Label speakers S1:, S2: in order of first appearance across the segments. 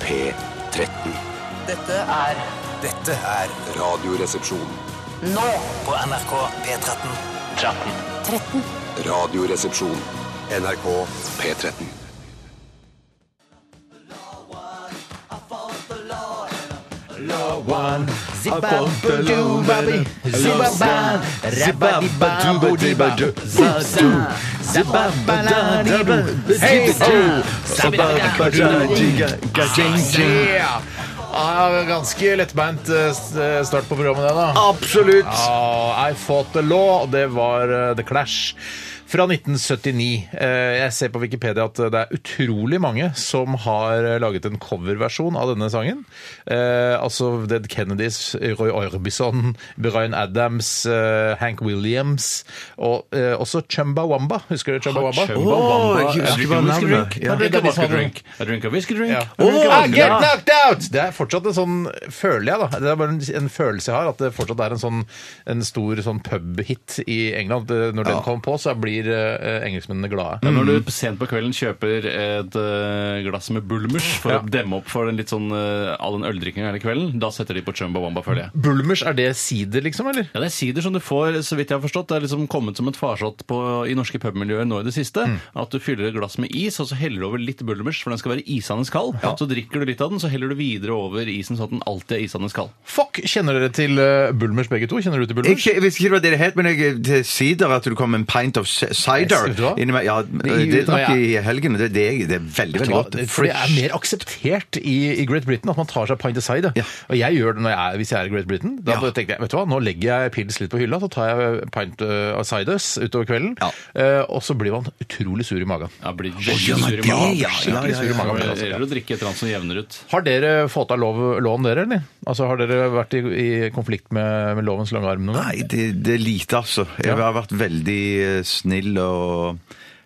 S1: P13.
S2: Dette er
S3: Dette er
S1: Radioresepsjon.
S2: nå
S3: på NRK P13.
S1: Radioresepsjon. NRK P13.
S4: Ja, ganske lettbeint eh, start på programmet, det, da. Absolutt. I Fought the Law, og det var eh, The Clash. Fra 1979. Eh, Jeg ser på Wikipedia at det er utrolig mange som har eh, laget en coverversjon av denne sangen. Eh, altså Dead Kennedys, Roy Orbison, Bryan Adams, eh, Hank Williams og eh, også Chumba Wamba. Husker du Chumba Wamba?
S5: Jeg
S4: det er
S5: drinker
S4: de som
S5: whisky
S4: hadde-
S5: drink. Jeg drinker whisky drink.
S4: Ja.
S5: Jeg drinker
S4: Ah,
S5: whisky
S4: get
S5: drink.
S4: knocked out! Det er fortsatt en sånn Føler jeg, da. Det er bare en, en følelse jeg har, at det fortsatt er en sånn en stor sånn pubhit i England. Det- Når den kommer på, så blir eh, engelskmennene glade.
S5: Ja, Når du sent på kvelden kjøper et eh, glass med bulmers for
S4: Ja.
S5: å demme opp for den litt sånn, eh, all den øldrikkinga hele kvelden, da setter de på Chumba Wamba, føler jeg.
S4: Bulmers, er det sider, liksom, eller?
S5: Ja, Det er sider som du får, så vidt jeg har forstått. Det er liksom kommet som et farsott på, i norske pubmiljøer nå i det siste. At du fyller et glass med is, og så heller du over litt bulmers, for den skal være isende kald. Så drikker du litt av den, så heller du videre over isen sånn at den alltid er isende kald.
S4: Fuck! Kjenner dere til eh, Bulmers, begge to? Kjenner du til
S6: Jeg,
S4: Bulmers?
S6: jeg visste ikke det var det det het, men jeg, til sider at du kom med en pint of c- cider.
S4: Vet du hva?
S6: inni meg. ja,
S4: I-
S6: det drakk jeg
S4: når
S6: i helgen, og det, det, er- det er veldig, veldig
S4: Ja,
S6: godt.
S4: for det er mer akseptert i, i Great Britain at man tar seg pint aside.
S6: Ja.
S4: Og jeg gjør det når jeg er, hvis jeg er i Great Britain. Da
S6: Ja.
S4: tenkte jeg vet du hva, nå legger jeg pils litt på hylla, så tar jeg pint uh, asides utover kvelden.
S6: Ja.
S4: eh, og så blir man utrolig sur i magen.
S5: Ja, blir veldig
S6: men
S5: sur i
S6: det,
S5: magen.
S6: ja, ja,
S5: Skikkelig
S6: ja,
S5: sur i
S6: ja,
S5: magen,
S4: ja,
S5: men
S4: ja.
S5: altså. det gjelder å drikke et eller annet som jevner ut.
S4: Har dere fått av lov, lån, dere? eller? Altså, Har dere vært i, i konflikt med, med lovens lange arm noen gang?
S6: Nei, det, det er lite, altså. Jeg
S4: Ja.
S6: har vært veldig eh, snill og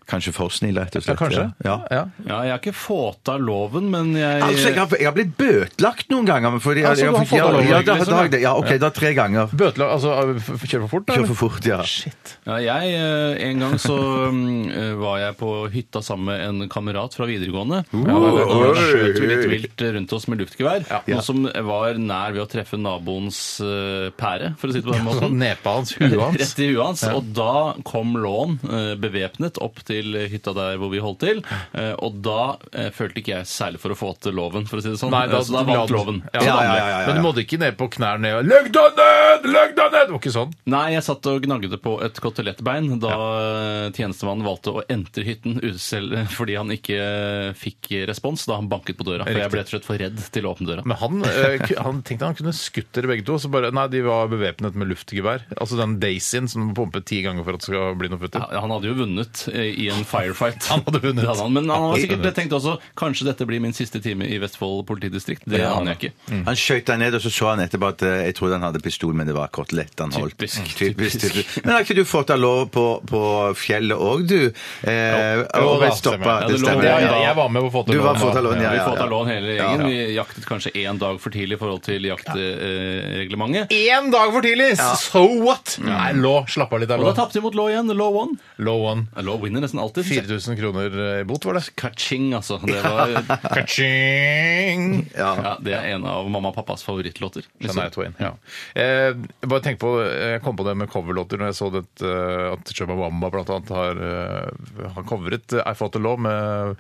S6: kanskje for snill, rett og
S4: Ja,
S6: slett.
S4: kanskje? Eh,
S6: Ja. Ja.
S4: Ja.
S5: Ja, jeg har ikke fått av loven, men jeg
S6: Altså, jeg har, jeg har blitt bøtelagt noen ganger. men Fordi,
S4: Ja, sånn, så du har fått
S6: ja,
S4: alvorlig,
S6: ja, da,
S5: liksom,
S6: da,
S5: ja.
S6: da, ja, ok, da tre ganger.
S4: Bøtelag Altså, f- f- kjør for fort? da,
S6: Kjør
S4: eller?
S6: for fort, ja.
S4: Shit.
S5: Ja, jeg, eh, En gang så mm, eh, var jeg på hytta sammen med en kamerat fra videregående. Ja, da- da skjøt vi litt vilt rundt oss med luftgevær. Noe som var nær ved å treffe naboens eh, pære, for å si det på den
S4: Sånn
S5: måten.
S4: Nepa hans, huet hans.
S5: Rett i huet hans. Og da kom Lån eh, bevæpnet opp til hytta der hvor vi holdt til. eh, Og da eh, følte ikke jeg særlig for å få til loven, for å si det sånn. Eh, Så da vant loven.
S4: Ja,
S5: Så
S4: ja,
S5: da
S4: ja,
S5: vant
S4: ja,
S5: vi.
S6: ja, ja.
S4: Men du måtte ikke ned på knær ned og Legg deg ned! Legg deg ned! Det var ikke sånn.
S5: Nei, jeg satt og gnagde på et kotelettbein da eh, tjenestemannen valgte å entre hytten utselg, fordi han ikke eh, fikk respons da han banket på døra. For jeg ble rett og slett for redd til å åpne døra.
S4: Men han, eh, ku- han tenkte han kunne skutt dere begge to. Så bare, nei, de var bevæpnet med luftgevær. Altså den Daisyen som må pumpe ti ganger for at det skal bli noe
S5: Ja,
S4: futter.
S5: han hadde jo vunnet eh, i en firefight.
S4: Han hadde vunnet.
S5: Det hadde han, men han hadde sikkert tenkt også kanskje dette blir min siste time i Vestfold politidistrikt. Det
S4: Ja.
S5: aner jeg ikke.
S6: Han skjøt deg ned, og så så han etterpå at eh, jeg trodde han hadde pistol, men det var kotelett han holdt.
S5: Typisk,
S6: Mm.
S5: typisk.
S6: Men har ikke du fått av lov på, på fjellet òg, du? Eh,
S4: Jo
S6: og
S4: da,
S6: ble stoppa.
S4: stemmer.
S5: Ja, det lå-
S4: Det, jeg, jeg var med på å få til
S6: Du var
S4: lån,
S6: fått av
S4: da.
S6: lån, ja,
S5: Vi
S6: ja,
S5: fått av
S6: ja.
S5: lån hele gjengen. Vi jaktet kanskje én dag for tidlig i forhold til jaktreglementet.
S4: Én dag for tidlig! So what? Nei, lå. Slapp av litt av
S5: Og da
S4: lå.
S5: tapte vi mot law igjen. Law one.
S4: Low one.
S5: Law winner nesten alltid.
S4: 4000 kroner eh, i bot, var det.
S5: Kaching, altså. Det var
S4: Kaching!
S5: Ja, Det er en av mamma og pappas favorittlåter.
S4: Shania Twain, ja. Eh, jeg bare tenk på, jeg kom på det med coverlåter når jeg så det, eh, at Chubba Wamba blant annet har, eh, har covret eh, I Fought the Law med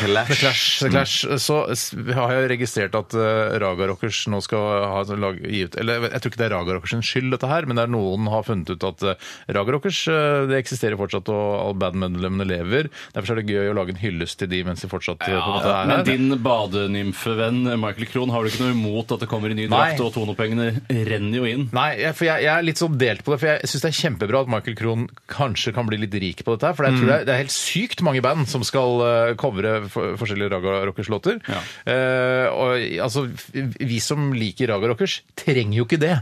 S4: The Clash. The Clash. Så s- har jeg registrert at eh, Raga Rockers nå skal ha, lag, gi ut Eller jeg tror ikke det er Raga Rockers sin skyld, dette her, men det er noen har funnet ut at eh, Raga Rockers eh, det eksisterer fortsatt, og alle bandmedlemmene lever. Derfor er det gøy å lage en hyllest til de mens de fortsatt eh, på en måte
S5: Ja,
S4: er
S5: men
S4: her.
S5: din badenymfevenn Michael Krohn, har du ikke noe imot at det kommer i ny drakt,
S4: Nei.
S5: og tonopengene renner jo inn?
S4: Nei, jeg, for jeg, jeg er litt sånn delt på det. For jeg syns det er kjempebra at Michael Krohn kanskje kan bli litt rik på dette. her, For
S5: Mm.
S4: jeg tror det, er, det er helt sykt mange band som skal eh, covre for, forskjellige Raga Rockers-låter.
S5: Ja.
S4: Eh, og altså, vi som liker Raga Rockers, trenger jo ikke det.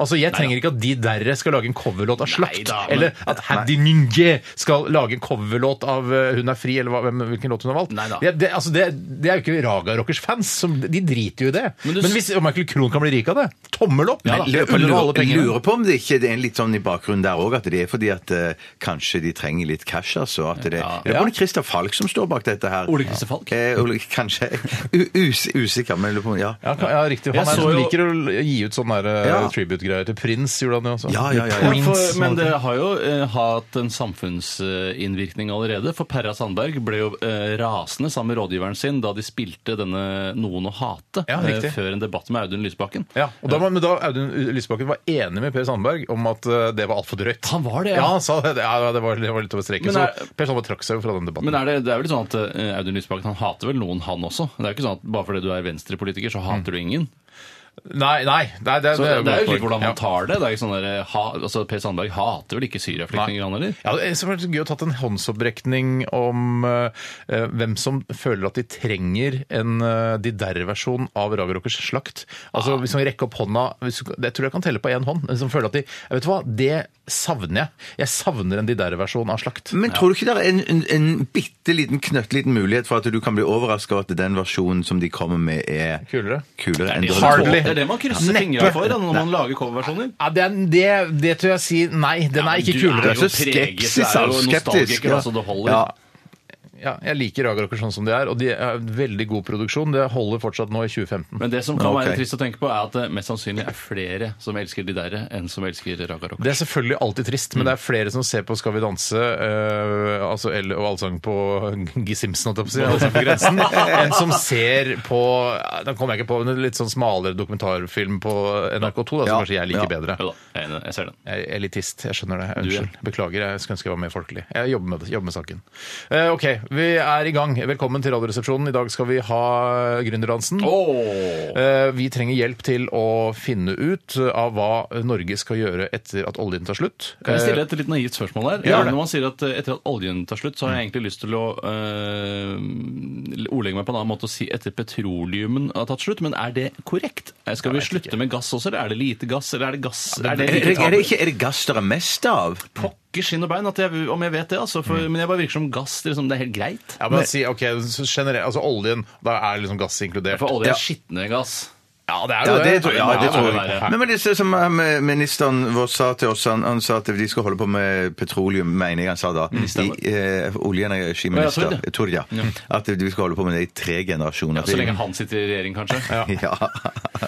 S4: Altså, Jeg trenger ikke at de derre skal lage en coverlåt av Slakt.
S5: Neida, men-
S4: eller at Haddy Ninje skal lage en coverlåt av eh, Hun er fri, eller hva, hvem, hvilken låt hun har valgt.
S5: Neida.
S4: Det, det, altså, det, det er jo ikke Raga Rockers-fans. som- De driter jo i det.
S5: Men
S4: Men,
S5: du-
S4: hvis Michael Krohn kan bli rik av det, tommel opp!
S5: Ja, da.
S4: Men
S6: Jeg
S4: løper unna alle
S6: lurer, jeg
S4: pengene.
S6: lurer på om det ikke det er litt sånn i bakgrunnen der òg, at det er fordi at eh, kanskje de trenger litt cash, altså. At det, jeg lurer på om det er Christer Falk som står bak dette her.
S5: Ole Ulrikke Falk?
S6: Eh, Ulrik, kanskje. U us usikker, men jeg lurer på om- ja.
S4: Ja, ka- ja riktig.
S5: Jeg
S4: Han er,
S5: så
S4: som
S5: jo-
S4: liker å gi ut sånne der, eh,
S6: Ja.
S4: tribute-greier til Prins, gjorde han jo også.
S6: Ja, ja, ja,
S5: Ja,
S6: ja.
S5: for, men det har jo eh, hatt en samfunnsinnvirkning allerede. For Perra Sandberg ble jo eh, rasende sammen med rådgiveren sin da de spilte denne 'Noen å hate'
S4: Ja,
S5: eh,
S4: riktig.
S5: før en debatt med Audun Lysbakken.
S4: Ja, og da, var- men da Audun Lysbakken var enig med Per Sandberg om at eh, det var altfor drøyt.
S5: Han var det, ja.
S4: ja. han sa det. Ja, det var, det var litt over streken.
S5: Men er-
S4: så Per Sandberg trakk seg jo fra den debatten.
S5: Men er det, det er vel sånn at eh, Audun Lysbakken han hater vel noen, han også? Det er jo ikke sånn at Bare fordi du er venstrepolitiker, så
S4: Mm.
S5: hater du ingen.
S4: nei, nei, nei, det,
S5: Så det,
S4: et
S5: det er
S4: godt
S5: jo litt
S4: poeng.
S5: hvordan man
S4: Ja.
S5: tar det. det er ikke sånn der, eh, ha, altså Per Sandberg hater vel ikke Syria-flyktninger, han heller?
S4: Ja, det hadde vært gøy å tatt en håndsopprekning om eh, eh, hvem som føler at de trenger en uh, Didderre-versjon av Raga Rockers slakt.
S5: Ah.
S4: Altså, Hvis man rekker opp hånda hvis, Jeg tror jeg kan telle på én hånd. Som føler at de jeg Vet du hva, det savner jeg. Jeg savner en Didderre-versjon av slakt.
S5: Mm.
S6: Men tror du ikke det er en, en, en bitte liten, knøttliten mulighet for at du kan bli overraska over at den versjonen som de kommer med, er
S4: Kulere?
S6: kulere
S5: Det er
S6: enn
S5: det
S6: den-
S5: man-
S4: Hardly.
S5: Det er det man krysser
S4: Neppe.
S5: fingra for da, når man lager coverversjoner.
S4: Ja, det, er- det, det tror jeg sier nei. Den er ikke kulere.
S5: Du er jo
S6: Så
S5: preget, du
S6: skepsis,
S5: er jo
S6: altså, skeptisk,
S5: nostalgiker,
S6: ja.
S5: altså. Det holder.
S6: Ja.
S4: Ja, jeg liker Raga Rockers sånn som de er, og de er veldig god produksjon. Det holder fortsatt nå i 2015.
S5: Men det som kan
S6: Ok.
S5: være trist å tenke på, er at det mest sannsynlig er flere som elsker de derre, enn som elsker Raga Rock.
S4: Det er selvfølgelig alltid trist, men det er flere som ser på Skal vi danse øh, altså, eller, og allsang på G. Simpson, holdt jeg på å si, Allsang på grensen, enn som ser på ja, Da kommer jeg ikke på men en litt sånn smalere dokumentarfilm på NRK2, da, som
S6: Ja,
S4: kanskje jeg liker
S6: ja.
S4: bedre.
S5: Jo da, jeg er enig, jeg ser den.
S4: Jeg er elitist, jeg skjønner det. Unnskyld.
S5: Du,
S4: Beklager, jeg skulle ønske jeg var mer folkelig. Jeg jobber med, det, jobber med saken. Eh, ok, vi er i gang. Velkommen til Radioresepsjonen. I dag skal vi ha Gründerdansen. Eh, Vi trenger hjelp til å finne ut av hva Norge skal gjøre etter at oljen tar slutt.
S5: Kan jeg stille
S4: Eh,
S5: et litt naivt spørsmål her?
S4: gjør det.
S5: Når man sier at eh, etter at oljen tar slutt, så har jeg egentlig lyst til å øh, ordlegge meg på en annen måte og si etter petroleumen har tatt slutt, men er det korrekt? Eh, Skal vi slutte med gass også, eller er det lite gass, eller er det gass? er det like
S6: Er, det- er, det
S5: tabu?
S6: ikke, er det gass det er mest av?
S5: Pokker skinn og bein at jeg, om jeg vet det, altså. For, Men jeg bare virker som gass, liksom, det er helt greit.
S4: Mm. Ja, men si, ok, så generelt, altså Oljen, da er liksom gass inkludert.
S5: For olje
S6: Ja.
S5: er skitne gass.
S4: Ja, det er
S6: Ja,
S4: jo
S6: det tror, ja,
S5: Ja,
S6: det
S5: det må
S6: tror
S5: det
S6: jeg.
S5: være.
S6: Men, men det ser som eh, ministeren vår sa til oss, han, han sa at de skal holde på med petroleum, mener jeg han sa da.
S5: stemmer.
S6: I, eh,
S5: Å,
S6: Oljeenergiminister
S5: ja, Tord,
S6: Tord, ja. At vi skal holde på med det i tre generasjoner.
S5: Så lenge han sitter i regjering, kanskje.
S6: Ja.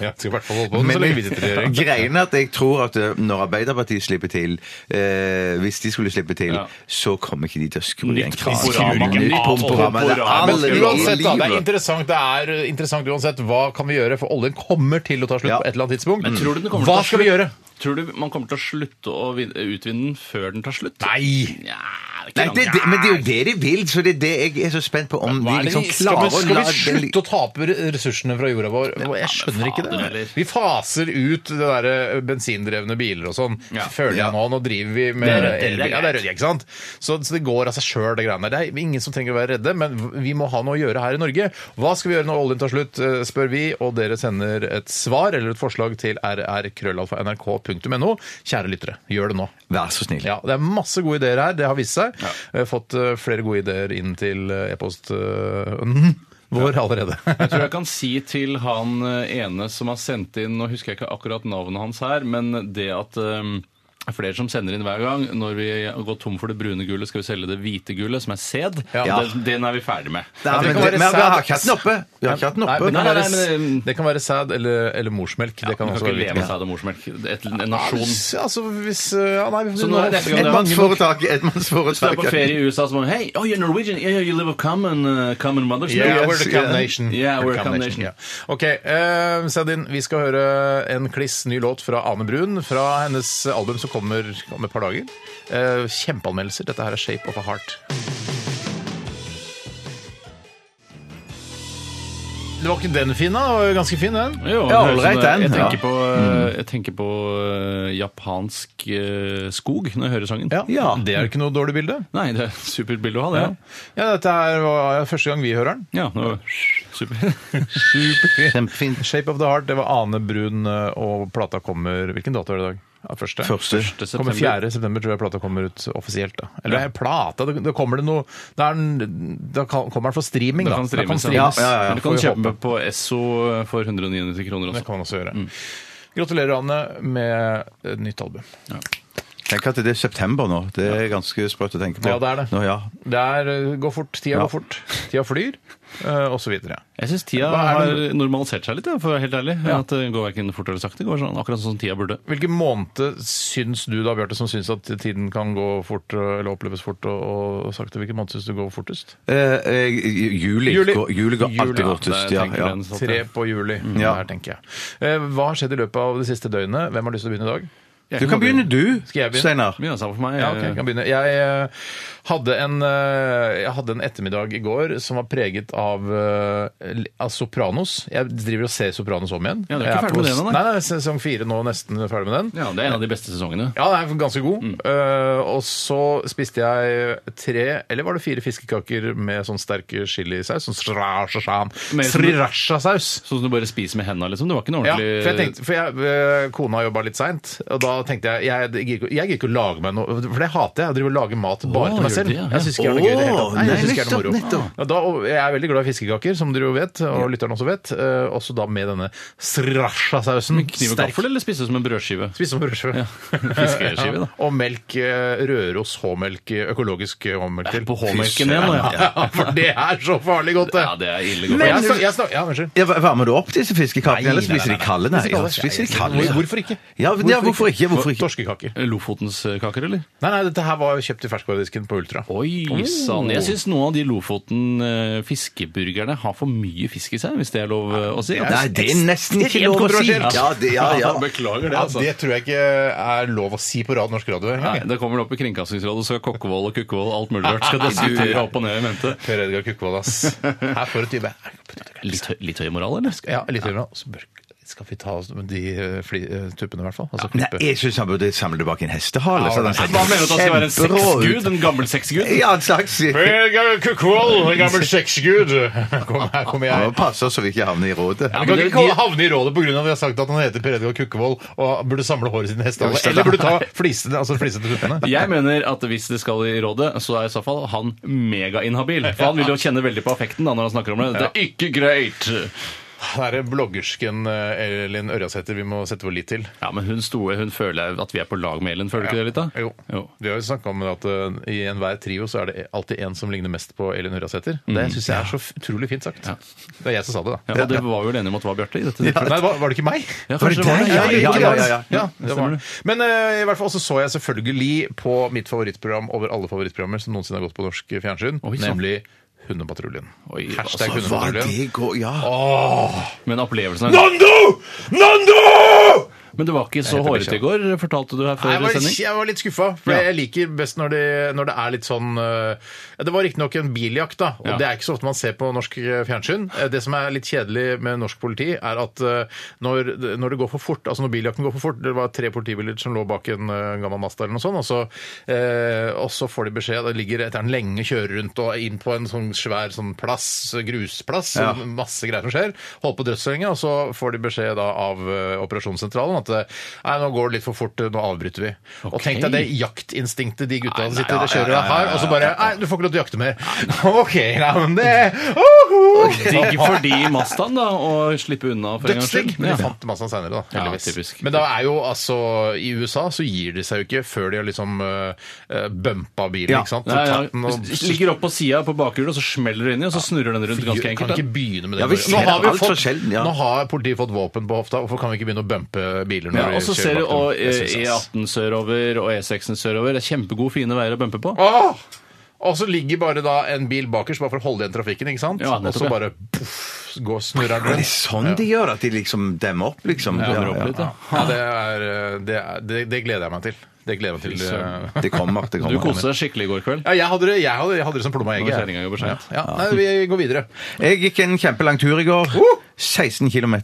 S4: Jeg skal i hvert fall holde på med det så lenge vi sitter i regjering.
S6: greien er at jeg tror at eh, når Arbeiderpartiet slipper til, eh, hvis de skulle slippe til,
S5: Ja.
S6: så kommer ikke de til å skru
S5: Nytt
S6: igjen
S5: Pomporama.
S6: Nytt
S5: Nytt
S6: Pomporama. Det er
S5: Pomporama.
S6: aldri i
S4: Men uansett, da. Det er
S6: livet.
S4: interessant, det er uh, interessant uansett. Hva kan vi gjøre? For oljen kommer til å ta slutt
S6: Ja.
S4: på et eller annet tidspunkt.
S5: Men tror du den kommer
S4: Hva
S5: til å
S4: skal vi
S5: slutt-
S4: gjøre?
S5: Tror du man kommer til å slutte å vin- utvinne den før den tar slutt?
S4: Nei!
S5: Ja, det
S6: Nei,
S5: er ikke
S6: det,
S5: langt.
S6: det, men det er jo det de vil, så det er det jeg er så spent på om de
S4: Hva er det
S6: liksom
S4: vi, skal, vi,
S6: klarer å
S4: skal
S6: la
S4: vi
S6: det
S4: slutte å tape ressursene fra jorda vår? Jeg skjønner ikke
S5: fader,
S4: det.
S5: eller?
S4: Vi faser ut det der eh, bensindrevne biler og sånn,
S5: Ja.
S4: føler jeg nå. Nå driver vi med
S5: Det er rødt, det er
S4: elbil. Ja, det
S5: greit.
S4: er rødt, ikke sant? Så, så det går av seg sjøl, det greiene der. Det er ingen som trenger å være redde, men vi må ha noe å gjøre her i Norge. Hva skal vi gjøre når oljen tar slutt, eh, spør vi, og dere sender et svar eller et forslag til rrkrøllalfa.nrk.no. Kjære lyttere, gjør det nå.
S6: Vær så snill.
S4: Ja, Det er masse gode ideer her. Det har vist seg. Jeg har fått eh, flere gode ideer inn til eh, e-post eh, vår allerede.
S5: Jeg tror jeg kan si til han eh, ene som har sendt inn Nå husker jeg ikke akkurat navnet hans her, men det at ehm, det er flere som sender inn hver gang. Når vi går tom for det brune gullet, skal vi selge det hvite gullet, som er sæd.
S4: Ja.
S5: Den, den er vi ferdig med.
S6: Nei,
S4: det
S6: men,
S4: kan
S6: det-
S4: være
S6: men vi har
S4: sæd.
S6: ikke hatt den oppe. Vi har ikke hatt den
S4: Nei,
S6: oppe.
S4: det, kan
S5: Nei,
S4: være,
S5: nei, men,
S4: s- det kan være sæd eller, eller morsmelk. Det kan
S5: Du kan
S4: også
S5: ikke
S4: være
S5: leve
S4: hvilken-
S5: av sæd og morsmelk. Et, en nasjon.
S4: Ja, Altså, hvis eh, Ja, nei, vi
S5: Så nå er det neste gang det er-
S6: Ettmannsforetak.
S5: Hvis du er
S6: Ettmannsforetak.
S5: på ferie i USA, så må du Hey, oh, you're Norwegian. Yeah, you live of common, uh, common mother's
S4: Yeah,
S5: milk."
S4: we're the
S6: Yes,
S4: Cam
S6: yeah.
S4: Nation.
S5: Yeah, we're
S4: Cam
S5: Cam Nation.
S4: ja. Ok, eh, Sedin, vi skal høre en kliss ny låt fra Ane Brun, fra hennes album som kommer om et par dager. Eh, kjempeanmeldelser. Dette her er 'Shape of a Heart'. Det var ikke den fin, da. Det var jo ganske fin, den.
S5: Jo,
S6: Ja,
S5: det høres
S6: ålreit,
S5: ut som det.
S6: den,
S5: Jeg tenker
S6: ja.
S5: på, jeg tenker på eh, japansk eh, skog når jeg hører sangen.
S6: Ja.
S4: Det er jo ikke noe dårlig bilde.
S5: Nei, det er et supert bilde å ha, det.
S4: Ja, Dette her var første gang vi hører den.
S5: Ja, det var super.
S6: Kjempefint.
S4: Shape of the Heart, det var Ane Brun, eh, og plata kommer Hvilken dato er det i dag? Ja, første.
S6: Første.
S4: Kommer 4. september tror jeg plata kommer ut offisielt. da. Eller det er plata, det, det kommer det noe det er, en- Da kan- kommer den for streaming,
S5: Det
S4: da.
S5: kan
S4: Da
S5: streames.
S4: den streames.
S6: Ja, ja, ja.
S5: Men Du kan
S4: Får vi
S5: kjøpe
S4: håpe.
S5: på Esso for 199 kroner
S4: Det
S5: også.
S4: kan man også gjøre. Gratulerer, Anne, med et nytt album.
S6: Tenk at det er september nå. Det er ganske sprøtt å tenke på.
S4: Ja, det er det.
S6: Nå, ja.
S4: Det er, eh, går fort, tida
S6: Ja.
S4: går fort. Tida flyr, eh, og så videre.
S5: Jeg syns tida
S4: Hva er
S5: har
S4: det-
S5: normalisert seg litt, ja, for å være helt ærlig. At det går verken fort eller sakte. Det går sånn, akkurat sånn som tida burde.
S4: Hvilke måneder syns du da, Bjarte, som syns at tiden kan gå fort, og- eller oppleves fort og, og sakte, hvilke måneder syns du går fortest?
S6: Eh, eh, juli,
S4: Juli.
S6: går- juli går
S4: Juli,
S6: alltid
S4: ja,
S6: fortest.
S5: det
S6: Ja,
S5: tenker
S6: ja.
S5: den sånn. satt
S4: Tre på juli,
S5: Mm.
S4: sånn
S6: Ja.
S4: her tenker jeg. Eh, Hva har skjedd i løpet av det siste døgnet? Hvem har lyst til å begynne i dag?
S5: Jeg
S6: Du kan begynne, du,
S4: Skal jeg begynne?
S6: Steinar.
S5: Mye av det samme for meg.
S4: Ja, ok, jeg kan begynne. Jeg eh, hadde en, eh, jeg hadde en ettermiddag i går som var preget av, eh, li- av Sopranos. Jeg driver og ser Sopranos om igjen.
S5: Ja, du er ikke
S4: Jeg
S5: ferdig
S4: på
S5: med det
S4: s-
S5: ennå, nei?
S4: Nei, nei, sesong fire nå, nesten ferdig med den.
S5: Ja, det er en av de beste sesongene.
S4: Ja, den er ganske god. Eh, og så spiste jeg tre, eller var det fire fiskekaker med sånn sterk chilisaus? Sånn
S5: Mer som-
S4: sriracha-saus.
S5: Sånn som du bare spiser med hendene, liksom. Det var ikke noe
S4: sånn- Ja,
S5: ordentlig
S4: for jeg tenkte, for jeg, eh, kona jobba litt seint, og da tenkte jeg jeg gidder ikke- jeg gidder ikke å lage meg noe For det hater jeg, å drive og lage mat bare
S5: Å,
S4: til meg
S5: gjør
S4: selv.
S5: du det, ja?
S4: Jeg syns ikke jeg er noe gøy i det hele tatt.
S6: Å,
S4: Nei, jeg
S6: nei,
S4: synes ikke jeg er noe
S6: nettopp,
S4: moro.
S6: nettopp.
S4: Ja, da, og jeg er veldig glad i fiskekaker, som dere jo vet, og lytterne også vet. eh, Også da med denne sriracha-sausen.
S5: Kniv og
S4: Sterk.
S5: gaffel, eller spise som en brødskive?
S4: Spise som brødskive.
S5: Fiskeskive, da.
S4: Og melk, eh, Røros H-melk, eh, økologisk H-melk til.
S5: På H-melken igjen, da, ja.
S4: Ja, for det er så farlig godt, det.
S5: Ja, det er ille
S4: Men
S5: godt.
S4: jeg snak- jeg snak- Ja, unnskyld.
S6: Ja, varmer du opp disse fiskekakene, eller
S4: nei,
S6: spiser
S4: nei,
S6: de kalde? Nei,
S4: Spiser kalde.
S6: ja, spiser de kalde.
S4: Hvor- Hvorfor ikke?
S6: Ja, men- ja, hvorfor ikke? Hvorfor ikke?
S4: Torskekaker.
S5: Lofotenskaker, eller?
S4: Nei, nei, dette her var kjøpt i ferskvaredisken på Ultra.
S5: Oi sann.
S6: Oh.
S5: Jeg syns noen av de Lofoten-fiskeburgerne har for mye fisk i seg, hvis det er lov eh, å si.
S6: Nei, det er nesten ikke lov å si.
S4: kontroversielt.
S6: Ja, det, ja, ja.
S5: Beklager det,
S4: Ja,
S5: altså.
S4: det tror jeg ikke er lov å si på rad, norsk radio. eh.
S5: Nei, det kommer opp i Kringkastingsrådet, så Kokkevold og Kukkevold og alt mulig rart skal diskutere opp og ned i mente.
S4: Per Edgar Kukvold, ass. Her får du type.
S5: Litt, høy- litt høy moral, eller?
S4: Ja, litt høyere. Og så bør- skal vi ta oss med de eh, fli, eh, tuppene, i hvert fall. Altså,
S6: Nei,
S4: klippe.
S6: jeg syns han burde samle tilbake en hestehale. så den ser
S5: Hva mener du at han skal være en
S6: kjemperå ut.
S5: sexgud? En gammel sexgud?
S6: Ja, en slags
S4: Per Edgar Kukvold, en gammel sexgud. Kom her, kommer
S6: Ja,
S4: jeg.
S6: men Pass oss så vi ikke havner i rådet.
S4: Vi kan ikke kalle- havne i rådet pga. at vi har sagt at han heter Per Edgar Kukkevold og burde samle håret sitt i hestehale. Eller burde ta flisene, altså flisene til tuppene.
S5: Jeg mener at hvis det skal i rådet, så er i så fall han megainhabil. For han vil jo kjenne veldig på affekten da når han snakker om det. Det er ikke greit!
S4: Det er bloggersken eh, Elin Ørjasæter vi må sette vår lit til.
S5: Ja, men hun store, hun føler at vi er på lag med Elin, føler du ikke det litt da?
S4: Jo. Vi har jo snakka om at eh, i enhver trio så er det alltid en som ligner mest på Elin Hurrasæter. Det syns jeg er så f- utrolig fint sagt. Det er jeg som sa det, da.
S5: Mm. Ja, og det var vi vel enige om at det var Bjarte i dette tilfellet.
S4: Nei, var, var det ikke meg?
S5: Ja, kanskje det
S6: Var
S5: var
S6: det
S5: det.
S6: deg? Ja, ja, ja, ja, ja.
S4: det var. det. Men eh, i hvert fall så så jeg selvfølgelig på mitt favorittprogram over alle favorittprogrammer som noensinne har gått på norsk fjernsyn,
S5: Oi, så.
S4: nemlig Hundepatruljen.
S5: Oi,
S4: Hashtag
S5: altså,
S6: Hva
S4: Hundepatruljen.
S6: det går, ja.
S5: Men opplevelsen er
S4: Nando! Nando!
S5: Men det var ikke så
S4: heter
S5: hårete
S4: Bikkja.
S5: i går, fortalte du her
S4: Nei, jeg,
S5: før
S4: var,
S5: sending.
S4: jeg var litt skuffa, for
S5: Ja.
S4: jeg liker best når det, når det er litt sånn eh, Det var riktignok en biljakt, da, og
S5: Ja.
S4: det er ikke så ofte man ser på norsk eh, fjernsyn. Eh, Det som er litt kjedelig med norsk politi, er at eh, når, når det går for fort, altså når biljakten går for fort Det var tre politibiler som lå bak en eh, gammel Mazda eller noe sånt, og så, eh, og så får de beskjed Det ligger etter en lenge kjører rundt og inn på en sånn svær sånn plass, grusplass,
S6: Ja.
S4: og masse greier som skjer. Holdt på dødslenge, og så får de beskjed da av eh, operasjonssentralen at eh, nei, nå går det litt for fort, eh, nå avbryter vi. Og
S5: Ok.
S4: tenk deg det jaktinstinktet de gutta
S5: nei,
S4: sitter og kjører
S6: ja, ja,
S4: her,
S6: ja,
S4: og så bare Nei, du får ikke lov til å jakte mer. OK, ja, men det Oho!
S5: Digg for de i Mazdaen, da, å slippe unna for en gangs
S4: Dødsdigg!
S5: skyld.
S4: Men de
S5: Ja.
S4: fant masse senere, da.
S5: Ja,
S4: heldigvis.
S5: typisk.
S4: men da er jo altså I USA så gir de seg jo ikke før de har liksom uh, bumpa bilen,
S6: Ja.
S4: ikke sant? Så
S5: Nei, ja.
S4: tatt den og
S5: Ligger opp på sida på bakhjulet, og så smeller det inni, og så snurrer den rundt ganske
S4: Kan
S5: enkelt.
S4: ikke
S5: da.
S4: begynne med det.
S6: Ja, vi
S4: Nå
S6: ser
S4: har
S6: det alt
S4: fått-
S6: for sjelden, ja.
S4: Nå har politiet fått våpen på hofta, hvorfor kan vi ikke begynne å bumpe biler når
S5: Ja,
S4: vi
S5: og så ser du
S4: kjører bak
S5: og,
S4: dem? Jeg
S5: eh,
S4: synes, ass.
S5: E18 sørover og E6 sørover. Det er kjempegode, fine veier å bumpe på.
S4: Åh! Og så ligger bare da en bil bakerst bare for å holde igjen trafikken, ikke sant?
S5: Ja, nettopp,
S4: og så
S5: ja.
S4: bare puff, går snurrer den
S6: Er det
S4: rundt.
S6: sånn de gjør? At de liksom demmer opp, liksom?
S5: Kommer opp litt, da.
S4: Ja, det, er, eh, det, er, det, det gleder jeg meg til. Det gleder jeg meg til. eh.
S6: Det kommer. det
S5: Du
S6: kommer.
S5: koste deg skikkelig i går kveld.
S4: Ja, jeg hadde det, jeg hadde, jeg hadde det som plomma i
S5: Når
S4: egget.
S5: kjerringa jobber
S4: Ja,
S5: sent.
S4: ja. Nei, vi går videre.
S6: Jeg gikk en kjempelang tur i går.
S4: Uh!
S6: 16 km.
S5: Er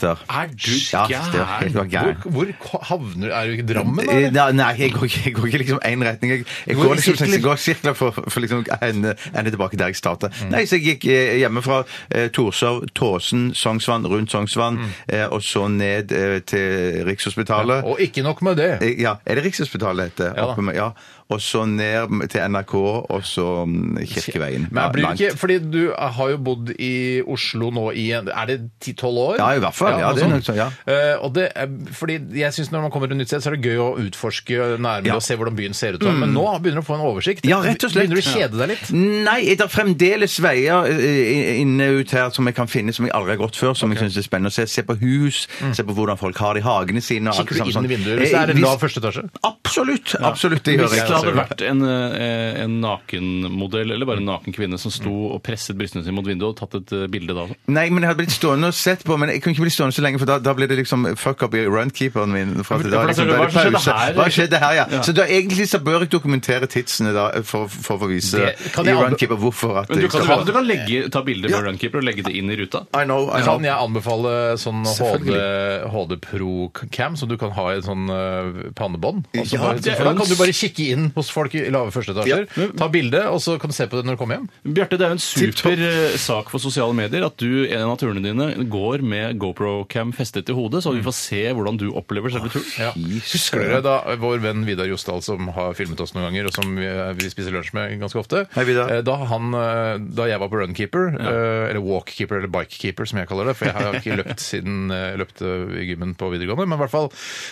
S5: du
S6: Ja, det var helt det var
S4: Hvor,
S6: gæren.
S4: hvor ko- havner Er du ikke i Drammen, da?
S6: Eh,
S4: eller?
S6: Nei, nei, jeg går ikke, jeg går ikke liksom én retning. Jeg, jeg
S4: Hvor-
S6: går liksom
S4: sirkler?
S6: jeg går sirkler for, for liksom å ende, ende tilbake der jeg startet.
S4: Mm.
S6: Nei, så jeg gikk eh, hjemmefra eh, Torshov, Tåsen, Sognsvann, rundt Sognsvann, eh, og så ned eh, til Rikshospitalet.
S4: Mm. Og ikke nok med det.
S6: Eh, Ja, er det Rikshospitalet heter?
S4: Ja da.
S6: Oppe med- Ja, og så ned til NRK, og så mm, Kirkeveien.
S4: Men
S6: Ja,
S4: blir det
S6: langt.
S4: ikke, fordi du har jo bodd i Oslo nå i en Er det ti- tolv år.
S6: Ja, i hvert fall. Ja,
S4: noe
S6: det er
S4: sånt.
S6: nok så- ja.
S4: Eh, og det er, fordi jeg synes Når man kommer til et nytt sted, så er det gøy å utforske nærmere
S6: Ja. Mm.
S4: og se hvordan byen ser ut. og- sånn. Men nå begynner du å få en oversikt.
S6: Ja, rett og slett.
S4: Begynner du å kjede deg litt?
S6: Nei, det er fremdeles veier eh, inne ut her som jeg kan finne som jeg aldri har gått før, som jeg syns er spennende å se. Se på hus, se på hvordan folk har det i hagene sine. og alt
S4: Kikker du
S6: det
S4: inn
S6: samme
S4: i
S6: sånn.
S4: vinduet hvis det er
S6: Eh,
S4: en lav første etasje?
S6: Absolutt! absolutt, det gjør
S5: Hvis
S6: jeg.
S5: det hadde vært en, eh, en nakenmodell eller bare en naken kvinne som sto og presset brystene sine mot vinduet og tatt et eh, bilde da også.
S6: Nei, men jeg hadde blitt stående og sett på, men jeg kunne ikke bli stående så lenge, for da, da ble det liksom fuck up i runkeeperen min. For at
S5: Ja,
S6: da,
S5: for da
S6: liksom,
S5: tenker du,
S6: da er det
S5: hva skjedde
S6: pause.
S5: her?
S6: Hva skjedde her, ja.
S5: Ja.
S6: Så da egentlig så bør jeg dokumentere tidsene da, for, for å vise
S4: Det kan
S6: i
S4: jeg anbe-
S6: runkeeper hvorfor at
S5: Men du
S6: jeg
S5: kan,
S6: skal-
S5: du kan legge, ta bilder fra Runkeeper og legge det inn i ruta.
S6: I know, I know.
S4: Kan jeg anbefale sånn HD,
S6: Selvfølgelig.
S4: HD Pro Cam som du kan ha i et sånn eh, pannebånd? Altså,
S6: Ja,
S4: bare,
S5: det er
S4: for da
S5: jo
S4: kan
S5: en
S4: du bare kikke inn hos folk i lave første etasjer, ta bilde, og så kan du se på det når du kommer hjem.
S5: Bjarte, det er jo en
S6: Tipp-topp.
S5: super eh, sak for sosiale medier at du en av turene dine går med GoPro-cam festet til hodet, så vi får se hvordan du opplever selve turen.
S4: Ja. Husker dere da vår venn Vidar Jostal, som har filmet oss noen ganger, og som vi, vi spiser lunsj med ganske ofte?
S6: Hei, Vidar.
S4: Eh, Da, han, eh, da jeg var på Runkeeper, eh, eller Walkkeeper, eller Bikekeeper, som jeg kaller det, for jeg har ikke løpt siden eh, jeg løpte i gymmen på videregående, men i hvert fall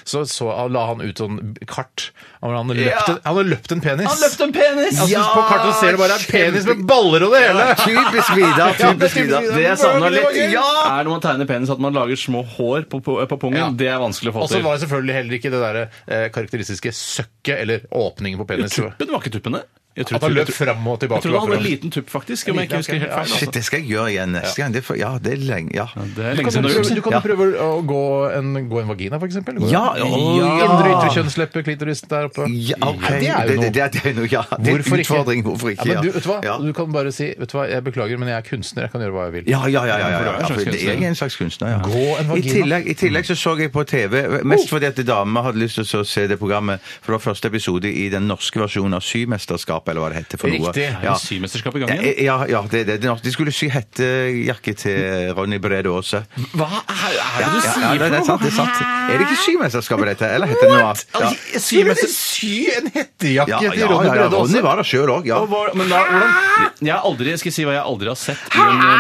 S4: så, så la han ut sånn kart. Han han har løpt, en- han har løpt en penis.
S5: Han løpte en penis!
S4: Altså,
S6: Ja,
S4: på kartet så ser du bare en penis med baller og det hele!
S6: Typisk Vidar,
S4: Ja, det er
S6: typisk
S4: typisk
S6: Vidar.
S4: Vidar.
S6: Det jeg savner litt. Ja!
S5: Altså, Er når man tegner penis at man lager små hår på, på, på pungen.
S4: Ja.
S5: Det er vanskelig å få
S4: Og så
S5: til.
S4: var det selvfølgelig heller ikke det der, eh, karakteristiske søkket eller åpningen på penis. At
S5: Tuppen var ikke tuppen, det. Jeg tror-
S4: han løp
S5: jeg tror-
S4: fram og tilbake.
S5: Jeg tror han hadde
S4: bakfra.
S5: en liten tupp, faktisk. Om jeg ikke
S4: Liten,
S5: husker
S4: ok.
S5: helt feil.
S6: Shit,
S5: Altså.
S6: det skal jeg gjøre igjen neste gang. Det er for, ja, det er lenge. Ja.
S5: Det er lenge
S4: Du kan,
S5: siden du har
S4: prøve,
S5: gjort
S4: du
S5: det.
S4: kan
S6: Ja.
S4: prøve å gå en, gå en vagina, for eksempel. Gå-
S6: Ja, å, ja.
S4: Indre ytre kjønnsleppe, klitoris der oppe.
S6: Ja, ok.
S4: Ja,
S6: Det,
S4: det er jo
S6: det,
S4: noe.
S6: det, det er noe, ja. Det er
S4: Hvorfor
S6: en
S4: ikke?
S6: utfordring. Hvorfor
S4: Ja,
S6: ikke?
S4: men du, vet du hva?
S6: Ja.
S4: Du kan bare si vet du hva, jeg beklager, men jeg er kunstner, jeg kan gjøre hva jeg vil.
S6: Ja, ja, ja. ja, ja,
S5: For du er en slags
S6: ja, for det- Jeg er en slags kunstner, ja.
S4: Gå en vagina.
S6: I tillegg, I tillegg så så jeg på TV, mest fordi at damer hadde lyst til å se det programmet, for det var første episode i den norske versjonen av Symesterskapet, eller hva det heter for noe.
S4: Riktig.
S5: Er
S6: Ja.
S5: det Symesterskap i gang igjen?
S6: Ja, eh, ja, det er det. Det er norsk. De skulle sy hettejakke til Ronny Brede Aase.
S5: Hva er, er det du
S6: Ja,
S5: sier
S6: ja, det er sant, det er sant. Er det ikke Symesterskapet dette, eller heter det noe annet? Ja.
S4: Skulle du sy en hettejakke
S6: Ja, ja,
S4: til
S6: ja,
S4: Ronny
S6: ja,
S4: Brede
S6: Ronny
S4: Aase?
S6: var der sjøl òg, ja.
S5: Og hva- Men da, hvordan Jeg har aldri, jeg skal si hva jeg aldri har sett i en ja,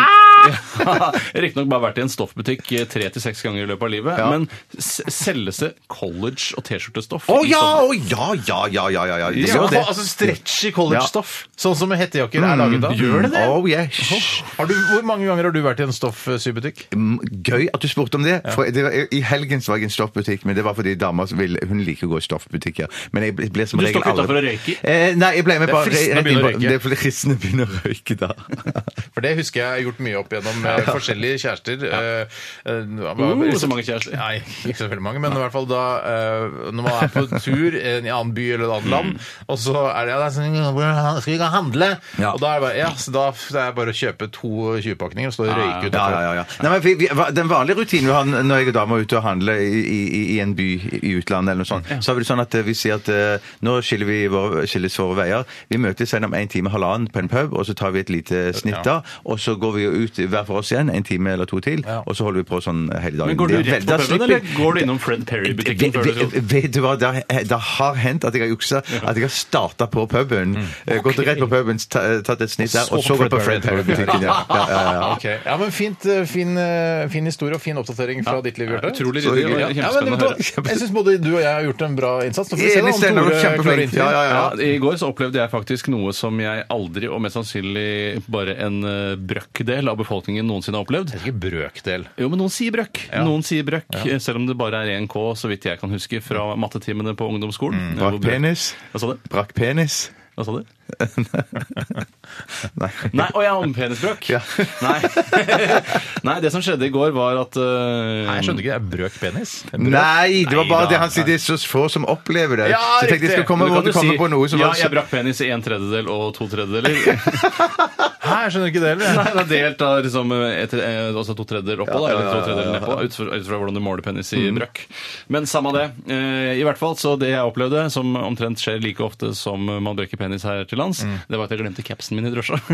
S5: Riktignok bare vært i en stoffbutikk eh, tre til seks ganger i løpet av livet,
S6: Ja.
S5: men s- selges det college- og T-skjortestoff?
S6: Å
S5: i
S6: ja,
S5: sånne-
S6: å ja, ja, ja, ja, ja, ja. Det
S4: Ja,
S6: gjør det.
S4: altså stretchy collegestoff, sånn som hettejakker er laget av.
S6: Oh, yeah. Hysj.
S4: Har du, hvor mange ganger har du vært i en stoffsybutikk?
S6: Mm, Gøy at du spurte om det. For det var, I helgen så var jeg i en stoffbutikk, men det var fordi dama ville Hun liker å gå i stoffbutikker. Men jeg ble, ble som
S5: Du
S6: regel
S5: stoppet
S6: aldri-
S5: utenfor og røyker?
S6: Eh, nei, jeg ble med
S4: Det er
S6: på
S4: fristende å
S6: rett inn
S4: begynne å
S6: på-
S4: røyke.
S6: Det er fordi fristende å begynne å røyke da.
S4: For det husker jeg jeg har gjort mye opp gjennom eh, forskjellige kjærester. eh, eh, hva-
S5: Uh, så mange kjærester.
S4: Nei, ikke så veldig mange, men i hvert fall da eh, når man er på tur i en annen by eller et annet
S6: Mm.
S4: land, og så er det ja, det er sånn, «Hvordan skal vi gå og handle?
S6: Ja.
S4: Og da er det bare, ja, så da det er bare å kjøpe to 20-pakninger og stå og røyke ut.
S6: Ja, ja, ja, ja. Nei, men vi, vi, hva- den vanlige rutinen vi har når jeg og dama er ute og handler i, i, i en by i i utlandet, eller noe sånt, så er det sånn at eh, vi sier at eh, nå skiller vi våre, skilles våre veier. Vi møtes igjen om en time halvannen på en pub, og så tar vi et lite snitt da, og så går vi jo ut hver for oss igjen, en time eller to til,
S4: Ja.
S6: og så holder vi på sånn hele dagen.
S5: Men går du
S6: Det er
S5: rett
S6: veldig-
S5: på
S6: da
S5: puben,
S6: slipper-
S5: eller går du innom Fred Perry-butikken? før du
S6: Vet-
S5: dro?
S6: vet- Vet du hva, det har, det har hendt at jeg har juksa. At jeg har starta på puben.
S5: Mm.
S6: eh, Gått rett på puben, ta- tatt et snitt der,
S4: så
S6: og så
S4: på
S6: gått på
S4: Fred
S6: Fred Perry-butikken. Ja. Ja, ja, ja.
S4: Ok. ja, men fint, eh, fin, eh, fin historie og fin oppdatering fra ditt liv, Bjarte.
S5: Utrolig
S6: Så
S5: ryddig
S6: hyggelig.
S5: og
S4: Ja, ja, men,
S5: kjempespennende å
S4: vet du
S5: høre.
S4: hva? jeg syns både du og jeg har gjort en bra innsats. Nå får vi se da,
S6: Enig,
S4: om
S6: Steinar.
S4: Tore klarer å
S6: Kjempeflink.
S4: innfri.
S6: Ja, ja, ja.
S5: Ja, I går så opplevde jeg faktisk noe som jeg aldri, og mest sannsynlig bare en eh, brøkdel av befolkningen noensinne har opplevd.
S4: Det er ikke brøkdel.
S5: Jo, men noen sier brøkk. Noen sier brøkk, eh, Selv om det bare er 1K, så vidt jeg kan huske, fra mattetimene på ungdomsskolen.
S4: Mm.
S5: Eh, hvor
S6: Brakk
S5: brøkk-
S6: penis.
S5: Hva sa du?
S6: Brakk Mm. penis.
S5: Hva sa du?
S6: Nei.
S5: Nei, og jeg har penisbrøkk!
S6: Ja.
S5: Nei. Nei, det som skjedde i går, var at eh,
S4: Nei, jeg skjønner ikke. Det er brøk penis.
S6: Nei, det var
S5: Nei
S6: bare
S5: da.
S6: det han sier. Det er så få som opplever det.
S4: Ja,
S6: så jeg tenkte jeg
S4: riktig.
S6: skulle komme,
S5: Men du kan
S6: måtte
S5: jo
S6: komme
S5: si,
S6: på noe som
S5: Ja,
S6: var
S5: jeg brakk penis i en tredjedel og to tredjedeler.
S4: Hæ, jeg skjønner ikke det heller.
S5: Nei, det er delt da, liksom, et, eh, altså to tredjedeler oppå, da, eller to tredjedeler nedpå, ut fra, ut fra hvordan du måler penis i
S4: Mm.
S5: brøkk. Men samme det. Eh, I hvert fall, så det jeg opplevde, som omtrent skjer like ofte som man brekker penis her til til lands,
S4: Mm.
S5: det var at jeg glemte capsen min i drosja.
S4: For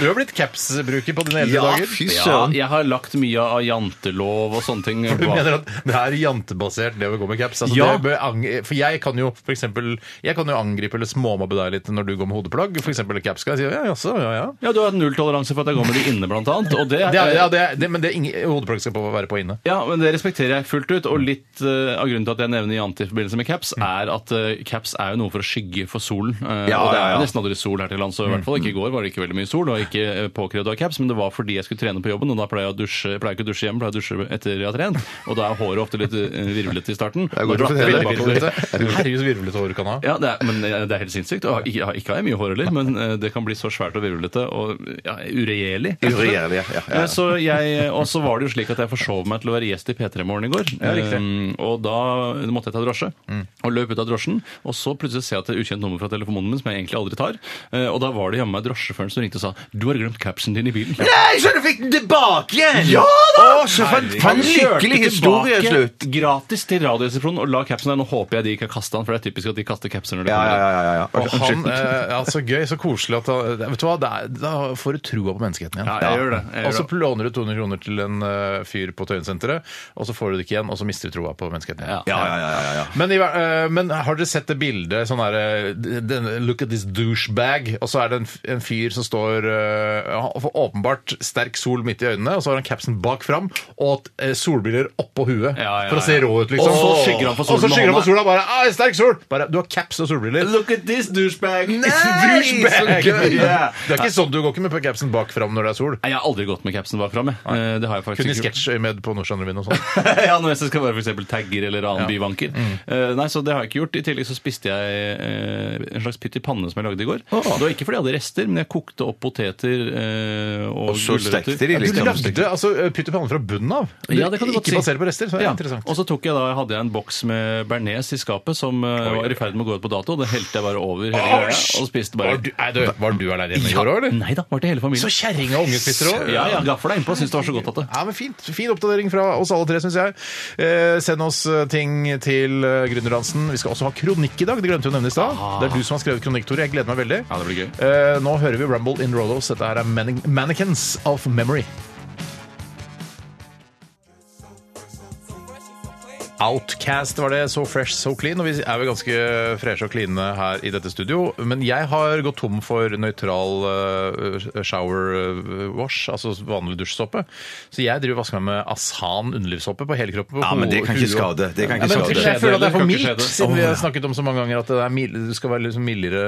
S4: du har blitt caps-bruker på dine eldre dager.
S6: fy
S5: ja,
S6: søren.
S5: jeg har lagt mye av jantelov og sånne ting
S4: Du
S5: bak.
S4: mener at det er jantebasert, det å gå med caps? Altså,
S5: Ja.
S4: det bør ang- for jeg kan jo for eksempel, jeg kan jo angripe eller småmobbe deg litt når du går med hodeplagg. For eksempel caps skal jeg si ja, jaså, ja, ja.
S5: Ja, du har nulltoleranse for at jeg går med de inne, blant annet. Og det,
S4: Det er, ja det er, det, men det er ingen, hodeplagg skal på, være på inne.
S5: Ja, men det respekterer jeg fullt ut. Og litt eh, av grunnen til at jeg nevner jante i forbindelse med caps, er at eh, caps er jo noe for å skygge for solen. Eh,
S6: Mm. Ja,
S5: og det er jo
S6: ja, Mm. ja.
S5: nesten aldri sol her til lands, og i hvert fall ikke i går var det ikke veldig mye sol. Og ikke eh, påkrevd å ha caps, men det var fordi jeg skulle trene på jobben, og da pleier jeg, å dusje, jeg pleier ikke å dusje hjemme, pleier å dusje etter jeg har trent. Og da er håret ofte litt eh, virvlete i starten.
S6: er godt
S5: Da
S6: å
S5: glatter
S6: fortelle.
S5: det bakover.
S4: Virvelete. Herregud, så virvelete hår du kan ha.
S5: Ja, det er, men eh, det er helt sinnssykt. Og ikke, ikke har jeg mye hår heller, men eh, det kan bli så svært og virvlete og ja, uregjerlig.
S6: Uregjerlig, ja, ja, ja.
S5: Eh, Så jeg, og så var det jo slik at jeg forsov meg til å være gjest i P3 Morgen i går. Um, og da måtte jeg ta drosje, og løp ut av drosjen. Og så plutselig ser jeg at det er ukjent nummer fra telefonen min, som jeg egentlig aldri tar. Eh, Og da var det jammen meg drosjesjåføren som ringte og sa 'du har glemt capsen din i bilen'.
S6: Nei, så du fikk den tilbake igjen! Ja da! Å, så for en- for en lykkelig historieslutt.
S5: gratis til Radioresepsjonen og la capsen der. Nå håper jeg de ikke har kasta den, for det er typisk at de kaster capser når de
S6: Ja,
S5: kommer.
S6: ja, ja. ja, ja.
S4: Og han,
S6: Unnskyld.
S4: eh, ja, Så gøy, så koselig at han, Vet du hva, det er, Da får du trua på menneskeheten igjen.
S5: Ja, jeg gjør det, jeg gjør
S4: og så
S5: det.
S4: låner du 200 kroner til en eh, fyr på Tøyensenteret, og så får du det ikke igjen, og så mister du trua på menneskeheten. igjen.
S5: Ja,
S6: ja, ja, ja, ja.
S4: Men, i hver- eh, men har dere sett det bildet sånn her, eh, den, Look at this douchebag. Og så er det en, f- en fyr som står eh, han får åpenbart sterk sol midt i øynene, og så har han capsen bak fram og et, eh, solbriller oppå huet
S5: Ja, ja,
S4: for å se
S5: ja.
S4: rå ut, liksom.
S5: Og så skygger han for solen
S4: Og så
S5: med
S4: skygger han
S5: hånda.
S4: for sola bare «Ah, sterk sol! Bare, du har caps og solbriller.
S5: Look at this douchebag!
S4: Douchebag!
S5: Yeah.
S4: Det er ikke sånn du går ikke med på capsen bak fram når det er sol.
S5: Nei, Jeg har aldri gått med capsen bak fram. jeg. Eh, Det har jeg faktisk
S4: Kun i
S5: ikke gjort.
S4: sketsjøyemed på Nordsjøen-revyen og sånn.
S5: ja, når jeg skal være for eksempel tagger eller annen byvanker.
S4: Mm.
S5: Eh, nei, så det har jeg ikke gjort. I tillegg så spiste jeg eh, en slags pytt i panne som jeg lagde i går. Det var ikke fordi jeg hadde rester, men jeg kokte opp poteter eh, og,
S6: Og så
S5: gulrøtter.
S6: stekte de
S4: Du
S6: litt.
S4: lagde altså, pytt i pannen fra bunnen av.
S5: Ja, det kan du godt si.
S4: ikke basert på rester, så er det
S5: Ja.
S4: interessant.
S5: Og så tok jeg da, hadde jeg en boks med bearnés i skapet som eh, var i ferd med å gå ut på dato. Det helte jeg bare over hele greia og spiste bare.
S4: Var du, nei, du, var du alene hjemme i går òg, eller?
S5: Nei da, var til hele familien.
S4: Så kjerring og unge spiser òg.
S5: Ja, ja, gaffer deg innpå. Syns det var så godt at det
S4: Ja, men fint. Fin oppdatering fra oss alle tre, syns jeg. Eh, send oss eh, ting til eh, Gründerdansen. Vi skal også ha kronikk i dag. Det glemte vi å nevne i stad. Det er du som har skrevet kronikk, Tore. Jeg gleder meg veldig.
S5: Ja, det blir gøy.
S4: Eh, nå hører vi Rumble in Rodos. Dette her er Manne- Mannequins of Memory. Outcast var det. So fresh, so clean. Og vi er vel ganske freshe og cleane her i dette studio. Men jeg har gått tom for nøytral eh, shower eh, wash, altså vanlig dusjsåpe. Så jeg driver og vasker meg med Asan underlivsåpe på hele kroppen. på
S6: Ja, men det
S4: hodet,
S6: kan ikke
S4: huet og-
S6: skade. Det kan
S4: ja,
S6: ikke
S4: men
S6: skade.
S5: det
S4: jeg føler at det er for
S5: Kan ikke skje
S4: mildt,
S5: det.
S4: siden vi har snakket om så mange ganger at det, er mild, det skal være liksom mildere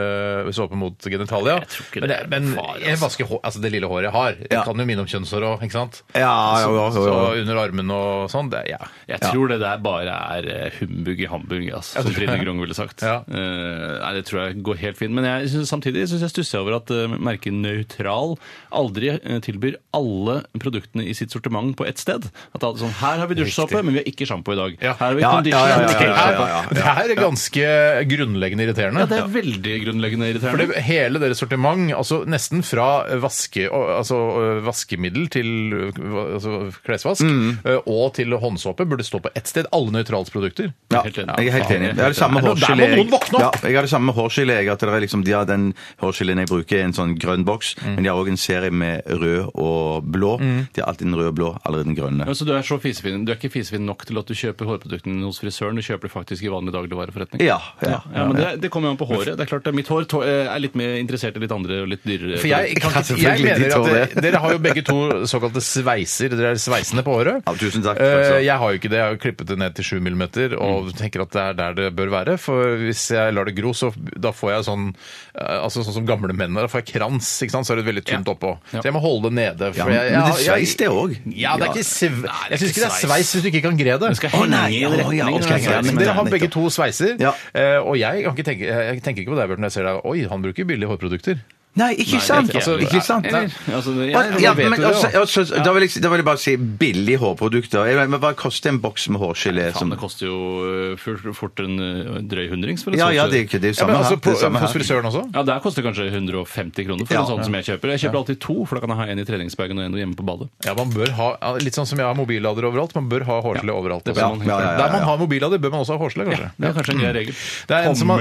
S4: såpe mot genitalia.
S5: Jeg tror ikke
S4: Men,
S5: det
S4: det,
S5: er
S4: men
S5: far, altså.
S4: jeg vasker hår, altså det lille håret jeg har. Det
S6: Ja.
S4: kan jo minne om kjønnshår òg, ikke sant?
S6: Ja, ja, ja,
S4: Så
S6: ja, ja.
S4: under armen og sånn. Det, ja.
S5: Jeg tror det der bare er eh, humbug i hambug, altså, som Trine Grung ville sagt.
S4: Ja.
S5: Eh, nei, det tror jeg går helt fint. Men jeg synes, samtidig syns jeg stusser jeg over at eh, merket Nøytral aldri eh, tilbyr alle produktene i sitt sortiment på ett sted. At det er sånn, Her har vi dusjsåpe, men vi har ikke sjampo i dag.
S4: Ja.
S5: Her har vi
S6: Ja,
S5: condition.
S6: ja, ja,
S5: men ikke
S6: ja, ja,
S5: sjampo.»
S6: ja, ja.
S4: Det her er ganske grunnleggende irriterende.
S5: Ja, det er veldig grunnleggende
S4: For
S5: irriterende.
S4: det, hele deres sortiment, altså nesten fra vaske, og- altså, øh, vaskemiddel til øh, altså, klesvask
S6: Mm.
S4: øh, og til håndsåpe, burde stå på ett sted. Alle Nøytrals produkter.
S6: Ja,
S5: Helt enig.
S6: jeg er helt enig. Jeg har det samme
S4: Der må
S6: hårgelé.
S4: noen våkne
S6: Ja,
S4: opp!
S6: jeg har det samme med hårgelé. jeg, At det er liksom, de har den hårgeleen jeg bruker, er en sånn grønn boks. Men de har òg en serie med rød og blå. De har alltid den røde og blå, allerede den grønne.
S5: Ja, så du er så fisefin. Du er ikke fisefin nok til at du kjøper hårproduktene hos frisøren. Du kjøper det faktisk i vanlig dagligvareforretning.
S6: Ja, ja.
S5: Ja, men det, det kommer jo an på håret. Det er klart, det er Mitt hår tå- eh, er litt mer interessert i litt andre og litt dyrere.
S4: For jeg, kan, ikke-
S6: Ja,
S4: jeg
S6: selvfølgelig, de
S4: mener
S6: tror
S4: at
S6: det.
S4: dere, dere har jo begge to såkalte sveiser. Dere er sveisende på håret.
S6: Ja, tusen takk.
S4: Eh, Jeg har jo ikke det. Jeg har jo klippet det ned til 7 mm og tenker at det er der det bør være. For hvis jeg lar det gro, så da får jeg sånn eh, altså sånn som gamle menn har. Da får jeg krans, ikke sant? så er det veldig tynt oppå. Så jeg må holde det nede.
S6: Ja,
S4: For
S6: men,
S4: jeg,
S6: men det
S4: jeg- jeg-
S6: sveis, det òg.
S4: Ja, det er ikke sve... Jeg syns ikke det er
S5: sveis.
S4: sveis hvis du ikke kan gre det.
S5: skal
S6: Å,
S5: henge
S6: nei,
S5: i en
S6: å, ja,
S5: retning.
S6: ok,
S5: eller?
S6: ja, men-
S4: Dere har
S6: nettopp.
S4: begge to sveiser,
S6: Ja.
S4: eh, og jeg, kan ikke tenke, jeg tenker ikke på deg, Bjørten. Jeg ser deg Oi, han bruker billige hårprodukter.
S6: Nei, ikke sant!
S5: ikke-
S6: Altså, ikke sant?
S5: Eller,
S6: Nei.
S5: altså, jeg-
S6: Og- ja,
S5: jeg vet
S6: men
S5: jo det,
S6: også-
S5: da.
S6: også- Da vil jeg- da vil jeg bare si billige hårprodukter. Jeg vet- Men Hva koster en boks med hårgelé?
S5: Faen,
S6: som-
S5: det koster jo eh, fort, fort en eh, drøy hundrings. for en
S6: Ja, ja,
S5: sånn-
S6: det er ikke det er jo
S4: Ja,
S6: samme
S4: men altså,
S6: her. Det
S4: på,
S6: er samme
S4: hos
S6: her.
S4: frisøren også?
S5: Ja, Der koster det kanskje 150 kroner for
S6: Ja.
S5: en sånn som jeg kjøper. Jeg kjøper alltid to, for da kan jeg ha en i treningsbagen og en hjemme på badet.
S4: Ja, man bør ha, ja, Litt sånn som jeg har mobillader overalt. Man bør ha hårgelé overalt.
S5: det
S4: Også.
S5: bør man helt
S6: Ja, ja, ja, ja,
S4: Der man
S6: ja.
S4: har mobillader, bør man også ha hårgelé, kanskje.
S5: Det er kanskje en
S6: Mm.
S5: grei regel.
S4: Det er en som har-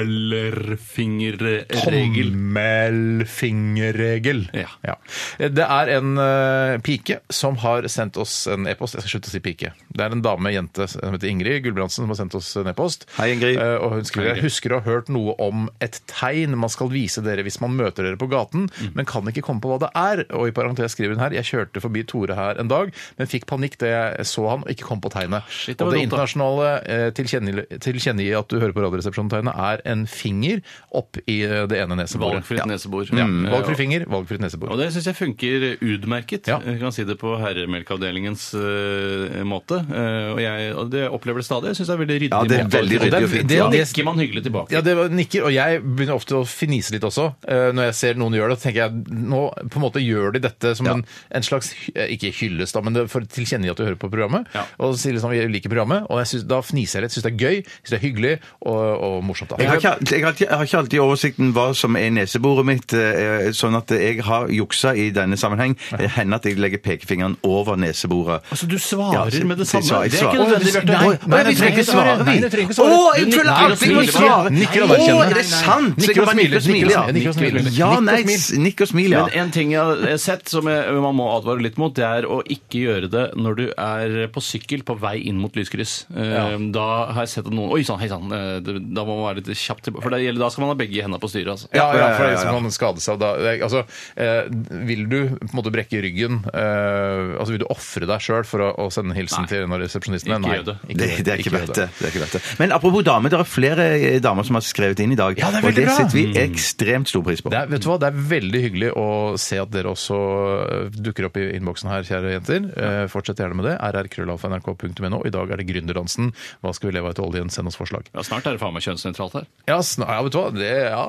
S5: Tommelfingerregel.
S4: Tommelfingerregel.
S5: Ja.
S4: Det er en eh, pike som har sendt oss en e-post. Jeg skal slutte å si pike. Det er en dame, jente, som heter Ingrid Gulbrandsen, som har sendt oss en e-post.
S6: Hei, Ingrid.
S4: Eh, og hun skriver jeg husker å ha hørt noe om et tegn man skal vise dere hvis man møter dere på gaten,
S5: Mm.
S4: men kan ikke komme på hva det er. Og i parentes skriver hun her jeg kjørte forbi Tore her en dag, men fikk panikk da jeg så han og ikke kom på tegnet.
S5: Shit, det
S4: og
S5: var dumt,
S4: det
S5: da.
S4: internasjonale eh, tilkjennegi tilkjennegi at du hører på Radioresepsjonen-tegnet, er en finger opp i eh, det ene neseboret.
S5: Valgfritt nesebor.
S4: Mm.
S5: Eh,
S4: Valgfri finger, valgfritt
S5: Og
S4: nesebor.
S5: det syns jeg funker utmerket.
S4: Ja.
S5: Jeg kan si det på herremelkavdelingens eh, måte. Eh, og, jeg, og det opplever det stadig. Jeg syns det er veldig ryddig.
S6: Ja, det er
S5: måte.
S6: veldig
S5: Og
S6: ryddig og
S5: det-
S6: fint.
S5: Da
S4: Ja.
S5: nikker man hyggelig tilbake.
S4: Ja, det var nikker, og jeg begynner ofte å finise litt også. Eh, Når jeg ser noen gjør det, så tenker jeg nå på en måte gjør de dette som en, en slags hy- eh, ikke hyllest, da, men det- for å tilkjennegi at du hører på programmet.
S5: Ja.
S4: Og sier liksom jeg liker programmet, og jeg synes, da fniser jeg litt. Syns det er gøy, syns det er hyggelig og, og morsomt.
S6: Jeg
S4: da.
S6: har, ikke, jeg, har ikke, jeg har ikke alltid oversikten hva som er neseboret mitt, eh, sånn at jeg har juksa i denne sammenheng. Det hender at jeg legger pekefingeren over neseboret.
S5: Altså, du svarer
S6: Ja,
S5: med det
S6: jeg
S5: samme.
S6: svarer- jeg
S5: det er ikke
S6: svarer.
S5: nødvendig, Bjarte.
S4: Nei,
S5: Å, ja,
S4: nei,
S5: vi trenger ikke
S4: svare.
S5: svare.
S4: Nei, du trenger ikke svare.
S6: Å, jeg
S5: Du nikker
S6: føler
S5: og
S6: alltid jeg må
S5: smiler.
S6: svare!
S4: Nikker og
S6: Å,
S4: anerkjenner.
S6: er det sant? Så jeg
S4: Nikker
S6: kan
S4: og
S6: bare nikke og
S4: smiler,
S6: smile, ja.
S4: nikker og smiler.
S6: Ja,
S4: Nikker og
S6: nei,
S4: smil.
S6: s- nikk og smil, ja.
S5: Men en ting jeg har sett som jeg, man må advare litt mot, det er å ikke gjøre det når du er på sykkel på vei inn mot lyskryss. Eh, Da har jeg sett at noen Oi sann, hei sann. eh, det- Da må man være litt kjapp tilbake. For det gjelder, da skal man ha begge hendene på styret. Altså.
S4: Ja, ja,
S6: ja,
S4: for
S6: ja,
S4: det
S6: ja.
S4: som kan skade seg da. det er- Altså, eh, vil du på en måte brekke ryggen eh, Altså, vil du ofre deg sjøl for å, å sende en hilsen
S5: Nei.
S4: til en av resepsjonistene?
S5: Ikke gjør det.
S6: Det,
S4: gjør
S6: det er ikke
S4: gjør
S6: verdt det. det, er ikke verdt det. Men apropos damer, det er flere eh, damer som har skrevet inn i dag.
S4: Ja, det er
S6: og
S4: veldig
S6: det
S4: bra.
S6: setter vi
S5: Mm.
S6: ekstremt stor pris på.
S4: Det er, vet du hva, det er veldig hyggelig å se at dere også eh, dukker opp i innboksen her, kjære jenter. Eh, fortsett gjerne med det. rrkrøllalfa.nrk.no. I dag er det Gründerdansen. Hva skal vi leve av etter oljen? Send oss forslag.
S5: Ja, snart er det faen meg kjønnsnøytralt her.
S4: Ja, sn- ja vet du hva. Det, ja.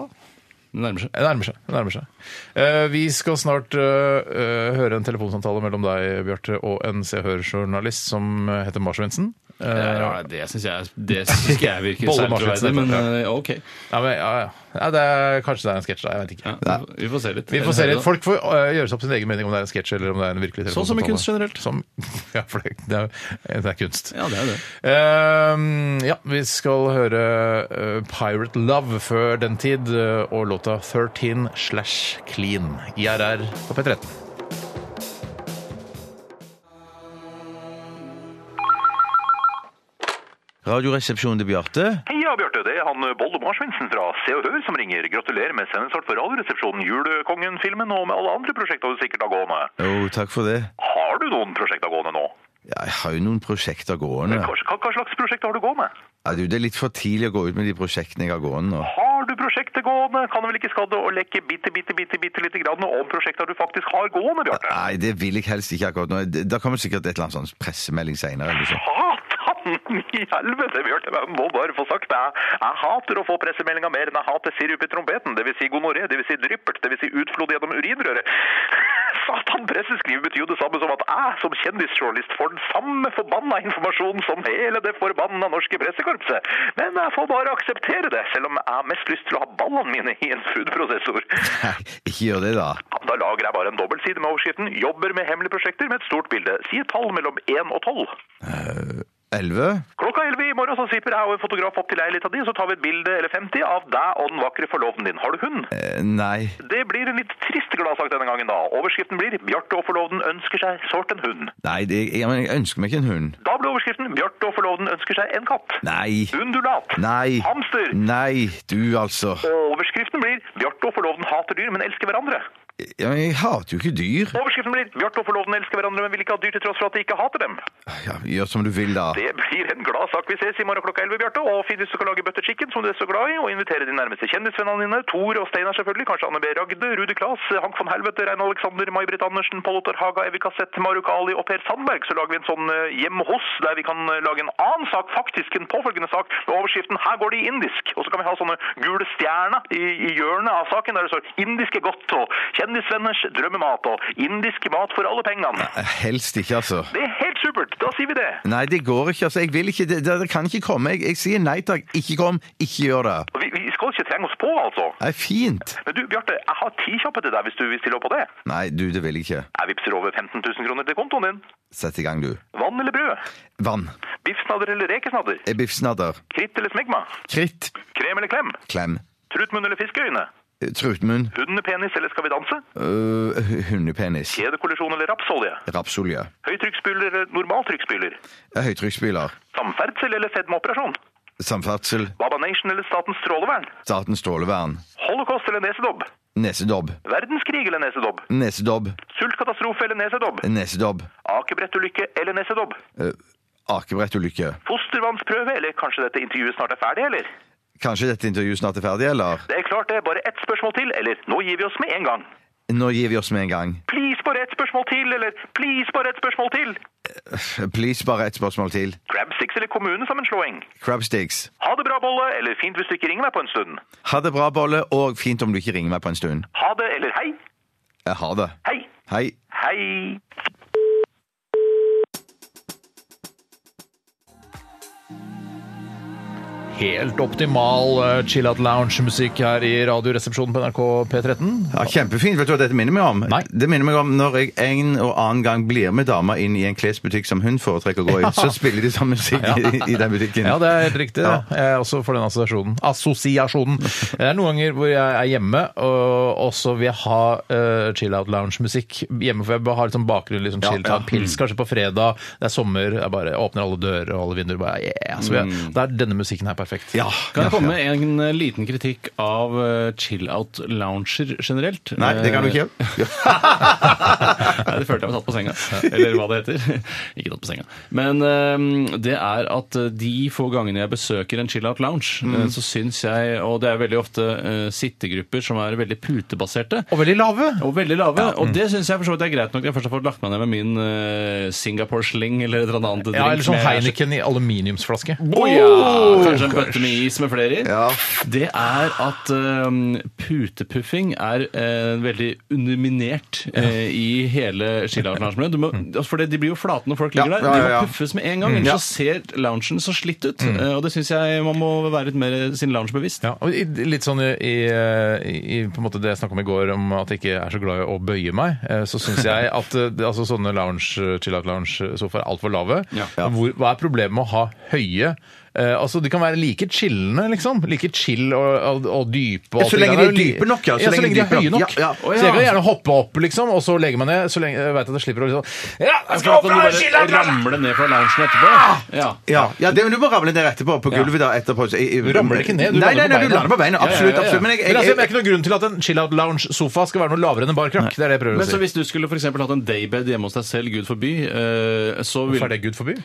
S5: Det nærmer seg.
S4: Det nærmer seg. Det nærmer seg. Eh, vi skal snart eh, eh, høre en telefonsamtale mellom deg, Bjarte, og en Se og Hør-journalist som eh, heter Marsvinsen.
S5: Ja, ja, Eh, det syns jeg Det synes ikke jeg virker
S4: Bolle
S5: særlig troverdig,
S4: Martinsen,
S5: men
S4: ja.
S5: eh, OK.
S4: Ja, men, ja, ja. Ja, det er, kanskje det er en sketsj der, jeg vet ikke.
S5: Ja, vi får se litt.
S4: Vi får se litt. Folk får eh, gjøre seg opp sin egen mening om det er en sketsj eller om det er en virkelig
S5: Sånn som i kunst generelt.
S4: Som, ja, for det, det, er, det er kunst.
S5: Ja, det er det.
S4: Ehm, ja, vi skal høre eh, Pirate Love før den tid, eh, og låta 13 slash clean. IRR på P13.
S6: Radioresepsjonen til Bjarte.
S2: Heia, Bjarte. Det er han Bolde Marsvinsen fra Se og Hør som ringer. Gratulerer med sendestart for Radioresepsjonen, Julekongen-filmen og med alle andre prosjekter du sikkert har gående.
S6: Jo, takk for det.
S2: Har du noen prosjekter gående nå?
S6: Ja, jeg har jo noen prosjekter gående.
S2: Hva, hva hva slags prosjekter har du gående?
S6: Ja, du, det er litt for tidlig å gå ut med de prosjektene jeg har gående nå.
S2: Har du prosjekter gående? Kan det vel ikke skade å leke bitte, bitte, bitte, bitte lite grann om prosjekter du faktisk har gående, Bjarte?
S6: Nei, det vil jeg helst ikke akkurat nå. Det- Da kommer sikkert et eller annet sånn pressemelding senere. Eller sånn.
S2: Satan i helvete, Bjarte. Jeg må bare få sagt det. Jeg, jeg hater å få pressemeldinger mer enn jeg hater sirup i trompeten. Det vil si gonoré, det vil si dryppert, det vil si utflod gjennom urinrøret. Satan, presseskriv betyr jo det samme som at jeg som kjendisjournalist får den samme forbanna informasjonen som hele det forbanna norske pressekorpset. Men jeg får bare akseptere det, selv om jeg har mest lyst til å ha ballene mine i en foodprosessor.
S6: Nei, ikke gjør det, da.
S2: Ja, Da lager jeg bare en dobbeltside med overskriften 'Jobber med hemmelige prosjekter' med et stort bilde. Si et tall mellom 1 og 12.
S6: Elleve?
S2: Klokka 11 i morgen så sipper jeg og en fotograf opp til leiligheta di, så tar vi et bilde eller 50 av deg og den vakre forloveden din. Har du hund?
S6: Eh, Nei.
S2: Det blir en litt trist gladsak denne gangen, da. Overskriften blir 'Bjarte og forloveden ønsker seg sårt en hund'.
S6: Nei, det, jeg, men jeg ønsker meg ikke en hund.
S2: Da blir overskriften 'Bjarte og forloveden ønsker seg en katt'.
S6: Nei.
S2: Undulat.
S6: Nei.
S2: Hamster.
S6: Nei, du altså.
S2: Og overskriften blir 'Bjarte og forloveden hater dyr, men elsker hverandre'.
S6: Ja, men jeg hater jo ikke dyr.
S2: Overskriften blir 'Bjarte og forloveden elsker hverandre, men vil ikke ha dyr til tross for at de ikke hater dem'.
S6: Ja, gjør som du vil, da.
S2: Det blir en glad sak. Vi ses i morgen klokka 11, Bjarte. Og fint hvis du kan lage butter chicken, som du er så glad i, og invitere de nærmeste kjendisvennene dine. Tor og Steinar selvfølgelig, kanskje Anne B. Ragde, Rudi Klas, Hank von Helvete, Rein Alexander, May-Britt Andersen, Pål Ottar Haga, Evy Kassett, Maruk Ali og Per Sandberg. Så lager vi en sånn eh, hjem hos, der vi kan eh, lage en annen sak, faktisk en påfølgende sak, med overskriften 'Her går det i indisk'. Og så kan vi ha sånne gule stjerner i, i hjørnet av saken, der det står 'Indiske godt' og 'Kjendisvenners drømmemat' og 'Indisk mat for alle pengene'.
S6: Helst ikke, altså.
S2: Det er helt supert! Da sier vi det.
S6: Nei, det går ikke. altså. Jeg vil ikke, det, det kan ikke komme. Jeg, jeg sier nei takk, ikke kom, ikke gjør det.
S2: Og Vi, vi skal ikke trenge oss på, altså.
S6: Nei, fint.
S2: Men du, Bjarte, jeg har ti kjappe til deg hvis du vil stille opp på det.
S6: Nei, du, det vil jeg ikke.
S2: Jeg vippser over 15 000 kroner til kontoen din.
S6: Sett i gang, du.
S2: Vann eller brød?
S6: Vann.
S2: Biffsnadder eller rekesnadder?
S6: Eh, Biffsnadder.
S2: Kritt eller smegma?
S6: Kritt.
S2: Krem eller klem?
S6: Klem.
S2: Trutmunn eller fiskeøyne?
S6: Eh, Trutmunn.
S2: Hundepenis eller skal vi danse?
S6: Øh, hundepenis.
S2: Kjedekollisjon eller rapsolje?
S6: Rapsolje.
S2: Høytrykksspyler eller normaltrykksspyler?
S6: Eh, Høytrykksspyler.
S2: Samferdsel eller fedmeoperasjon?
S6: Samferdsel.
S2: Baba Nation eller Statens strålevern?
S6: Statens strålevern.
S2: Holocaust eller nesedobb?
S6: Nesedobb.
S2: Verdenskrig eller nesedobb?
S6: Nesedobb.
S2: Sultkatastrofe eller nesedobb?
S6: Nesedobb.
S2: Akebrettulykke eller nesedobb?
S6: Eh, Akebrettulykke.
S2: Fostervannsprøve, eller kanskje dette intervjuet snart er ferdig, eller?
S6: Kanskje dette intervjuet snart er ferdig, eller?
S2: Det er klart det, bare ett spørsmål til, eller nå gir vi oss med en gang.
S6: Nå gir vi oss med en gang.
S2: Please, bare ett spørsmål til, eller please, bare ett spørsmål til.
S6: Please, bare ett spørsmål til.
S2: Crabsticks eller kommunesammenslåing.
S6: Crabsticks.
S2: Ha det bra, Bolle, eller fint hvis du ikke ringer meg på en stund.
S6: Ha det bra, Bolle, og fint om du ikke ringer meg på en stund.
S2: Ha det, eller hei,
S6: Jeg har det.
S2: hei,
S6: Hei.
S2: hei.
S4: Helt optimal eh, chill-out lounge-musikk her i Radioresepsjonen på NRK P13.
S6: Ja, kjempefint. Vet du hva dette minner meg om?
S4: Nei.
S6: Det minner meg om når jeg en og annen gang blir med dama inn i en klesbutikk som hun foretrekker å gå i, så spiller de samme musikk i, i den butikken.
S4: Ja, det er helt riktig.
S6: Ja.
S4: Jeg er også for den assosiasjonen. Assosiasjonen. Det er noen ganger hvor jeg er hjemme, og og så vil jeg ha eh, chill-out lounge-musikk hjemme, for jeg bare har litt sånn bakgrunn, litt sånn chill
S6: ja.
S4: out pils, kanskje på fredag, det er sommer, jeg bare åpner alle dører og alle vinduer, bare yeah. Så jeg, da er denne musikken her perfekt.
S6: Mm. Ja,
S5: Kan
S6: ja,
S5: jeg komme med en eh, liten kritikk av eh, chill-out-lounger generelt? Eh,
S6: Nei, det kan du ikke.
S5: Nei, det følte jeg var tatt på senga. Eller hva det heter. Ikke tatt på senga. Men eh, det er at eh, de få gangene jeg besøker en chill-out lounge, eh, så syns jeg Og det er veldig ofte eh, sittegrupper som er veldig putebaserte.
S4: Og veldig lave.
S5: Og veldig lave. Og det syns jeg for så vidt er greit nok. Jeg først har fått lagt meg ned med min eh, Singapore Sling eller et eller annet drink.
S4: Ja, eller sånn
S5: med-
S4: Heineken Oh! i aluminiumsflaske.
S5: Å ja! Kanskje en bøtte med is med flere i.
S6: Ja.
S5: Det er at eh, putepuffing er eh, veldig underminert eh, i hele skilounge-loungen. Du må-
S4: Mm.
S5: altså, For det- de blir jo flate når folk ligger
S6: Ja,
S5: der.
S6: ja, ja,
S5: De
S6: ja.
S5: må puffes med en gang, ellers
S6: Ja.
S5: så ser loungen så slitt ut. Eh, og det syns jeg man må være litt mer eh, sin lounge bevisst.
S4: Mm. Ja, og i- litt sånn i, i, i på en måte det jeg snakket om i går, om at jeg ikke er så glad i å bøye meg, eh, så syns jeg at eh, det- altså, sånne lounge, chill-out lounge-sofaer er altfor lave.
S5: Ja.
S4: Hvor, hva er problemet med å ha høye eh, altså De kan være like chillende, liksom. Like chill og, og, og dype. og
S6: Ja, så
S4: alt det
S6: lenge
S4: der.
S6: de er dype nok, ja.
S4: Så, lenge de er
S6: dype
S4: høye
S6: nok.
S4: nok.
S6: Ja, ja. Å,
S4: Så jeg
S6: ja.
S4: kan gjerne hoppe opp, liksom, og så legger jeg meg ned. Så lenge jeg vet at jeg slipper å liksom Ja, jeg skal
S5: Klart
S4: opp
S5: at du
S4: fra
S5: bare
S4: chill-out lounge!
S5: ramler ned fra loungen
S6: Ah!
S5: etterpå. Ja.
S6: Ja, ja det, men du må ramle ned etterpå, på gulvet da, etterpå. Så, jeg, jeg,
S4: Du ramler ikke ned, du
S6: nei,
S4: lander på
S6: nei, nei, du
S4: beina.
S6: lander på beina.
S5: Ja, ja, ja,
S6: Absolutt.
S5: ja.
S6: absolutt. Men jeg,
S4: Men altså,
S6: jeg,
S4: det er ikke noen grunn til at en chill-out lounge-sofa skal være noe lavere enn en barkrakk. Det er det jeg prøver
S5: Men
S4: å
S5: så
S4: si.
S5: hvis du skulle for eksempel hatt en daybed hjemme hos deg selv, gud forby, eh, så
S4: Hvorfor
S5: ville
S4: er det gud forby?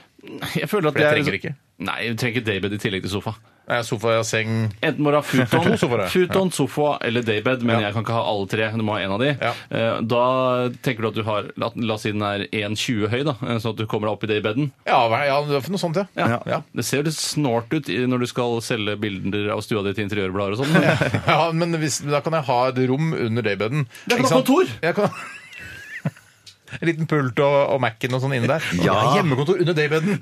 S5: Jeg føler at
S4: For jeg
S5: det er- liksom-
S4: trenger ikke.
S5: Nei, du trenger ikke daybed i tillegg til sofa.
S4: Nei, Sofa, seng
S5: Enten må du ha futon,
S4: To sofaer, ja.
S5: futon, sofa eller daybed, men jeg kan ikke ha alle tre. Du må ha en av de.
S4: Ja.
S5: Eh, Da tenker du at du har La, la oss si den er 1,20 høy, da, eh, sånn at du kommer deg opp i daybeden.
S4: Ja, hva- ja, det var for noe sånt, ja.
S5: Ja.
S4: Ja.
S5: Det ser jo litt snålt ut i- når du skal selge bilder av stua di til interiørblader og sånn.
S4: Ja, men hvis, da kan jeg ha et rom under daybeden.
S5: Da kan du
S4: Ikke
S5: ha
S4: sant?
S5: kontor.
S4: Jeg kan... En liten pult og, og Mac-en og sånn inne der.
S6: Ja.
S4: Hjemmekontor under daybeden.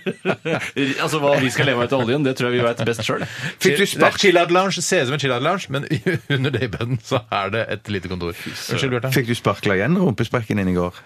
S5: altså Hva vi skal leve av etter oljen, det tror jeg vi vet best sjøl.
S6: Fikk du spark-
S4: Chillad lounge ser ut som en chillad lounge, men under daybeden så er det et lite kontor. Unnskyld, Bjarte.
S6: fikk du sparkla igjen rumpesprekken din i går?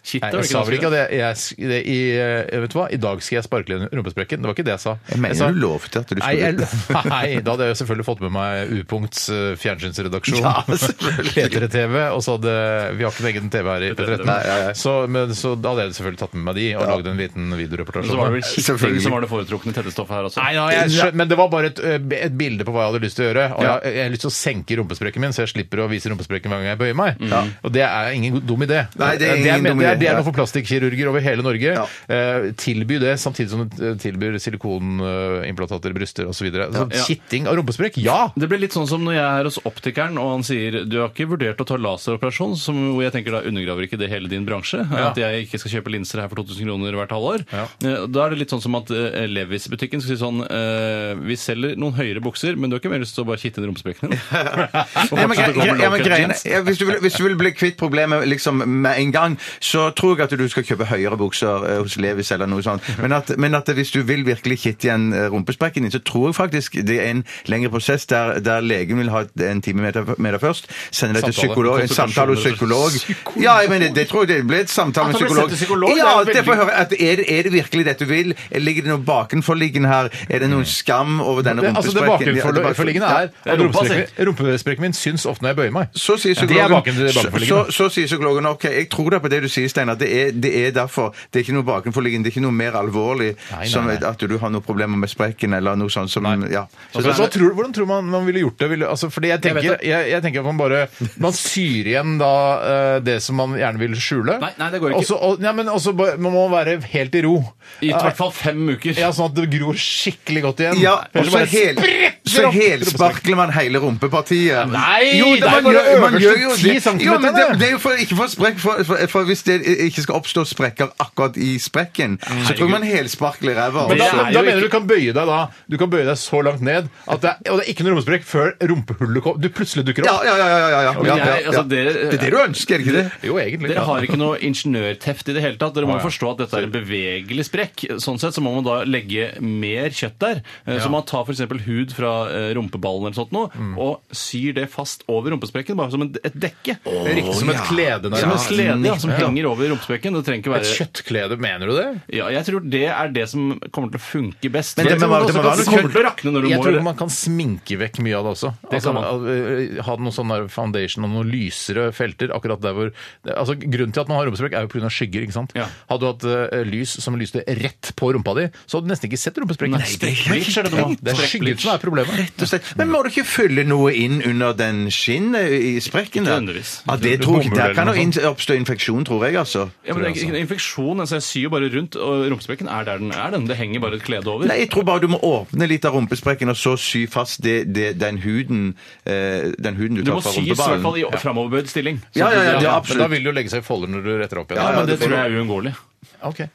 S5: Shit,
S4: Nei,
S5: det var ikke
S4: jeg sa vel
S5: vanskelig.
S4: ikke at jeg, jeg, sk- det, i, eh, Vet du hva, i dag skal jeg sparkle i rumpesprekken. Det var ikke det jeg sa.
S6: Jeg mener
S4: sa,
S6: du lovte at du
S4: Nei, jeg,
S6: skulle
S4: nei, da hadde jeg jo selvfølgelig fått med meg U-punkts eh, fjernsynsredaksjon.
S6: Ja, selvfølgelig.
S4: P3-TV, og så hadde Vi har ikke en egen TV her i P13.
S6: Nei, nei, nei.
S4: Så, men, så da hadde jeg selvfølgelig tatt med meg de og lagd en liten videoreportasje.
S5: Så var det vel kitting
S6: Selvfølgelig.
S5: som var det foretrukne tettestoffet her også.
S4: Nei, nei, jeg skjønner, men det var bare et, ø, et bilde på hva jeg hadde lyst til å gjøre. Og
S6: Ja.
S4: jeg, jeg har lyst til å senke rumpesprekken min, så jeg slipper å vise rumpesprekken hver gang jeg bøyer meg. Og det er ingen god- dum idé.
S6: Mm. Nei, det er ingen
S4: men- det,
S6: dum idé.
S4: er det
S6: Ja.
S4: noe for plastikkirurger over hele Norge.
S6: Ja.
S4: Eh, tilby det, samtidig som du eh, tilbyr silikonimplantater, bryster osv. Så videre. så
S5: Ja.
S4: kitting av rumpesprekk, ja!
S5: Det blir litt sånn som når jeg er hos optikeren og han sier du har ikke vurdert å ta laseroperasjon, som, hvor jeg tenker da undergraver ikke det hele din bransje? At jeg ikke skal kjøpe linser her for 2000 kroner hvert halvår? Eh, Da er det litt sånn som at eh, Levis-butikken skal si sånn eh, Vi selger noen høyere bukser, men du har ikke mer lyst til å bare kitte inn rumpesprekkene?
S6: Ja, men gre- ja, men greiene- ja, hvis, du vil, hvis du vil bli kvitt problemet liksom med en gang, så tror jeg at du skal kjøpe høyere bukser eh, hos Levis eller noe sånt. Men at, men at hvis du vil virkelig kitte igjen eh, rumpesprekken din, så tror jeg faktisk det er en lengre prosess der, der legen vil ha et- en time med deg- med deg først, sender deg til
S4: Samtale.
S6: psykolog, en samtale hos psykolog. Ja, jeg mener, det tror jeg det blir et samtale med
S4: At han blir
S6: psykolog.
S4: sendt til psykolog, det er
S6: Ja,
S4: jo veldig-
S6: det får jeg høre. At er, det- er det virkelig dette du vil? Ligger det noe bakenforliggende her? Er det noen skam over
S4: Mm.
S6: denne
S4: Det, altså det
S6: rumpesprekken? Ja, det
S4: bakenforliggende
S6: Ja.
S4: er at
S5: rumpa,
S4: rumpesprekken- rumpesprekken min syns ofte når jeg bøyer meg.
S6: Så
S4: Ja,
S6: sier
S4: det er
S6: psykologen,
S4: baken- det er
S6: så,
S4: bakenforliggende.
S6: så, så sier psykologen ok, jeg tror da på det du sier, Steinar. Det, er- det er derfor. Det er ikke noe bakenforliggende. Det er ikke noe mer alvorlig
S4: nei,
S6: som
S4: nei.
S6: at du har noen problemer med sprekken eller noe sånt som ja. Så,
S4: Men Altså, så tror, hvordan tror man man ville gjort det? Ville, altså, fordi jeg tenker,
S5: Jeg
S4: jeg,
S5: vet
S4: jeg, tenker at man bare Man syr igjen da eh, det som man gjerne vil skjule.
S5: Nei, nei, det går ikke.
S4: Også, og, nei, men også, bare- man må være helt i ro.
S5: I hvert fall fem uker.
S4: Ja, Sånn at det gror skikkelig godt igjen.
S6: ja, og
S4: Ellers
S6: så,
S4: bare
S6: hel,
S4: spretter
S6: så
S4: opp
S6: helsparkler man hele rumpepartiet.
S4: Nei,
S6: jo, det,
S4: det er
S6: man,
S4: bare
S6: gjør, man
S4: øverste
S6: gjør jo
S4: 10
S6: det. Jo,
S4: centimeter,
S6: men det,
S4: det.
S6: det er jo for, ikke for sprekk, for, for, for hvis det ikke skal oppstå sprekker akkurat i sprekken, så tror jeg man helsparkler ræva.
S4: Men da,
S5: Det er
S4: da,
S5: jo
S4: mener
S5: ikke-
S4: du du kan bøye deg da Du kan bøye deg så langt ned at det er, og det er ikke noe rumpesprekk før rumpehullet kom, du plutselig dukker
S6: Ja,
S4: opp.
S6: ja, ja. ja, ja, ja, ja,
S5: Men
S6: ja,
S5: jeg- altså,
S6: ja.
S5: dere-
S6: Det er det du ønsker, er det ikke det?
S4: Jo, egentlig.
S5: Dere har ikke noe ingeniørteft i det hele tatt. Dere må jo forstå at dette er en bevegelig sprekk. Sånn sett så må man da legge mer kjøtt der. Eh, Så man tar f.eks. hud fra eh, rumpeballen eller sånt noe, og syr det fast over rumpesprekken, bare som en- et dekke.
S4: Det er riktig som et klede,
S5: Som en
S4: nærmest.
S5: slede ja, som henger over rumpespekken. Det trenger ikke
S4: Et
S5: være
S4: kjøttklede, mener du det?
S5: ja, Jeg tror det er det som kommer til å funke best.
S6: Men det
S5: Jeg tror
S6: må-
S5: også
S6: det må
S5: kan-
S6: være noe
S5: kommer
S6: kjøtt.
S5: til å rakne når du
S4: Jeg
S5: må
S4: tror man kan sminke vekk mye av det også. altså,
S5: kan man.
S4: al- ø, Ha noen sånn der foundation og noen lysere felter akkurat der hvor det- altså, Grunnen til at man har rumpesprekk, er jo pga. skygger. ikke sant?
S5: Ja.
S4: Hadde du hatt ø, lys som lyste rett på rumpa di, så hadde du nesten ikke sett rumpesprekken.
S5: Nei, det er ikke
S4: Sprekkblikk, skjønner du nå.
S5: riktig.
S4: Det er skyggen som er problemet.
S6: Rett og slett. Men må du ikke fylle noe inn under den skinnet i sprekken? der?
S5: Ikke nødvendigvis.
S6: Ja, det tror jeg,
S4: Bomull
S6: der
S4: eller
S6: kan
S4: noe
S6: det inn- oppstå infeksjon, tror jeg, altså.
S5: Ja, men det er ikke- ikke en infeksjon. Altså, jeg syr jo bare rundt, og rumpespekken er der den er. den. Det henger bare et klede over.
S6: Nei, jeg tror bare du må åpne litt av rumpesprekken og så sy fast det, det, den, huden, eh, den huden du
S5: Du
S6: tar
S5: må
S6: fra
S5: sys i hvert fall
S6: rumpeballen.
S5: i framoverbøyd stilling.
S6: Ja, ja, ja, ja,
S4: Men da
S6: absolutt.
S4: vil det jo legge seg i folder når du retter opp igjen.
S5: Ja, men det
S6: det
S5: tror
S6: får-
S5: jeg er uunngåelig.
S4: Ok.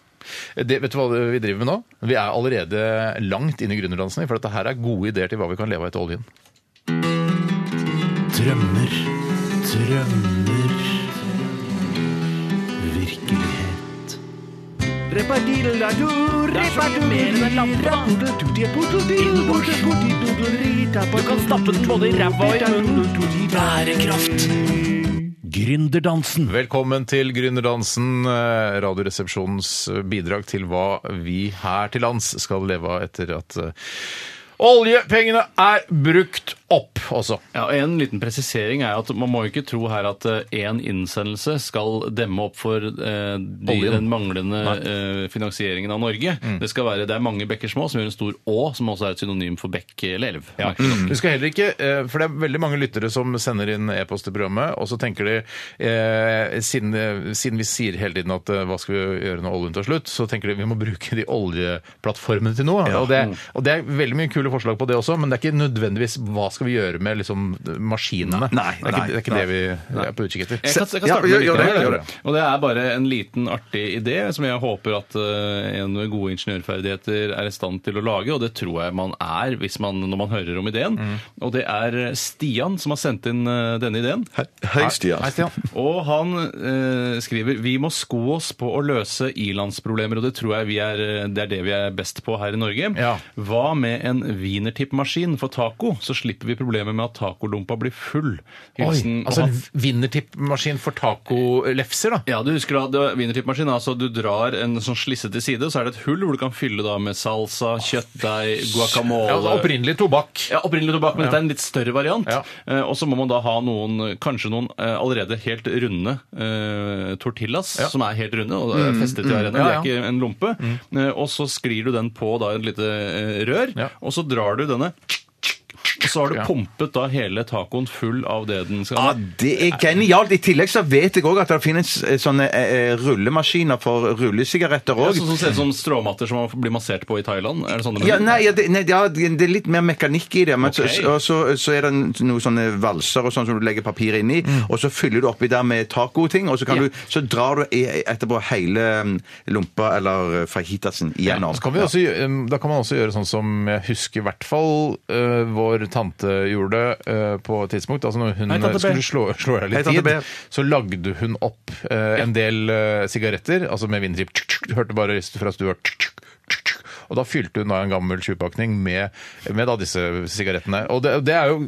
S4: Det, vet du hva vi driver med nå? Vi er allerede langt inne i gründerdansen, for dette her er gode ideer til hva vi kan leve av etter oljen.
S7: Drømmer, drømmer Virkelighet Du kan stappe den både i ræva og i munnen Bærekraft Gründerdansen
S4: Velkommen til Gründerdansen, eh, Radioresepsjonens eh, bidrag til hva vi her til lands skal leve av etter at eh, oljepengene er brukt opp også.
S5: Ja, og En liten presisering er at man må jo ikke tro her at én innsendelse skal demme opp for eh, de,
S4: Oljen.
S5: den manglende eh, finansieringen av Norge. Det skal være, det er mange bekker små som gjør en stor å, som også er et synonym for bekk eller elv.
S4: Ja. Du skal heller ikke, eh, for det er veldig mange lyttere som sender inn e-post til programmet, og så tenker de, eh, siden, eh, siden vi sier hele tiden at eh, hva skal vi gjøre når oljen tar slutt, så tenker de vi må bruke de oljeplattformene til noe. Og, det, og det er veldig mye kule forslag på det også, men det er ikke nødvendigvis hva skal vi gjøre med liksom, maskinene.
S6: Nei,
S4: det er ikke, det, er ikke
S6: nei,
S4: det vi er på utkikk etter.
S5: Jeg kan, jeg kan
S6: Ja,
S5: starte
S6: gjør-
S5: med
S6: gjør
S5: en liten
S6: det,
S5: idé.
S6: gjør det.
S5: Og det er bare en liten artig idé som jeg håper at eh, en med gode ingeniørferdigheter er i stand til å lage, og det tror jeg man er hvis man, når man hører om ideen.
S6: Mm.
S5: Og det er eh, Stian som har sendt inn eh, denne ideen.
S6: Hei, Stian.
S4: Nei, Stian.
S5: Og han eh, skriver vi må sko oss på å løse ilandsproblemer, og det tror jeg vi er, eh, det er det vi er best på her i Norge.
S4: Ja.
S5: Hva med en wienertippmaskin for taco, så slipper løste vi problemet med at tacolompa blir full. Hilsen-
S4: Oi,
S5: og
S4: altså en
S5: han-
S4: vinnertippmaskin for tacolefser, da.
S5: ja, du husker da, det var Wienertippmaskin. Altså, du drar en sånn slisse til side, så er det et hull hvor du kan fylle da med salsa, kjøttdeig, guacamole
S4: Ja, altså opprinnelig tobakk.
S5: Ja, opprinnelig tobakk, men dette er en litt større variant.
S4: Ja.
S5: Eh, og så må man da ha noen, kanskje noen eh, allerede helt runde eh, tortillas, som er helt runde og er festet i hver ende.
S4: Ja,
S5: Det er ikke en lompe. Eh, og så sklir du den på da et lite eh, rør,
S4: Ja.
S5: og så drar du denne og så har du
S4: Ja.
S5: pumpet da hele tacoen full av det den skal
S6: Ja, det er genialt. I tillegg så vet jeg òg at det finnes eh, sånne eh, eh, rullemaskiner for rullesigaretter
S5: Ja,
S6: òg.
S5: sånn som ser ut som stråmatter som man blir massert på i Thailand? Er det sånn det
S6: Ja, nei, ja, det, nei ja, det det er litt mer mekanikk i det. Men så-
S5: Ok.
S6: så, og så, så er det noen sånne valser og sånn som du legger papir inni, og så fyller du oppi der med tacoting, og så, kan
S5: Ja.
S6: du, så drar du e- etterpå hele mm, lompa eller eh, fajitasen igjennom.
S4: Så kan vi også, gjø- um, da kan man også gjøre sånn som jeg husker i hvert fall øh, vår tante gjorde øh, på et tidspunkt. Altså når hun
S5: Hei, tante B.
S4: skulle slå, slå i
S6: Hei,
S4: litt
S6: tante
S4: tid,
S6: B.
S4: så lagde hun opp øh, en del øh, sigaretter, altså med vindrip. Hørte bare rist fra stua. Og da fylte hun da en gammel tjuvpakning med, med da disse sigarettene. Og det, det er jo,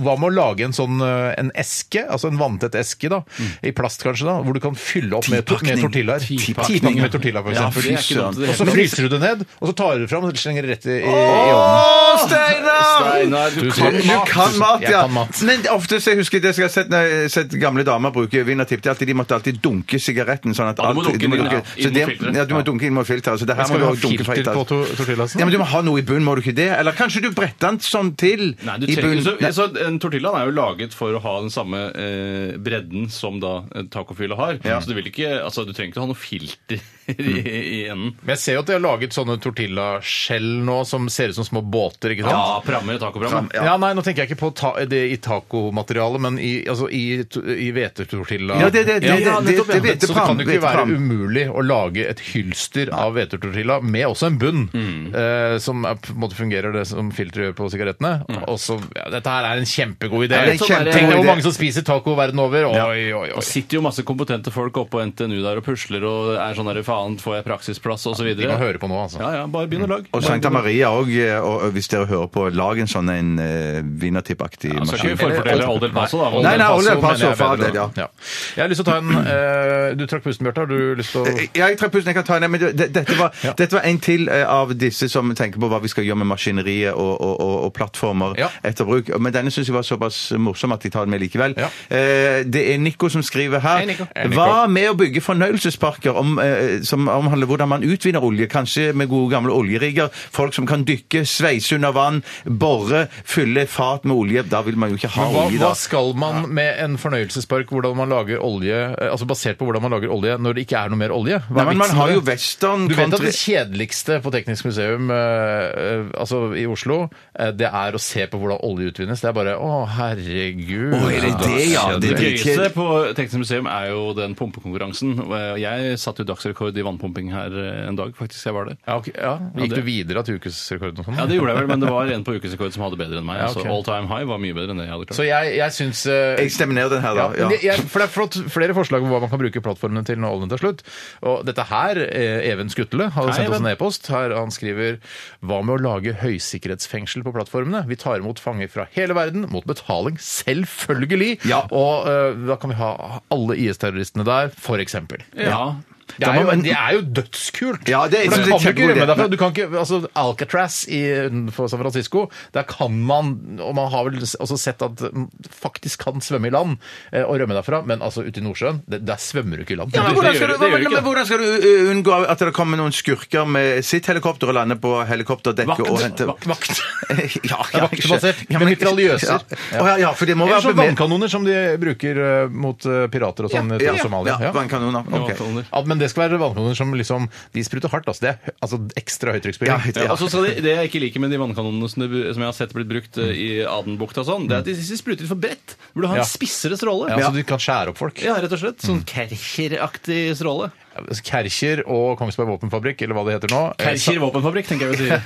S4: Hva med å lage en sånn øh, en eske, altså en vanntett eske, da, i plast kanskje, da, hvor du kan fylle opp med, to- med
S6: Tipakning.
S4: tortillaer?
S6: Tipakning,
S4: Tipakning
S6: ja.
S4: med tortilla, for
S5: Ja,
S4: eksempel.
S5: for det er ikke dumt, det
S4: Og så
S5: heller.
S4: fryser du det ned, og så tar du det fram og slenger det rett i, i, i ovnen.
S6: Å, Steinar!
S5: Steinar, du
S6: Du
S5: kan mat!
S6: kan mat,
S4: Jeg
S6: ja.
S4: kan mat.
S6: Men ofte så jeg husker det jeg har sett, når jeg har sett gamle damer bruke vinnertipp, det er alltid de måtte alltid dunke sigaretten. Sånn at
S5: Ja, du må
S6: alt-
S5: dunke den, ja,
S6: så
S5: inn
S6: det-
S5: mot filteret.
S6: Ja, du må dunke inn mot filteret. Så det her må
S4: Skal
S6: du
S4: du ha
S6: også dunke fra
S4: filter på
S6: filteret.
S4: to- tortillasen?
S6: Ja, men du må ha noe i bunnen, må du ikke det? Eller kanskje du bretter den sånn til
S5: Nei, du
S6: i
S5: trenger,
S6: bunnen?
S5: så,
S6: Nei.
S5: så en Tortillaen er jo laget for å ha den samme eh, bredden som da eh, tacofylet har. Så du, vil ikke, altså, du trenger ikke ha noe filter
S6: Mm.
S5: i, i enden.
S4: Men jeg ser jo at de har laget sånne tortillaskjell nå som ser ut som små båter, ikke sant?
S5: Ja, prammer og tacoprammer.
S4: Ja, nei, nå tenker jeg ikke på ta det i tacomaterialet, men i, altså i, to- i hvetetortilla.
S6: Ja, det- det- det-
S4: Ja,
S6: det- det-
S4: nettopp, ja.
S6: det- det-
S4: Så det kan jo ikke være
S6: hvetepram.
S4: umulig å lage et hylster av hvetetortilla med også en bunn,
S6: Mm.
S4: eh, som er, på en måte fungerer det som filteret gjør på sigarettene. Og så, ja, dette her er en kjempegod idé.
S6: Mm. Ja, det er en
S4: Sånn er det.
S6: kjempegod
S4: Tenk deg hvor
S6: idé.
S4: mange som spiser taco verden over. Oi, oi,
S5: Det
S4: oi.
S5: sitter jo masse kompetente folk oppe på NTNU der og pusler og er sånn der, faen, får jeg praksisplass og så
S4: De
S5: videre.
S4: kan høre på nå, altså.
S5: Ja, ja, bare begynn å lage.
S6: Og Sankta Maria òg, og, og hvis dere hører på, lag en sånn en uh, vinnertippaktig
S5: Ja,
S4: altså,
S5: så kan
S6: maskin.
S5: vi forfortelle Old El Paso, da.
S6: Nei, nei, Old El
S4: mener
S6: Paso,
S4: jeg er
S6: fader,
S4: bedre.
S6: ja.
S4: Jeg har lyst til å ta en
S6: Mm.
S4: eh, Du trakk pusten, Bjarte. Har du lyst til å
S6: Ja, jeg trakk pusten. Jeg kan ta den. Men det, det- dette, var,
S4: Ja.
S6: dette var en til eh, av disse som tenker på hva vi skal gjøre med maskineriet og, og, og, og plattformer
S4: Ja.
S6: etter bruk. Men denne syns jeg var såpass morsom at jeg tar den med likevel.
S4: Ja.
S6: Eh, Det er Nico som skriver her.
S4: Hei, Nico. Hei, Nico.
S6: Hva med å bygge fornøyelsesparker om, eh, som omhandler hvordan man utvinner olje? Kanskje med gode gamle oljerigger? Folk som kan dykke, sveise under vann, bore, fylle fat med olje? Da vil man jo ikke ha
S4: Men hva,
S6: olje,
S4: hva
S6: da.
S4: skal man med en fornøyelsespark hvordan man lager olje, eh, altså basert på hvordan man lager olje når det ikke er noe mer olje? Hva
S6: Nei,
S4: er
S6: men man
S4: vitsen
S6: har
S4: med
S6: jo
S4: det?
S6: western
S4: Du vet at
S6: country
S4: det kjedeligste på Teknisk museum eh, eh, altså i Oslo, eh, det er å se på hvordan olje utvinnes. Det er bare å, herregud.
S6: Å, er det det, ja?
S5: Det
S6: er ikke-
S5: gøyeste på Teknisk museum er jo den pumpekonkurransen. Jeg satte jo dagsrekord i vannpumping her eh, en dag, faktisk. Jeg var der.
S4: Ja, ok, ja.
S5: Ja,
S4: Gikk
S5: det-
S4: du videre til ukesrekorden og sånn?
S5: Ja, det gjorde jeg vel, men det var en på ukesrekord som hadde bedre enn meg.
S4: Ja,
S5: altså,
S4: ok.
S5: all time high var mye bedre enn det jeg hadde klart.
S4: Så jeg, jeg syns eh,
S6: Jeg stemmer ned den her, da.
S4: Ja, men det- Jeg, for det er flott, flere forslag om hva man kan bruke plattformene til når oljen tar slutt. Og dette her, eh, Even Skutle har
S5: Hei,
S4: sendt oss en
S5: Even.
S4: e-post. Her Han skriver Hva med å lage høysikkerhetsfengsel på plattformene? Vi tar imot fanger fra hele verden mot betaling, selvfølgelig!
S6: Ja.
S4: Og eh, da kan vi ha alle IS-terroristene der, for eksempel.
S5: Ja.
S4: Det
S6: Da
S4: er,
S6: må
S4: jo,
S6: man-
S4: det er jo dødskult!
S6: Ja, det er-
S4: For da
S6: det er
S4: kan du ikke
S6: kjempegod
S4: rømme
S6: idé.
S4: derfra. Du kan ikke, altså Alcatraz i, utenfor San Francisco, der kan man, og man har vel også sett at man faktisk kan svømme i land eh, og rømme derfra, men altså ute i Nordsjøen, det, der svømmer du ikke i land.
S6: Ja,
S5: Det-
S6: men hvordan
S5: det gjør-
S6: skal, du,
S5: det gjør
S6: men,
S5: ikke det.
S6: men hvordan skal du uh, unngå at det kommer noen skurker med sitt helikopter og lander på helikopterdekket
S5: Vakt.
S6: og henter
S5: Vakt.
S6: Vakt! ja, ja,
S4: Vaktbasert,
S6: ja,
S4: med mitraljøser.
S6: Ja. Å, ja, ja, for det må
S4: Eller
S6: være
S4: sånne vannkanoner som de bruker eh, mot eh, pirater og sånn
S6: Ja,
S4: fra Somalia.
S6: ja, vannkanoner. ok.
S5: Vannfallner.
S4: Ja, men det skal være vannkanoner som liksom De spruter hardt, altså. Det er hø- altså, ekstra høytrykksspilling.
S6: Ja, høyt-
S5: Ja, og så skal de, Det jeg ikke liker med de vannkanonene som, det, som jeg har sett blitt brukt eh, i Adenbukta, og sånn, det er at de, de spruter litt for bredt. De Burde ha
S4: Ja.
S5: en spissere stråle.
S4: Ja,
S5: Ja.
S4: Så du kan skjære opp folk.
S5: rett og slett. Sånn Kercher-aktig stråle.
S4: Kercher og Kongsberg Våpenfabrikk, eller hva det heter nå. eh,
S5: Kercher våpenfabrikk, tenker jeg vi sier.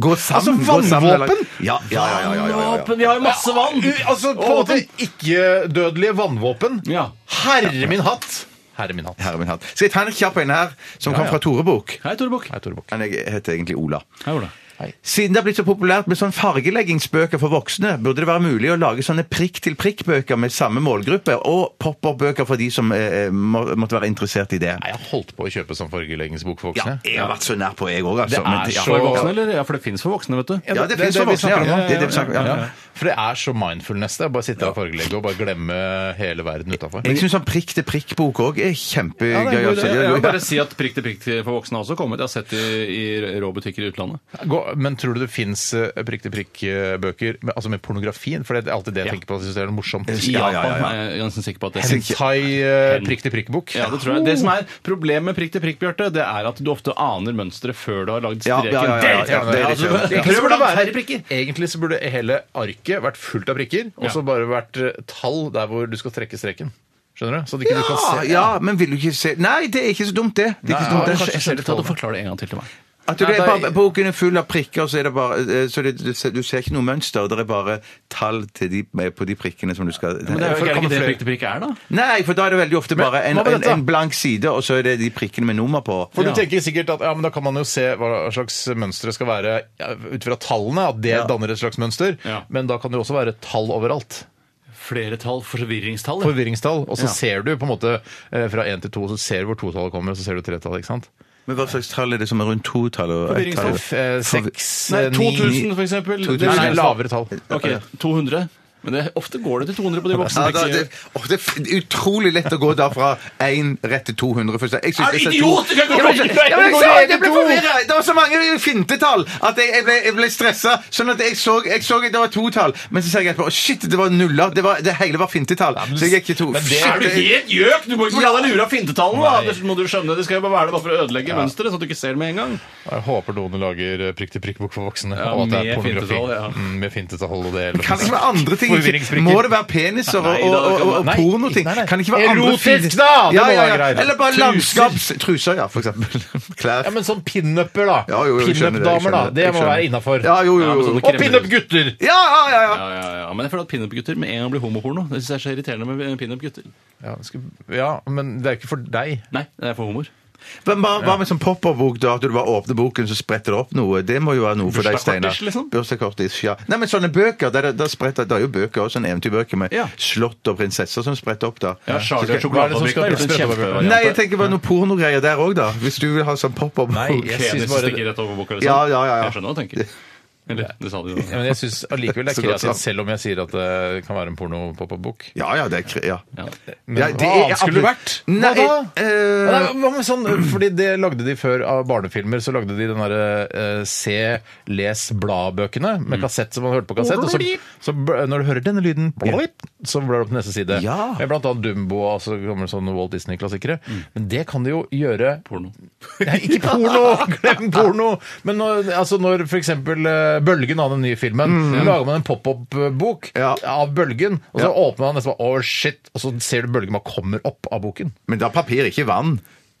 S6: Gå
S4: Altså,
S6: sammen! gå sammen, eller-
S4: vannvåpen?
S6: Ja, ja, ja. ja, ja, ja, ja.
S5: Våpen, Vi har jo masse vann!
S4: U- Altså, på en
S5: Og-
S4: måte ikke-dødelige vannvåpen.
S5: Ja.
S4: Herre min hatt! Herre min hatt.
S6: Herre min hatt. Skal jeg ta en kjapp en her, som kom
S4: ja.
S6: fra Torebukk?
S5: Hei, Tore Bukk.
S4: Nei, Tore Bukk.
S6: Men jeg heter egentlig Ola.
S5: Hei, Ola.
S4: Hei.
S6: Siden det har blitt så populært med sånn fargeleggingsbøker for voksne, burde det være mulig å lage sånne prikk-til-prikk-bøker med samme målgruppe, og pop-up-bøker for de som eh, må, måtte være interessert i det.
S4: Nei, jeg har holdt på å kjøpe sånn fargeleggingsbok for
S6: Ja,
S4: voksne.
S6: jeg har vært så nær på, jeg òg, altså.
S4: Det
S6: men-
S4: er
S6: ja.
S4: så-
S5: For voksne, eller? Ja, for det fins for voksne, vet du.
S6: Ja, det finnes for
S4: vi
S6: voksne,
S4: snakker om.
S6: ja. Det er det vi snakker om, ja.
S4: For det er så mindfulness, det. er Bare sitte og fargelegge og bare glemme hele verden utafor.
S6: Jeg syns sånn prikk-til-prikk-bok òg er
S4: Ja, det er
S6: kjempegøy.
S4: en god
S6: altså.
S4: idé.
S6: Ja,
S5: Jeg
S6: ja.
S5: vil bare si at prikk til prikk til for voksne har også kommet. Jeg har sett det i rå butikker i utlandet.
S4: Men tror du det eh, fins prikk-til-prikk-bøker med, altså med pornografien? For det er alltid det jeg tenker på. Jeg synes det er morsomt. eh,
S5: I
S6: Ja, ja, ja,
S5: Japan
S6: ja.
S5: er jeg ganske sikker på at det
S4: Hentai-prikk-til-prikk-bok.
S5: Ja, det tror jeg. Det som er problemet med prikk til prikk, Bjarte, det er at du ofte aner mønsteret før du har lagd
S6: Ja,
S5: streken.
S6: ja, ja, ja, ja, ja, det er
S4: Altså,
S6: riktig.
S4: egentlig
S5: Prøver
S4: så
S5: du
S4: burde
S5: å
S4: det
S5: være
S4: være-
S5: prikker?
S4: Egentlig så burde hele arket vært fullt av prikker, og så
S5: Ja.
S4: bare vært eh, tall der hvor du skal trekke streken. Skjønner du? Så det ikke du kan
S6: Ja,
S4: se
S6: ja, men vil du ikke se Nei, det er ikke så dumt, det. det, er ikke så dumt, det.
S5: Kanskje ta det og forklare det en gang til til meg.
S6: At du,
S4: Nei,
S6: det er
S4: da-
S6: bare, boken er full av prikker, så, er det bare, eh, så det, du, ser, du ser ikke noe mønster. og Det er bare tall til de, eh, på de prikkene som du skal
S5: Men det er jo
S4: for å
S5: ikke det
S4: kamuflere.
S5: prikk til prikk er, da.
S6: Nei, for da er det veldig ofte bare en,
S4: hva med
S6: en,
S4: dette?
S6: en blank side, og så er det de prikkene med nummer på.
S4: For
S5: Ja.
S4: du tenker sikkert at ja, men da kan man jo se hva slags mønstre skal være ja, ut fra tallene, at det
S6: Ja.
S4: danner et slags mønster.
S5: Ja.
S4: Men da kan det jo også være tall overalt.
S5: Flere tall, forvirringstall.
S4: Forvirringstall. Og så
S5: Ja.
S4: ser du på en måte eh, fra én til to, så ser du hvor totallet kommer, og så ser du tretallet, ikke sant?
S6: Men hva slags tall er det som er rundt to tall? og ett tall?
S4: F, eh, Seks,
S5: Nei,
S4: eh, ni
S5: 2000 for eksempel. Det
S6: 2000.
S4: Nei, nei,
S5: er-
S4: lavere tall.
S5: Ok, 200. Men det, ofte går det til 200 på de voksne.
S6: Ja, da,
S5: prikkene.
S6: det, åh, det er utrolig lett å gå da fra 1 rett til 200. Først. Jeg synes
S5: Er du
S6: jeg sa
S5: idiot? Du
S6: to-
S5: kan gå
S6: Ja, men-
S5: fra
S6: ja,
S5: en
S6: men jeg
S5: til
S6: sa-
S5: to.
S6: Jeg ble forvirra! Det var så mange fintetall at jeg, jeg ble, jeg ble stressa. Sånn at jeg så, jeg så at det var to tall, men så ser jeg etterpå shit, det var nuller. Det, var, det hele var fintetall. Så jeg gikk i to.
S4: men det-
S6: Shit,
S5: Er du helt gjøk? Du må ikke la deg lure av fintetallene! da. Det må du skjønne. Det skal jo bare være der bare for å ødelegge mønsteret, sånn at du ikke ser det med en gang.
S4: Jeg håper noen lager eh, prikk-til-prikk-bok for voksne.
S5: Ja,
S4: og at det
S5: med
S4: er pornografi.
S5: fintetall, ja.
S4: Mm, med fintetall og det hele.
S6: Kan det ikke være andre ting?
S4: Forvirringsbrikker.
S6: Må det være peniser og, og, og, og, og
S4: Nei,
S6: pornoting?
S4: nei, nei.
S6: Kan det ikke være andre
S4: Erotisk,
S6: fine-
S4: da! Det
S6: Ja,
S4: må
S6: ja,
S4: være
S6: ja.
S4: greit.
S6: Eller bare
S4: Truser.
S6: landskaps... Truser, ja, for eksempel. Klær.
S4: Ja, men sånn pinup-er, da.
S6: Ja, jo, jo, jeg
S4: Pinup-damer,
S6: skjønner det, jeg
S4: da.
S6: skjønner det,
S4: Det
S6: jeg
S4: må
S6: skjønner
S4: være
S6: det.
S4: innafor.
S6: Ja, jo, jo,
S5: Ja, men
S6: jo.
S5: sånne
S4: Og
S5: kremmer-
S4: pinup-gutter!
S6: Ja, ja, ja, ja.
S5: Ja, ja, ja. Men jeg føler at pinup-gutter med en gang blir homoporno. Det synes jeg er så irriterende med pinup-gutter.
S4: Ja, skal- ja, men det er ikke for deg.
S5: Nei, det er for humor.
S6: Men hva, hva med sånn pop-up-bok, da? At du bare åpner boken, så spretter det opp noe? Det må jo være noe for deg, Steinar.
S5: Bursdagskortisj, liksom?
S6: Bursdagskortisj, ja. Nei, men sånne bøker, der, der spretter, det er jo bøker også, sånne eventyrbøker med
S5: Ja.
S6: slott og prinsesser som spretter opp, da.
S5: Ja, Charlie og
S4: Hva er det
S5: sjokoladefabrikken
S4: som skal
S5: har gjort en
S4: sprettes over?
S5: kjempevariant.
S6: Nei, jeg tenker bare noe pornogreier der òg, da. Hvis du vil ha sånn pop-up.
S4: Nei, jeg
S5: Penis
S4: synes bare-
S5: stikker rett over boka, liksom.
S6: Ja, ja, ja, ja.
S5: Jeg skjønner hva du tenker. Eller, det sa du jo.
S4: Ja, men jeg syns allikevel det
S6: Så
S4: er
S6: godt
S4: kreativt,
S6: sagt.
S4: selv om jeg sier at det kan være en porno-pop-up-bok.
S6: Ja, ja, det er kre... Ja.
S5: Ja.
S4: Men
S6: Ja, det
S4: hva
S6: er-
S4: annet skulle det vært?
S6: Nei,
S4: hva da?
S6: eh,
S4: Nei, hva med sånn, fordi Det lagde de før av barnefilmer. Så lagde de den derre eh, Se, les, bla-bøkene
S6: Mm.
S4: med kassett som man hørte på kassett. Og så, så bl- når du hører denne lyden, så blar du opp til neste side.
S6: Ja. Mm.
S4: Med blant annet Dumbo og så kommer det sånne Walt Disney-klassikere. Men det kan de jo gjøre
S5: Porno.
S4: Nei, ikke porno! Glem porno! Men når, altså når f.eks. Bølgen hadde den nye filmen, lager man en pop-up-bok
S6: Mm. Ja.
S4: av Bølgen, og så åpner man nesten bare Å, shit! Og så ser du Bølgen bare kommer opp av boken.
S6: Men da er papir, ikke vann.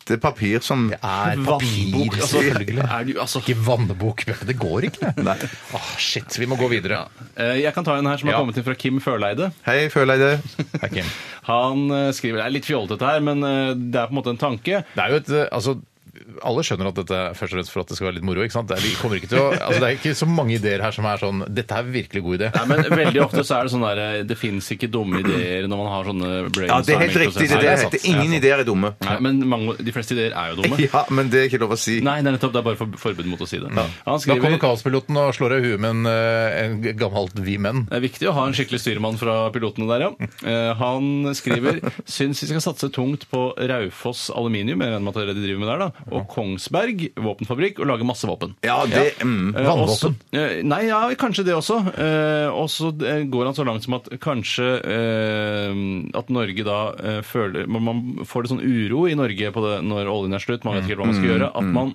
S6: Det er papir som
S4: Er
S5: Vannbok,
S4: papir,
S5: altså.
S4: selvfølgelig.
S5: Er du, altså,
S4: Ikke vannbok, Bjarte. Det går ikke, det. Åh, shit. Vi må gå videre.
S5: Eh, jeg kan ta en her som har
S4: Ja.
S5: kommet inn fra Kim Førleide.
S6: Hei, føler jeg det?
S4: Hei, Kim.
S5: Han eh, skriver Det er litt fjollete dette her, men eh, det er på en måte en tanke.
S4: Det er jo et eh, Altså alle skjønner at dette er først og fremst for at det skal være litt moro. ikke sant? Det er, vi kommer ikke til å, altså det er ikke så mange ideer her som er sånn Dette er virkelig god idé.
S5: Nei, men Veldig ofte så er det sånn der eh, Det fins ikke dumme ideer når man har sånne
S6: Ja, det er helt riktig. Det,
S5: brainstorming-prosesser.
S6: det
S4: sant.
S6: heter ingen ideer er dumme.
S5: Nei, men mange, de fleste ideer er jo dumme.
S6: Ja, men det er ikke lov å si.
S5: Nei, det er nettopp det er bare for, forbud mot å si det. Han
S4: Da kommer
S5: skriver
S4: kaospiloten og slår deg i huet med en, eh, en gammelt Vi Menn.
S5: det er viktig å ha en skikkelig styrmann fra pilotene der, ja. Eh, han skriver syns vi skal satse tungt på Raufoss Aluminium, jeg regner med at det er det de driver med der, da, og Kongsberg våpenfabrikk, og lage masse våpen.
S6: Ja, det mm.
S5: Eh, også- eh, Nei, ja, kanskje det også. Eh, Og så eh, går han så langt som at kanskje eh, at Norge da eh, føler Man man får litt sånn uro i Norge på det, når oljen er slutt, man vet ikke helt hva man skal
S6: Mm,
S5: gjøre. At man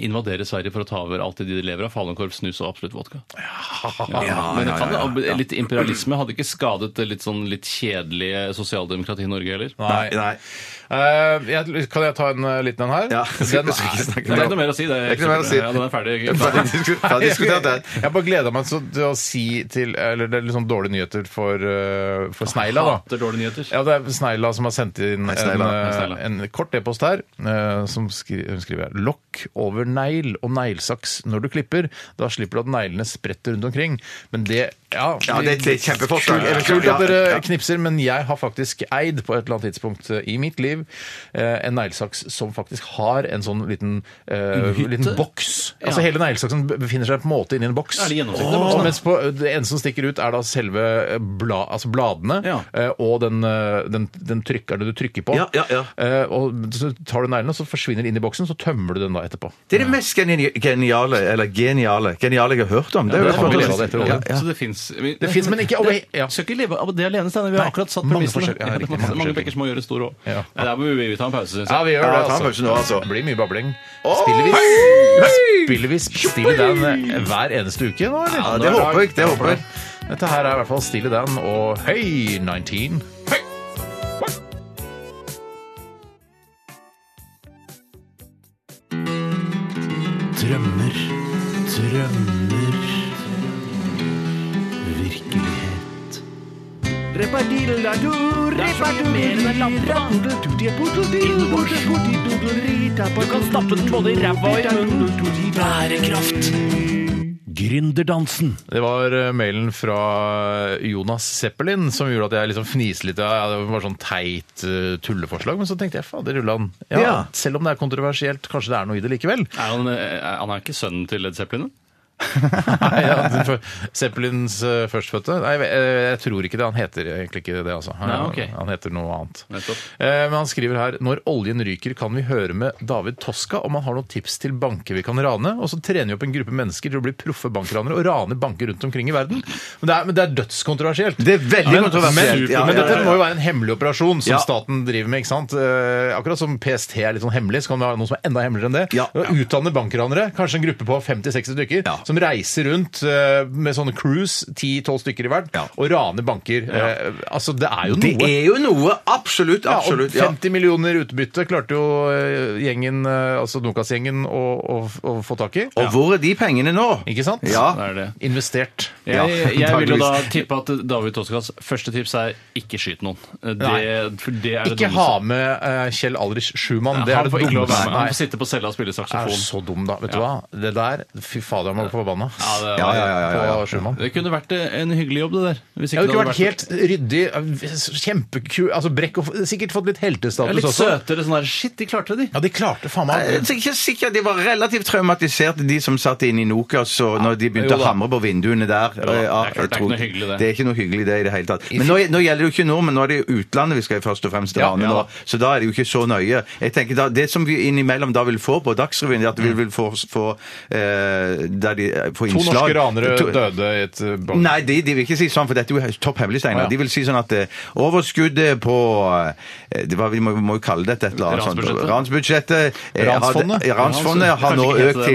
S5: invaderer Sverige for å ta over alt det de lever av. Falukorv, snus og absolutt vodka. Ja, men det kan, litt imperialisme hadde ikke skadet det litt sånn litt kjedelige sosialdemokratiet i Norge heller.
S4: Nei.
S6: Nei.
S4: Eh, jeg, kan jeg ta en eh, liten en her?
S6: Ja.
S4: Den
S6: Jeg skal ikke
S4: er,
S6: snakke
S5: Det er ikke noe mer å si. Det
S6: Det er ikke noe mer å si.
S5: Ja, den er ferdig.
S6: Ferdig disku- ferdig diskutert det.
S4: jeg bare gleda meg så til å si til Eller det er litt sånn dårlige nyheter for, eh, for Sneila, da.
S5: Hater dårlige nyheter.
S4: Ja, det er Sneila som har sendt inn
S6: Sneila.
S4: en, eh,
S5: Sneila.
S4: en kort e-post her, eh, som skri, hun skriver her. Lokk sokk over negl og neglesaks når du klipper. Da slipper du at neglene spretter rundt omkring. Men det Ja,
S6: Ja, det, det er et kjempeforslag. Jeg vet ikke om-
S4: Kult at
S6: ja, ja.
S4: dere knipser, men jeg har faktisk eid på et eller annet tidspunkt i mitt liv eh, en neglesaks som faktisk har en sånn liten, eh, liten boks. Altså
S5: Ja.
S4: hele neglesaksen befinner seg på en måte inni en boks.
S5: Er det gjennomsiktig,
S4: Åh.
S5: boksen, da?
S4: mens på, det eneste som stikker ut, er da selve bla, altså bladene
S5: Ja.
S4: eh, og den, eh, den, den trykkeren du trykker på.
S6: Ja, ja, ja.
S4: Eh, og så tar du neglene, så forsvinner det inn i boksen, så tømmer du den da etterpå.
S6: Det er det mest geni- geniale, eller geniale, geniale jeg har hørt om. Det
S4: Ja,
S6: er jo
S4: det kan vi
S6: faktisk-
S4: leve av etter
S6: Ja,
S4: året.
S6: ja.
S5: Så det fins
S4: Det finnes, men ikke over- ja.
S5: Skal ikke leve av det alene, Steinar. Vi har
S4: Nei,
S5: akkurat satt
S4: mange
S5: premissene.
S4: forskjellige- ja, riktig, mange
S5: mange mange
S4: forskjellige.
S5: bekker små gjør det store òg.
S4: Ja.
S5: Der må vi vi ta en pause, syns jeg.
S4: Ja, vi gjør
S6: Ja,
S4: det,
S6: ta en
S4: altså.
S6: pause nå, altså.
S4: Det blir mye babling. Spiller vi, spiller vi Stille Dan eh, hver eneste uke nå, eller?
S6: Ja, det håper jeg, det håper jeg.
S4: Dette her er i hvert fall Stille Dan og Høy 19.
S7: Drømmer, drømmer Virkelighet Bærekraft Gründerdansen
S4: Det var eh, mailen fra Jonas Zeppelin som gjorde at jeg liksom fniste litt. Ja, det var sånn teit eh, tulleforslag, men så tenkte jeg fader rullan. Ja,
S6: Ja.
S4: Selv om det er kontroversielt, kanskje det er noe i det likevel.
S5: Er han, er, han er ikke sønnen til Led Zeppelin?
S4: Nei, ja, den fø- Zeppelins eh, førstfødte? Nei, jeg, eh, jeg tror ikke det. Han heter egentlig ikke det, altså. Han,
S5: Nei, ok.
S4: han heter noe annet.
S5: Nettopp.
S4: Eh, Men han skriver her Når oljen ryker, kan vi høre med David Toska om han har noen tips til banker vi kan rane. Og så trener vi opp en gruppe mennesker til å bli proffe bankranere og rane banker rundt omkring i verden. Men det er, men det er dødskontroversielt.
S6: Det er veldig
S4: Men-
S6: kontroversielt,
S4: Men,
S6: ja,
S4: men
S6: ja, ja,
S4: dette
S6: ja.
S4: må jo være en hemmelig operasjon som
S6: Ja.
S4: staten driver med. ikke sant? Eh, Akkurat som PST er litt sånn hemmelig, så kan det være noe som er enda hemmeligere enn det.
S6: Ja.
S4: Å Utdanne bankranere, kanskje en gruppe på 50-60 stykker,
S6: Ja.
S4: som reiser rundt eh, med sånne cruise, 10-12 stykker i verden,
S6: Ja.
S4: og raner banker. Eh, Altså, det er jo noe.
S6: Det er jo noe, absolutt,
S4: Ja, og
S6: absolutt. Ja.
S4: 50 millioner utbytte klarte jo eh, gjengen, eh, altså Nokas-gjengen å, å, å få tak i.
S6: Og hvor er de pengene nå?
S4: Ikke sant?
S6: Ja.
S5: Det er det.
S4: Investert.
S5: Jeg,
S6: Ja,
S5: jeg vil jo da
S6: antageligvis.
S5: tippe at David Toskas første tips er ikke skyt noen. Det,
S4: Nei.
S5: for det er det
S4: Ikke
S5: dummeste.
S4: ha med eh, Kjell Alrich Schumann. Det
S5: han
S4: er det
S5: får ikke lov å være
S4: dummeste.
S5: med. Han
S4: Nei.
S5: får sitte på cella og spille
S4: er
S5: saksofon.
S4: så dum, da. Vet du hva? Det der Fy fader, jeg må bli forbanna.
S5: Ja, det,
S6: Ja, ja, ja, ja, ja.
S4: På Schumann.
S5: det kunne vært eh, en hyggelig jobb, det der. Hvis
S4: Jeg hadde ikke vært
S5: det
S4: helt ryddig, kjempekul altså Brekk og Sikkert fått litt
S5: ja,
S4: heltestatus
S5: Litt
S4: også.
S5: søtere sånn der Shit, de klarte det, de.
S4: Ja, de klarte faen meg
S6: Jeg er ikke sikker, De var relativt traumatiserte, de som satt inne i Nokas og når de begynte
S4: Jo da.
S6: å hamre på vinduene der. Ja,
S5: det er klart, det er
S6: jeg
S5: ikke
S6: tror-
S5: noe hyggelig, det.
S6: Det er ikke noe hyggelig det i det hele tatt. Men nå, nå gjelder det jo ikke nordmenn, nå er det jo utlandet vi skal først og fremst rane
S5: ja.
S6: nå. Så da er det jo ikke så nøye. Jeg tenker da, Det som vi innimellom da vil få på Dagsrevyen, det er at
S5: Mm.
S6: vi vil få, få, eh, der de,
S4: To
S6: få innslag
S4: norske ranere
S6: To-
S4: døde i et eh, bank.
S6: Nei, de, de vil ikke si sånn, for dette er jo topp hemmelig, Steinar.
S4: Å, ja.
S6: De vil si sånn at eh, overskuddet på eh, det var, Vi må, må jo kalle dette et eller annet sånt.
S5: Ransbudsjettet.
S6: Ransbudsjettet. eh,
S4: Ransfondet?
S6: hadde- ja, Ransfondet har
S5: Kanskje
S6: nå
S5: ikke heter
S6: økt
S5: det,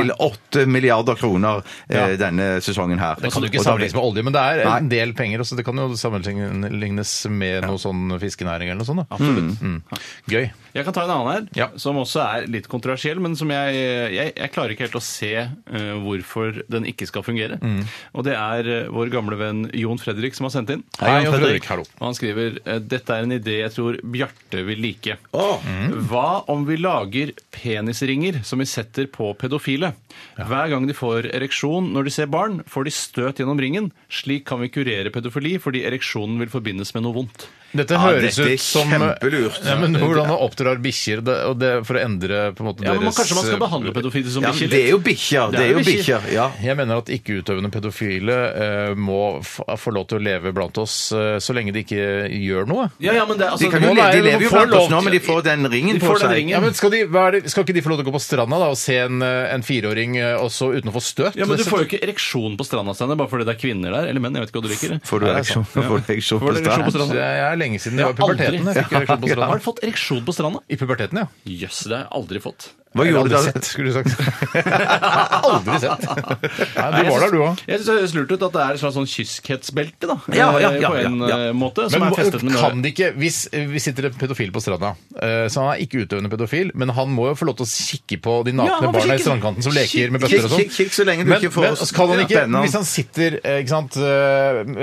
S6: til 8 milliarder kroner eh,
S4: Ja.
S6: denne sesongen her.
S4: Det kan jo ikke
S6: Og da-
S4: sammenlignes med olje, men det er en
S6: Nei.
S4: del penger. Også. Det kan jo sammenlignes med noe sånn fiskenæring eller noe sånt. Da. Absolutt. Mm. Gøy.
S5: Jeg kan ta en annen her,
S4: Ja.
S5: som også er litt kontroversiell, men som jeg, jeg, jeg klarer ikke helt å se eh, hvorfor den ikke skal fungere.
S4: Mm.
S5: Og det er eh, vår gamle venn Jon Fredrik som har sendt inn.
S4: Hei, Jon Fredrik, hallo.
S5: Og han skriver eh, dette er en idé jeg tror Bjarte vil like.
S4: Mm.
S5: Hva om vi lager penisringer som vi setter på pedofile? Hver gang de får ereksjon når de ser barn, får de støt gjennom ringen. Slik kan vi kurere pedofili fordi ereksjonen vil forbindes med noe vondt.
S4: Dette
S6: Ja,
S4: høres
S6: dette er
S4: ut som
S6: kjempelurt.
S4: Ja, men hvordan han oppdrar bikkjer det- og det- for å endre på en måte
S5: Ja, men man-
S4: deres eh,
S5: Kanskje man skal behandle pedofile som
S6: eh, Ja,
S5: bikkjer?
S6: men det er jo bikkjer. Det er jo bikkjer. Ja.
S4: Jeg mener at ikke-utøvende pedofile eh, må f få lov til å leve blant oss eh, så lenge de ikke gjør noe.
S5: Ja, ja, men det, altså,
S6: De, kan
S5: det
S6: jo
S5: må
S6: leve,
S5: være-
S6: de lever jo
S5: får
S6: blant
S5: lov
S6: oss nå,
S5: til-
S6: men de får den ringen
S5: De
S6: på
S5: får den
S6: seg.
S5: ringen.
S4: Ja, men skal, de, hva er det, skal ikke de få lov til å gå på stranda da, og se en, eh, en fireåring eh, også uten å få støt?
S5: Ja, men Du får jo ikke ereksjon på stranda Steiner, bare fordi det er kvinner der. Eller menn. jeg vet ikke hva du liker.
S6: Får du
S4: Ja, det er
S6: ereksjon får du ereksjon
S5: Får
S6: på
S5: du ereksjon på
S6: stranda?
S5: stranda?
S4: Det er lenge siden det
S5: Ja,
S4: var i puberteten.
S5: aldri.
S4: Jeg fikk ereksjon
S5: Har
S4: på
S5: du
S4: stranda.
S5: fått ereksjon på stranda?
S4: I puberteten, ja.
S5: Jøss, det har jeg aldri fått.
S6: Hva
S4: Eller
S6: gjorde du
S4: aldri
S6: da?
S4: sett, skulle du sagt. aldri sett. Nei, du var der, du òg.
S5: Jeg synes det høres lurt ut at det er et slags sånn kyskhetsbelte, da.
S6: Ja, ja, ja,
S5: på en
S6: ja, ja.
S5: eh, måte. Som
S4: Men
S5: er festet med
S4: kan de ikke, hvis vi sitter en pedofil på stranda, eh, så han er ikke utøvende pedofil, men han må jo få lov til å kikke på de
S5: Ja,
S4: nakne
S5: han får
S4: barna i
S5: kikke.
S4: strandkanten som leker med
S6: Kikk,
S4: bøtter og sånn.
S6: kikk, kikk så lenge du
S4: Men,
S6: ikke får
S4: men så kan han ikke,
S6: spennende.
S4: hvis han sitter, eh, ikke sant,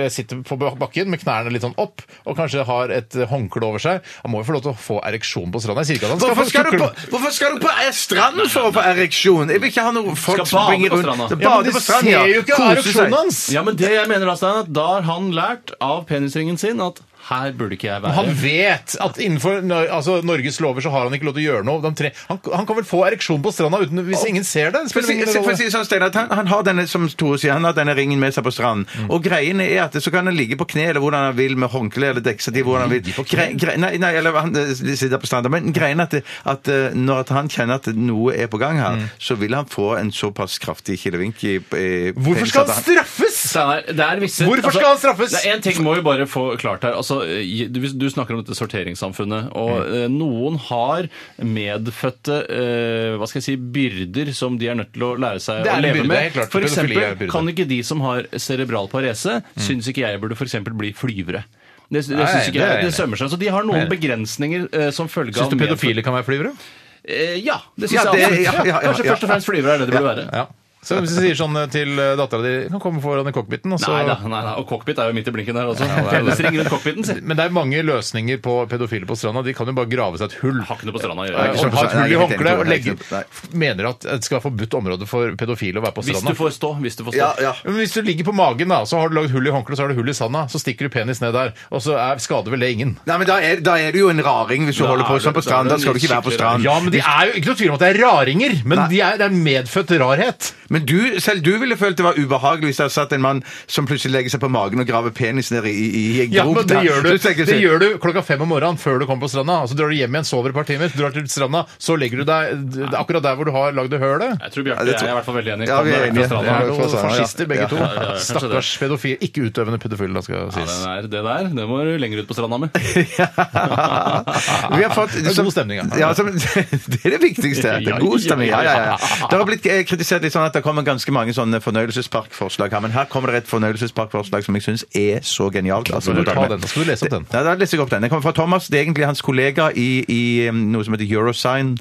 S4: eh, sitter på bak- bakken med knærne litt sånn opp, og kanskje har et eh, håndkle over seg, han må jo få lov til å få ereksjon på stranda. Jeg sier ikke at han skal
S6: Hvorfor
S4: få
S6: skal, du på,
S4: tukle-
S6: hvorfor skal du på eh, stranden for å få ereksjon! Jeg vil ikke ha noe folk
S5: Skal
S6: som
S5: bade
S6: springer
S5: på stranda.
S6: rundt Skal
S4: Ja, men
S6: Bade
S4: de
S6: på stranden,
S4: ser jo ikke
S6: Kose seg.
S4: ereksjonen hans!
S5: Ja, men det jeg mener Da Stein, at da har han lært av penisringen sin at her burde ikke jeg være.
S4: Han vet at innenfor Nor- altså, Norges lover så har han ikke lov til å gjøre noe. De tre- Han, han kan vel få ereksjon på stranda uten, hvis ingen ser det? Det
S6: For å
S4: spiller
S6: si,
S4: ingen
S6: for å
S4: rolle.
S6: si det sånn, Steinar, at han, han har denne som Tore sier, han har denne ringen med seg på stranden.
S4: Mm.
S6: Og greien er at så kan han ligge på kne eller hvordan han vil med håndkle eller dekkestativ. hvordan han vil. Gre, gre, nei, nei, eller han eh, sitter på stranden. Men greien er at, det- at eh, når at han kjenner at noe er på gang her,
S4: Mm.
S6: så vil han få en såpass kraftig kilevink i, i
S4: Hvorfor skal han straffes?!
S5: Steinar, det er visse, altså,
S4: Hvorfor skal han straffes?
S5: Det er en ting må vi bare få klart her. Altså, eh, du, du snakker om dette sorteringssamfunnet, og
S4: Mm.
S5: eh, noen har medfødte eh, hva skal jeg si, byrder som de er nødt til å lære seg
S4: Det er
S5: å
S4: en
S5: leve
S4: byrde, helt
S5: med.
S4: klart.
S5: For
S4: Pedofili er en
S5: eksempel,
S4: byrde.
S5: kan ikke de som har cerebral parese, syns ikke jeg burde for eksempel bli flyvere. Det, det, synes
S4: Nei,
S5: ikke
S4: det er jeg
S5: jeg, det
S4: enig i.
S5: sømmer seg. Så de har noen begrensninger eh, som følge
S4: Syns
S5: av
S4: du
S5: medfødte-
S4: pedofile kan være flyvere?
S5: Eh, ja, det syns
S6: Ja,
S5: jeg.
S6: det-
S5: absolutt.
S6: ja, ja, ja,
S5: Kanskje
S6: ja.
S5: først og fremst flyvere er det det burde være.
S4: Ja. Så hvis du sier sånn til dattera di Kan komme foran i cockpiten, og så
S5: Nei da, nei, da. Og cockpit er jo midt i blinken der også.
S4: det er det.
S5: Penis ringer rundt cockpiten, sier
S4: Men det er mange løsninger på pedofile på stranda. De kan jo bare grave seg et hull.
S5: Har ikke noe på stranda å
S4: Eh,
S5: gjøre.
S6: ikke
S4: Og
S6: sant,
S4: ha et
S6: nei,
S4: hull i
S6: jeg er helt
S4: håndkleet
S6: enig,
S4: og legge
S6: nei.
S4: Mener at det skal være forbudt område for pedofile å være på
S5: Hvis du
S4: stranda.
S5: får stå. Hvis du får stå.
S6: Ja, ja.
S4: Men hvis du ligger på magen, da, så har du lagd hull i håndkleet, så har du hull i sanda, så stikker du penis ned der, og så er, skader vel det ingen.
S6: Nei, men da er, da er du jo en raring hvis du
S5: Da
S6: holder på
S5: er
S6: sånn
S5: du-
S6: på stranden.
S5: da er
S6: Da
S5: du
S6: skal du ikke være på
S5: skikkelig
S6: stranden.
S4: Ja, men de er jo ikke noe tvil om at det er raringer, men de er, det er medfødt rarhet.
S6: Men du, selv du ville følt det var ubehagelig hvis det hadde satt en mann som plutselig legger seg på magen og graver penis ned i, i, i
S4: Ja, men det
S6: gropen.
S4: gjør,
S6: Så
S4: du,
S6: tenker jeg
S4: det
S6: sånn,
S4: gjør du klokka fem om morgenen før du kommer på stranda. Og så drar du hjem igjen, sover et par timer, drar til stranda, så legger du deg d- akkurat der hvor du har lagd det hølet.
S5: Jeg tror Bjarte
S6: Ja, det
S5: og
S6: tror-
S5: jeg er i hvert fall veldig enige.
S6: Ja, vi er enige.
S5: Stranda.
S4: Det
S6: Ja,
S4: er jo
S6: fra stranda, ja.
S4: fascister begge
S6: Ja.
S4: to.
S5: Ja, ja, ja, kanskje det.
S4: Stakkars pedofil. Ikke utøvende pedofil, da skal
S5: Ja,
S4: sies.
S5: det, der, det der det må du lenger ut på stranda med.
S6: Vi har fått,
S4: Det er god stemning, ja.
S6: ja. Som, det er det viktigste. Det er god stemning. Ja, ja, ja. Det har blitt eh, kritisert litt sånn at det kommer ganske mange sånne fornøyelsesparkforslag her, men her kommer det et fornøyelsesparkforslag som jeg syns er så genialt. Altså,
S4: Skal du ta den? Da skal du lese opp den.
S6: Ja, da leser jeg opp den. Den kommer fra Thomas. Det er egentlig hans kollega i, i eh, noe som heter Eurosign,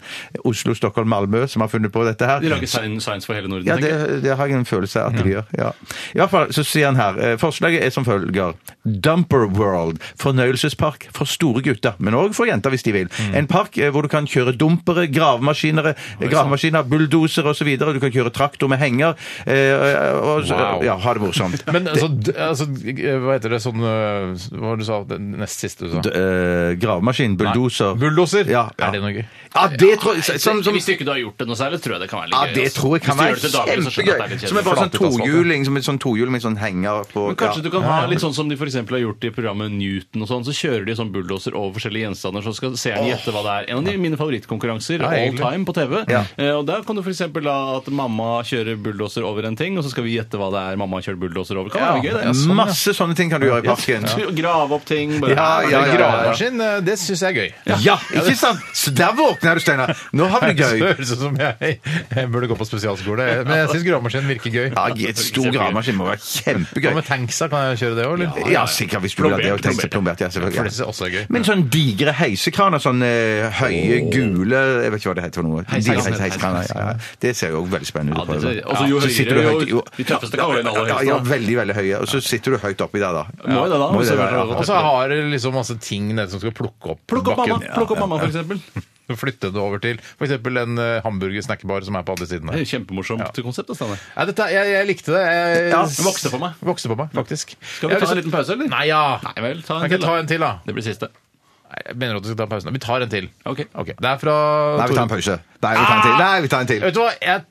S6: Oslo, Stockholm, Malmö, som har funnet på dette her.
S5: De lager sign- signs for hele Norden.
S6: Ja,
S5: tenker jeg.
S6: det, det har jeg en følelse av at de gjør. Ja. I hvert fall så sier han her eh, Forslaget er som følger. Dumper World. Fornøyelsespark for store gutter, men òg for jenter hvis de vil.
S5: Mm.
S6: En park eh, hvor du kan kjøre dumpere, gravemaskiner, eh, gravemaskiner bulldoser osv. Du kan kjøre traktor med henger. eh, Og, så-
S4: Wow.
S6: Ja, ha det morsomt.
S4: Men altså, d- altså eh, hva heter det sånn eh, Hva var det du sa? Det nest siste du sa?
S6: D- eh, gravemaskin, bulldoser
S4: Bulldoser?
S6: Ja, ja.
S4: Er det noe gøy?
S6: Ja, det tror jeg som, som,
S5: Hvis ikke du har gjort det noe særlig, tror jeg det kan være litt
S6: ja,
S5: gøy.
S6: det
S5: altså.
S6: tror jeg kan
S5: Hvis du gjør det
S6: være
S5: til daglig, så skjønner jeg at det er
S6: kjempegøy.
S5: litt
S6: Som er
S5: kjedelig.
S6: bare sånn
S4: Flatet asfalt, ja.
S6: tohjuling som et sånn tohjuling med sånn henger på
S5: Men kanskje
S6: ja.
S5: du kan ha litt sånn som de for eksempel har gjort i programmet Newton og sånn, så kjører de sånn bulldoser over forskjellige gjenstander, så skal seerne gjette hva det er. En av de mine favorittkonkurranser
S4: Ja,
S5: all
S4: egentlig.
S5: time på TV.
S6: Ja.
S5: Eh, Og der kan du for eksempel la at mamma kjører bulldoser over en ting, og så skal vi gjette hva det er mamma kjører bulldoser over. Kan være gøy, det. altså.
S6: Masse sånne ting kan du gjøre i parken.
S5: Du Grave opp ting. Bare,
S6: Ja, ja, ja, ja.
S4: Gravemaskin, eh, det syns jeg er gøy.
S6: Ja, ikke sant? Så der våkner du, Steinar. Nå har vi det
S4: Det
S6: gøy.
S4: høres ut som jeg, jeg burde gå på spesialskole, men jeg syns gravemaskin virker gøy.
S6: Ja, et stor gravemaskin må være
S4: Hva med
S6: kjempegøy.
S4: tanksa, kan jeg kjøre det òg, eller?
S6: Ja, sikkert hvis du vil ha det. og tenke seg plombert, ja,
S4: For det syns
S6: selvfølgelig.
S4: jeg også er gøy.
S6: Men sånn digre heisekraner, sånn eh, høye, gule Jeg vet ikke hva det heter for noe. Digre
S5: Heisekraner.
S6: heisekraner, ja, ja. Det ser jo også veldig spennende ut.
S5: Ja,
S6: å
S5: det-
S6: prøve.
S5: det- altså, jo
S6: Så
S5: høyere,
S6: sitter du
S5: jo-
S6: høyt-
S5: de tøffeste kavlene aller
S6: Ja,
S5: helst,
S6: Ja,
S5: da.
S6: veldig, veldig høye. Og så sitter du høyt oppi der, da.
S5: Må jo det da,
S6: Må
S5: hvis
S6: det
S5: det
S6: da,
S5: er-
S6: ja.
S4: Og så har dere liksom masse ting nede som skal plukke opp
S5: Plukk opp mamma,
S4: bakken.
S5: plukk opp mamma for eksempel.
S4: Og Flytte det over til f.eks. en eh, hamburger-snackbar som er på andre siden
S5: Det
S4: her.
S5: er Kjempemorsomt konsept. da, Steinar.
S4: Nei, dette, jeg, jeg likte det. Jeg,
S6: Ja,
S5: det vokste på meg.
S4: Vokste på meg, faktisk.
S5: Skal vi
S4: Jeg
S5: ta
S4: har
S5: en
S4: lyst-
S5: liten pause, eller?
S4: Nei, ja.
S5: Nei vel, ta en
S4: Kan ikke
S5: til.
S4: jeg ta
S5: da.
S4: en til, da?
S5: Det blir siste.
S4: Nei, Jeg mener at du skal ta pausen. Vi tar en til.
S5: Ok.
S4: Ok, Det er fra
S6: Nei, vi tar
S4: Tore.
S6: en pause. Nei, vi tar
S5: Ah!
S6: en til. Nei, vi tar en til.
S4: Vet du hva? Jeg,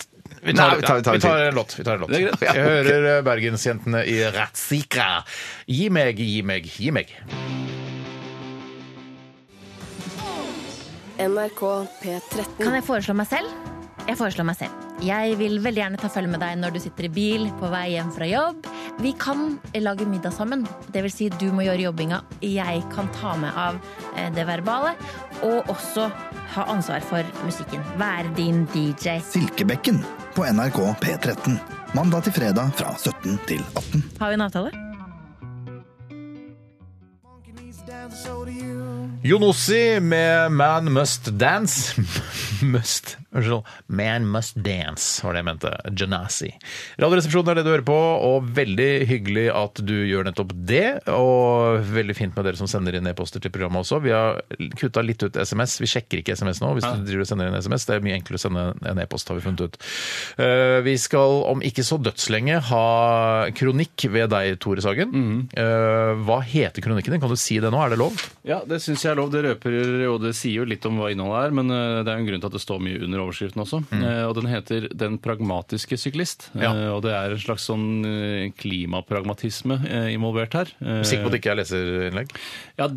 S4: vi, tar,
S6: Nei, vi tar- vi
S4: ja,
S6: tar en
S4: vi tar
S6: til.
S4: en låt. Vi tar en låt.
S5: Det er greit.
S4: Jeg hører eh, bergensjentene i Ratsikra. Gi meg, gi meg, gi meg.
S8: NRK P13.
S9: Kan jeg foreslå meg selv? Jeg foreslår meg selv. Jeg vil veldig gjerne ta følge med deg når du sitter i bil på vei hjem fra jobb. Vi kan lage middag sammen. Det vil si, du må gjøre jobbinga. Jeg kan ta med av eh, det verbale. Og også ha ansvar for musikken. Være din DJ.
S10: Silkebekken på NRK P13. Mandag til fredag fra 17 til 18.
S9: Har vi en avtale?
S4: Jonossi med Man Must Dance. Must. Unnskyld. Man must dance, var det jeg mente. Genasi. Radioresepsjonen er det du hører på, og veldig hyggelig at du gjør nettopp det. Og veldig fint med dere som sender inn e-poster til programmet også. Vi har kutta litt ut SMS. Vi sjekker ikke SMS nå hvis du driver og sender inn SMS. Det er mye enklere å sende en e-post, har vi funnet ut. Eh, Vi skal om ikke så dødslenge ha kronikk ved deg, Tore Sagen.
S5: Mhm.
S4: Eh, Hva heter kronikken din? Kan du si det nå? Er det lov?
S5: Ja, det syns jeg er lov. Det røper jo, det sier jo litt om hva innholdet er, men eh, det er jo en grunn til at det står mye under overskriften også. Eh, Og den heter 'Den pragmatiske syklist'.
S4: Ja.
S5: Eh, Og det er en slags sånn eh, klimapragmatisme eh, involvert her. Eh,
S4: Sikker på at det ikke er leserinnlegg?
S5: Ja,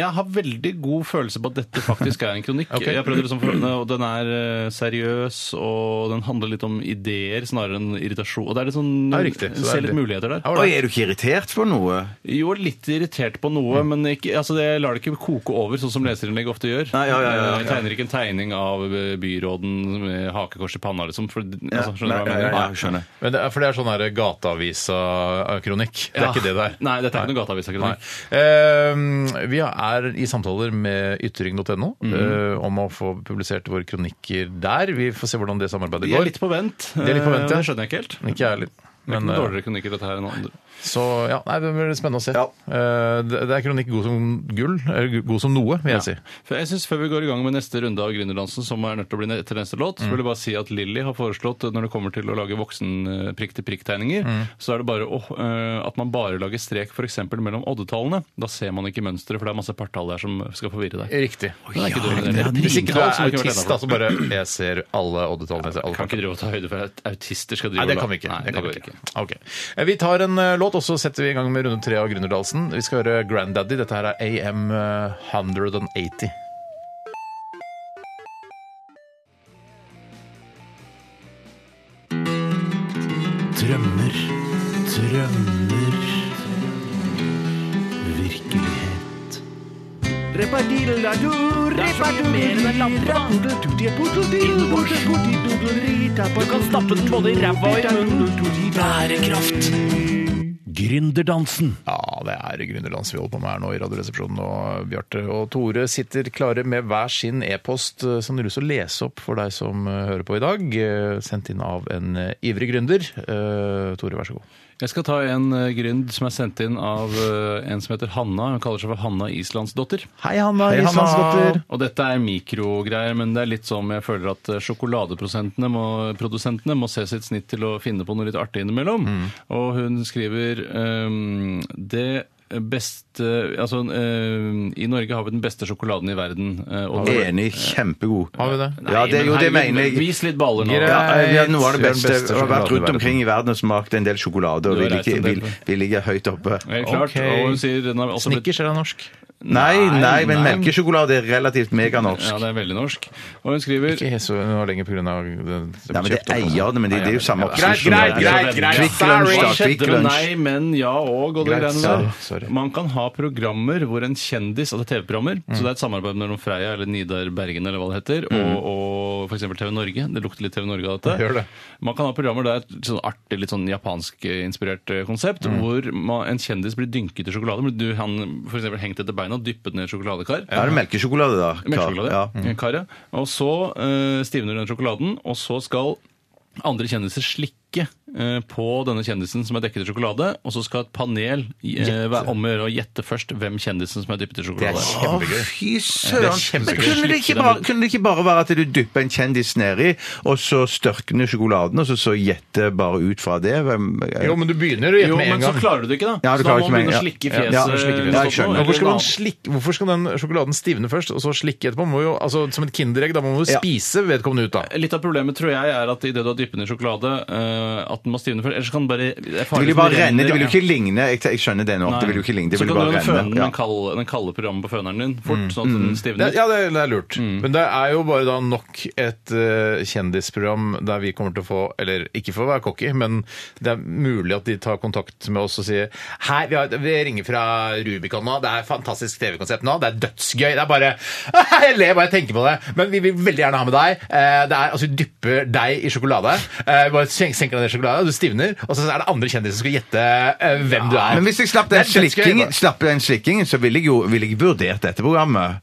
S5: jeg har veldig god følelse på at dette faktisk er en kronikk.
S4: Ok.
S5: Jeg prøvde liksom å forholde meg, og Den er eh, seriøs, og den handler litt om ideer snarere enn irritasjon. Og det er litt sånn,
S4: Ja, riktig. Så det er
S5: Ser litt
S4: det.
S5: muligheter der.
S6: Oi, er du ikke irritert for noe?
S5: Jo, litt irritert på
S4: Mm.
S5: noe, men ikke, altså det, jeg lar det ikke koke over, sånn som leserinnlegg ofte gjør. Eh,
S6: Nei, ja, ja, ja, ja.
S5: Jeg tegner ikke en tegning av eh, byråden med hakekors i panna, liksom. For, altså, skjønner du hva jeg mener?
S6: Ja, jeg skjønner.
S4: Men det er, for det er sånn her gateavisa-kronikk. Det er
S5: Ja.
S4: ikke det det er.
S5: Nei, dette er ikke noe gateavisakronikk.
S4: Eh, vi er i samtaler med ytring.no
S5: Mhm.
S4: eh, om å få publisert våre kronikker der. Vi får se hvordan det samarbeidet
S5: De er
S4: går.
S5: litt på vent.
S4: er litt på vent,
S5: eh,
S4: ja.
S5: Det skjønner jeg ikke helt.
S4: Ikke jeg heller.
S5: Det er
S4: Men,
S5: ikke noe
S4: eh,
S5: dårligere kronikker dette her enn andre.
S4: så ja, nei, det blir spennende å se. Eh, det det er kronikk god som gull, eller gu- god som noe, vil jeg si.
S5: For jeg synes Før vi går i gang med neste runde av Gründerdansen, som er nødt til å bli ne- etter neste låt,
S4: Mm.
S5: så vil jeg bare si at Lilly har foreslått, eh, når det kommer til å lage voksen-prikk-til-prikk-tegninger,
S4: Mm.
S5: så er det bare å, eh, at man bare lager strek f.eks. mellom oddetallene. Da ser man ikke mønsteret, for det er masse partall der som skal forvirre deg.
S4: Riktig.
S5: Den er ikke dum, den heller.
S4: Hvis ikke du er
S5: Alt som har vært
S4: autist,
S5: innenfor.
S4: da, så bare Jeg ser alle oddetallene. jeg ser alle
S5: Kan ikke drive og ta høyde for at autister skal drive
S4: Nei, det
S5: og la-
S4: kan vi ikke.
S5: Nei,
S4: det kan
S5: går
S4: vi ikke. Ok. Eh, Vi tar en eh, låt, og så setter vi i gang med runde tre av Gründerdalsen. Vi skal høre Grandaddy. Dette her er AM eh, 180.
S7: Drømmer, drømmer Virkelighet Du kan stappe den både i ræva og i munnen Bærekraft Gründerdansen
S4: Ja, det er Gründerdans vi holder på med her nå i Radioresepsjonen. Og Bjarte og Tore sitter klare med hver sin e-post eh, som de har lyst til å lese opp for deg som eh, hører på i dag. eh, Sendt inn av en eh, ivrig gründer. Eh, Tore, vær så god.
S5: Jeg skal ta en eh, gründ som er sendt inn av eh, en som heter Hanna. Hun kaller seg for Hanna Islandsdotter.
S4: Hei, Hanna.
S5: Og dette er mikrogreier, men det er litt som jeg føler at sjokoladeprodusentene må, produsentene må se sitt snitt til å finne på noe litt artig innimellom.
S6: Mm.
S5: Og hun skriver ehm, det beste Altså, ehm, i Norge har vi den beste sjokoladen i verden. eh, og
S6: Enig. Kjempegod.
S4: Har vi det?
S5: Nei,
S6: Ja, det,
S5: men
S6: jo, det
S5: herregud,
S6: mener jeg.
S5: Vis litt baller nå.
S4: Greit.
S6: Ja, eh, vi er noe av det
S4: Vi er den
S6: beste.
S4: beste
S6: Vi har
S4: sjokoladen
S6: vært
S4: i
S6: rundt
S4: verden.
S6: omkring i verden og smakt en del sjokolade, og
S5: Du
S6: vi
S5: har reist
S6: ligger,
S5: en del.
S6: vi, vi ligger høyt oppe.
S5: Helt klart.
S4: Ok.
S5: Og hun sier den har også blitt
S4: Snickers er da norsk.
S6: Nei, nei, men
S5: nei.
S6: melkesjokolade er relativt meganorsk.
S5: Ja, det er veldig norsk. Og hun skriver
S4: Ikke så nå lenger pga.
S6: Nei, men det er eierne, men det, det er jo samme
S4: Greit, greit, greit, greit.
S6: Kvikk
S4: Sorry.
S6: lunsj, da. Kvikk
S5: Skjedde med
S6: lunsj.
S5: nei, men ja og og de
S4: Greit,
S5: greiene
S4: sorry,
S5: der.
S4: sorry.
S5: Man kan ha programmer hvor en kjendis Altså TV-programmer.
S4: Mm.
S5: Så det er et samarbeid mellom Freia eller Nidar Bergen eller hva det heter, og, og f.eks. TV Norge. Det lukter litt TV Norge av dette.
S4: Det Mm. gjør det.
S5: Man kan ha programmer der et sånn artig, litt sånn japansk-inspirert eh, konsept,
S4: Mm.
S5: hvor man, en kjendis blir dynket i sjokolade. Blir du, han for eksempel hengt etter beina og dyppet ned i sjokoladekar.
S6: Da er det melkesjokolade, da. Kar.
S5: Melkesjokolade.
S6: Ja.
S5: Mm. Kar, ja. Og så eh, stivner den sjokoladen, og så skal andre kjendiser slikke eh, på denne kjendisen som er dekket i sjokolade, og så skal et panel eh, være om å gjøre å gjette først hvem kjendisen som er dyppet i
S6: Det er
S5: sjokolade.
S6: Å, fy søren! Men
S5: kjempegøy.
S6: kunne det, ikke bare, kunne det ikke bare være at du dypper en kjendis nedi, og så størkner sjokoladen, og så, så gjetter bare ut fra det? Hvem,
S4: Jo, men du begynner å
S5: Jo,
S4: gjette med
S5: men
S4: en
S5: så
S4: gang.
S5: klarer du det ikke, da.
S6: Ja, du
S5: så da
S6: klarer
S5: må
S6: ikke
S5: man
S6: med-
S5: begynne
S6: ja.
S5: å slikke i
S6: Ja,
S5: fjeset.
S6: ja, slikke i fjeset.
S5: sånn,
S6: Ja, jeg skjønner.
S5: eller
S4: Men hvorfor, skal
S5: noe
S4: man
S5: annet.
S4: slikke, hvorfor skal den sjokoladen stivne først, og så slikke etterpå? Man Må jo, altså, som et kinderegg, da må man jo
S6: Ja.
S4: spise vedkommende ut, da.
S5: Litt av problemet tror jeg er at idet du har dyppet den i sjokolade, eh, at den må stivne først. Ellers kan den bare Det er
S6: Det
S5: farlig
S6: vil jo
S5: for
S6: bare renne. Det vil jo
S5: renner.
S6: ikke ligne. Jeg, jeg skjønner det nå. Det vil jo ikke ligne. Det
S5: så
S6: vil
S5: kan du
S6: jo bare
S5: jo føne
S6: renne. Ja. Mm.
S5: den kalde, den kalde programmet på føneren din fort, sånn at den stivner.
S4: Det, ja, det, er- det er lurt. Men det er jo bare da nok et eh, kjendisprogram der vi kommer til å få Eller ikke for å være cocky, men det er mulig at de tar kontakt med oss og sier Hei, vi, har, vi ringer fra Rubicon nå. Det er fantastisk TV-konsept nå. Det er dødsgøy. Det er bare Jeg ler bare jeg tenker på det. Men vi vil veldig gjerne ha med deg. Eh, Det er, altså, Vi dypper deg i sjokolade. Eh, Vi bare sen- senker deg ned i sjokolade, og du stivner. Og så er det andre kjendiser som skal gjette eh, hvem du er.
S6: Men hvis jeg slapp
S4: Det
S6: den
S4: er dødsgøy,
S6: slikkingen,
S4: bare.
S6: slapp den slikkingen så ville jeg jo ville jeg vurdert dette programmet.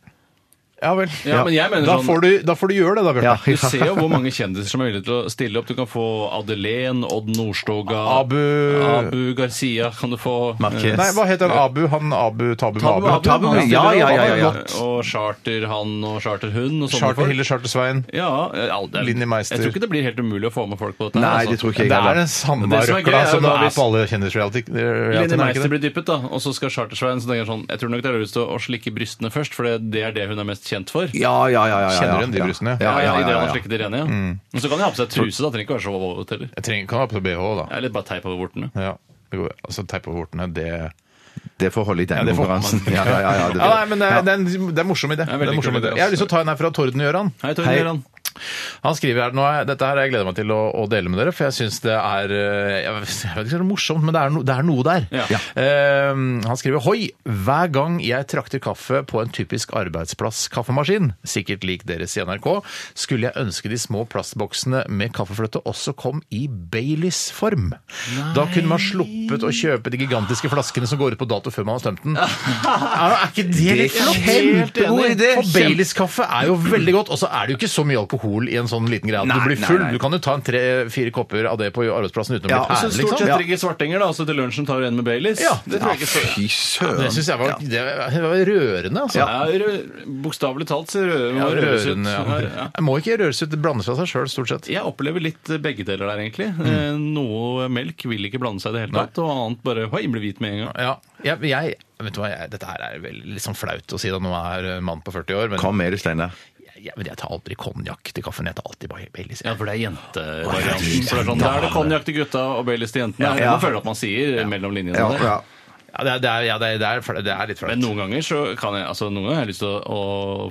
S4: Ja vel.
S5: Ja, men jeg mener
S4: da,
S5: sånn-
S4: får du, da får du gjøre det, da, Bjarte.
S5: Du ser jo hvor mange kjendiser som er villige til å stille opp. Du kan få Adelén, Odd Nordstoga,
S4: Abu-
S5: Abu Garcia kan du få.
S6: Marquez.
S4: Nei, hva heter han Abu? Han Abu Tabu
S5: Tabu
S4: med Abu?
S5: Abu,
S6: Tabu,
S5: han stiller
S6: ja, ja,
S5: opp.
S6: ja, ja, ja.
S5: Godt. Og charter han og charter hun og sånne
S4: Charter
S5: folk.
S4: Hille, Charter Svein.
S5: Ja, al- det er-
S4: Linni Meister.
S5: Jeg tror ikke det blir helt umulig å få med folk på dette. her,
S6: Nei,
S5: altså.
S6: det tror ikke
S4: Det
S6: jeg
S4: er den
S6: heller.
S4: samme
S5: Det som er gøy
S4: røkla
S5: er
S4: som
S5: når
S4: er
S5: vi-
S4: på alle kjendisreality.
S5: Linni Meister
S4: reality-markedet.
S5: blir dyppet, da, og så skal Chartersveien så tenker jeg sånn Jeg tror nok det er lurest å å slikke brystene først, for det det er det hun er mest kjent for.
S6: Ja, ja, ja. ja, ja, ja.
S4: Kjenner igjen de brystene,
S5: Ja,
S6: Ja, ja, ja,
S5: Ideelt å
S6: ja,
S5: slikke de rene, ja. Men så kan de ha på seg truse, da. Trenger ikke være så våt heller.
S4: Jeg trenger ikke ha på BH, da.
S5: Eller bare teip over vortene.
S4: Ja. det går- Altså, Teip over hortene, det
S6: ja. Det får holde i den
S4: det får-
S6: konkurransen. Ja, ja, ja, ja, det-
S4: Ja, nei, men eh, det, er- det er en- det er morsom idé. Det
S5: er
S4: er
S5: veldig
S4: en morsom
S5: kul idé, altså.
S4: idé. Jeg har lyst til å ta en her fra Torden Gjøran.
S5: Hei, Torgeir Gøran.
S4: Han skriver her, nå er, Dette her har jeg gleder meg til å, å dele med dere, for jeg syns det er eh, Jeg vet ikke om det er morsomt, men det er, no, det er noe der.
S5: Ja. Ja.
S4: Eh, han skriver Hoi! Hver gang jeg trakter kaffe på en typisk arbeidsplass-kaffemaskin, sikkert lik deres i NRK, skulle jeg ønske de små plastboksene med kaffefløte også kom i Baileys-form. Da kunne man sluppet å kjøpe de gigantiske flaskene som går ut på dato før man har tømt den. er, er ikke det litt flott?
S6: Kjempegod idé!
S4: For Baileys-kaffe er jo veldig godt, og så er det jo ikke så mye alkohol i en sånn liten greie at
S6: Nei,
S4: du blir
S6: nei,
S4: full.
S6: nei.
S4: Du kan jo ta en tre-fire kopper av det på arbeidsplassen uten å
S6: Ja,
S4: bli
S6: og så
S5: Så
S4: pæren,
S5: stort
S4: liksom.
S5: sett
S6: Ja.
S5: drikker svartinger, da, og så til lunsjen tar du en med Baileys.
S4: Ja.
S5: Det tror jeg ikke så
S6: Fy søren.
S4: Det syns jeg var, det var rørende, altså.
S5: ja. rø- Bokstavelig talt så rører
S4: Ja,
S5: man røres ut.
S4: rørende, ja.
S5: Ja.
S4: Jeg må ikke røres ut, det blandes fra seg sjøl, stort sett.
S5: Jeg opplever litt begge deler der, egentlig. Eh, Noe melk vil ikke blande seg i det hele tatt, og annet bare hoi, blir hvit med en gang.
S4: Ja, jeg, jeg, vet du hva, jeg, dette her er veldig litt sånn flaut å si da, nå er jeg mann på 40 år, men
S6: Kom med det, Steinar.
S4: jeg, jeg, men jeg tar aldri konjakk til kaffen. Jeg tar alltid bare Baileys.
S5: Ja, for det er jentevarianten. Så det er sånn, Da er det konjakk til gutta og Baileys til jentene. Det er det man føler at man sier mellom linjene
S6: Ja,
S5: der.
S6: ja.
S4: Ja, det, er- det, er- ja, det, er- det, er fla- det er litt flaut.
S5: Men noen ganger så kan jeg altså noen ganger har jeg lyst til å, å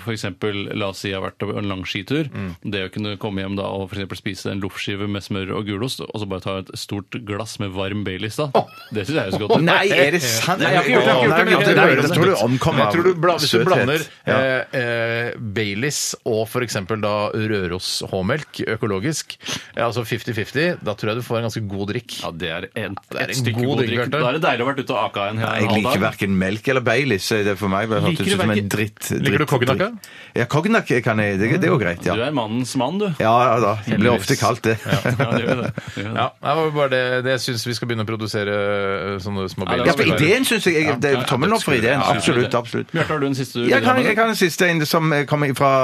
S5: for eksempel, La oss si jeg har vært på en lang skitur. Det å kunne komme hjem da og for eksempel spise en loffskive med smør og gulost, og så bare ta et stort glass med varm Baileys, da. Det syns jeg høres godt ut.
S6: Nei, er det sant?
S5: Nei, jeg har ikke gjort det, jeg har ikke gjort det, men
S6: Nei,
S5: jeg-
S6: nei, Jeg tror du omkommer
S4: Jeg tror du bla, hvis du
S6: søthet.
S4: blander
S6: Ja.
S4: eh, eh, Baileys og f.eks. da Røros H-melk, økologisk, eh, altså 50-50, da tror jeg du får en ganske god drikk.
S5: Ja, det er, en,
S4: Det er
S5: et
S4: en
S5: stykke
S4: god
S5: god
S4: drink,
S5: drikk.
S4: Bjarte.
S5: Da er det deilig å ha vært ute og aka en hel
S6: Nei, Jeg
S5: halv dag.
S6: liker verken melk eller Baileys. Det er for meg bare
S5: Liker
S6: hørtes
S5: du
S6: ut som
S5: verken-
S6: en dritt.
S4: Liker du
S6: dritt-
S4: cognac,
S6: dritt. Ja, cognac kan jeg. Det, det er jo greit, ja.
S5: Du er mannens mann, du.
S6: Ja, ja da. Det blir ofte
S5: Heldigvis.
S6: kalt det.
S5: Ja, det gjør det. Det gjør det.
S4: Ja, det var bare det, det jeg syns vi skal begynne å produsere eh, sånne små
S5: Ja, det
S6: Ja,
S4: Baileys.
S6: for ideen syns jeg, jeg Det er tommelen opp for ideen.
S5: Ja, ja,
S6: Absolutt.
S5: ja.
S6: absolutt.
S5: Bjarte, har du en siste du vil
S6: Jeg
S5: ha
S6: kan,
S5: med
S6: jeg
S5: deg?
S6: kan en siste en som eh, kommer fra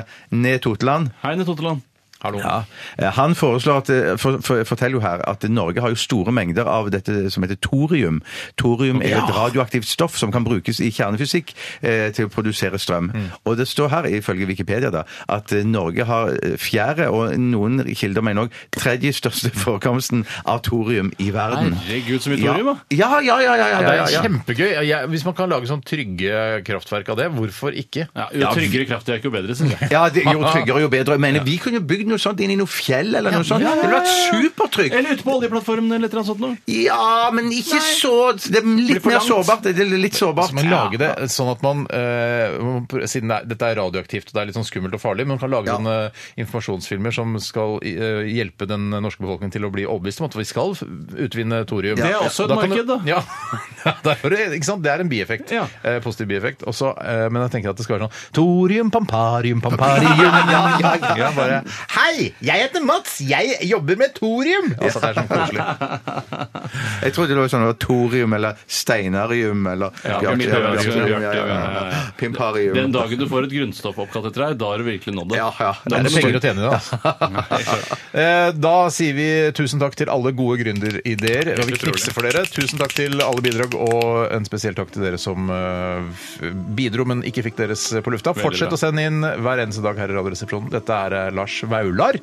S6: eh, Ned Totland.
S5: Hei, Nett Totteland.
S4: Hallo.
S6: Ja. Eh, Han foreslår at, eh, for, for, forteller jo her at Norge har jo store mengder av dette som heter thorium. Thorium er et radioaktivt stoff som kan brukes i kjernefysikk eh, til å produsere
S5: Mm.
S6: strøm. Og det står her, ifølge Wikipedia, da, at eh, Norge har eh, fjerde, og noen kilder mener òg tredje største forekomsten av thorium i verden.
S5: Herregud, så mye thorium, da.
S6: Ja, ja, ja, ja, ja,
S4: Ja,
S6: ja,
S4: det
S6: ja,
S4: er
S6: ja.
S4: kjempegøy. Jeg, hvis man kan lage sånn trygge kraftverk av det, hvorfor ikke?
S5: Ja, jo tryggere kraftverk, jo bedre, synes jeg.
S6: Ja, det, jo tryggere, jo bedre. Jeg mener, Vi kunne jo bygd noe sånt inn i noe fjell eller noe sånt.
S5: ja, ja,
S6: Det ville vært
S5: ja, ja.
S6: supertrygt.
S5: Eller ute på oljeplattformen eller et eller annet sånt noe.
S6: Ja, men ikke så Det er litt
S5: for
S6: mer
S5: langt.
S6: sårbart. Det er litt sårbart.
S4: Så man lager det sånn at man, eh, man pr- siden det er, dette er radioaktivt og det er litt sånn skummelt og farlig, men man kan lage
S6: Ja.
S4: sånne informasjonsfilmer som skal eh, hjelpe den norske befolkningen til å bli overbevist om at vi skal f- utvinne thorium.
S5: Det er også et
S4: kan
S5: marked, da.
S4: du, ja. det, er, det- ikke sant? det er en bieffekt.
S5: Ja.
S4: Eh, positiv bieffekt. Også, eh, men jeg tenker at det skal være sånn Thorium, pamparium, pamparium. ja, ja, ja, bare, Hei, jeg heter Mats, jeg jobber med thorium! Altså, det er sånn koselig.
S6: Jeg trodde det var sånn det var thorium eller steinarium eller
S5: Ja,
S6: Bjarte-
S5: Bjarte-
S6: Bjarte-
S5: Bjarte-
S6: ja, ja,
S5: Bjarte-
S6: ja, ja. Pimparium.
S5: Den dagen du får et grunnstoff oppkalt etter deg, da har du virkelig nådd det.
S6: Ja, ja.
S5: Da
S4: Det
S5: er
S4: er
S5: det penger
S4: penger å tjene i det. Altså. Eh, da sier vi tusen takk til alle gode gründerideer. Vi knipser for dere. Tusen takk til alle bidrag, og en spesiell takk til dere som eh, f- bidro, men ikke fikk deres på lufta. Fortsett
S5: bra.
S4: å sende inn hver eneste dag her i Radioresepsjonen. Dette er eh, Lars Vaular,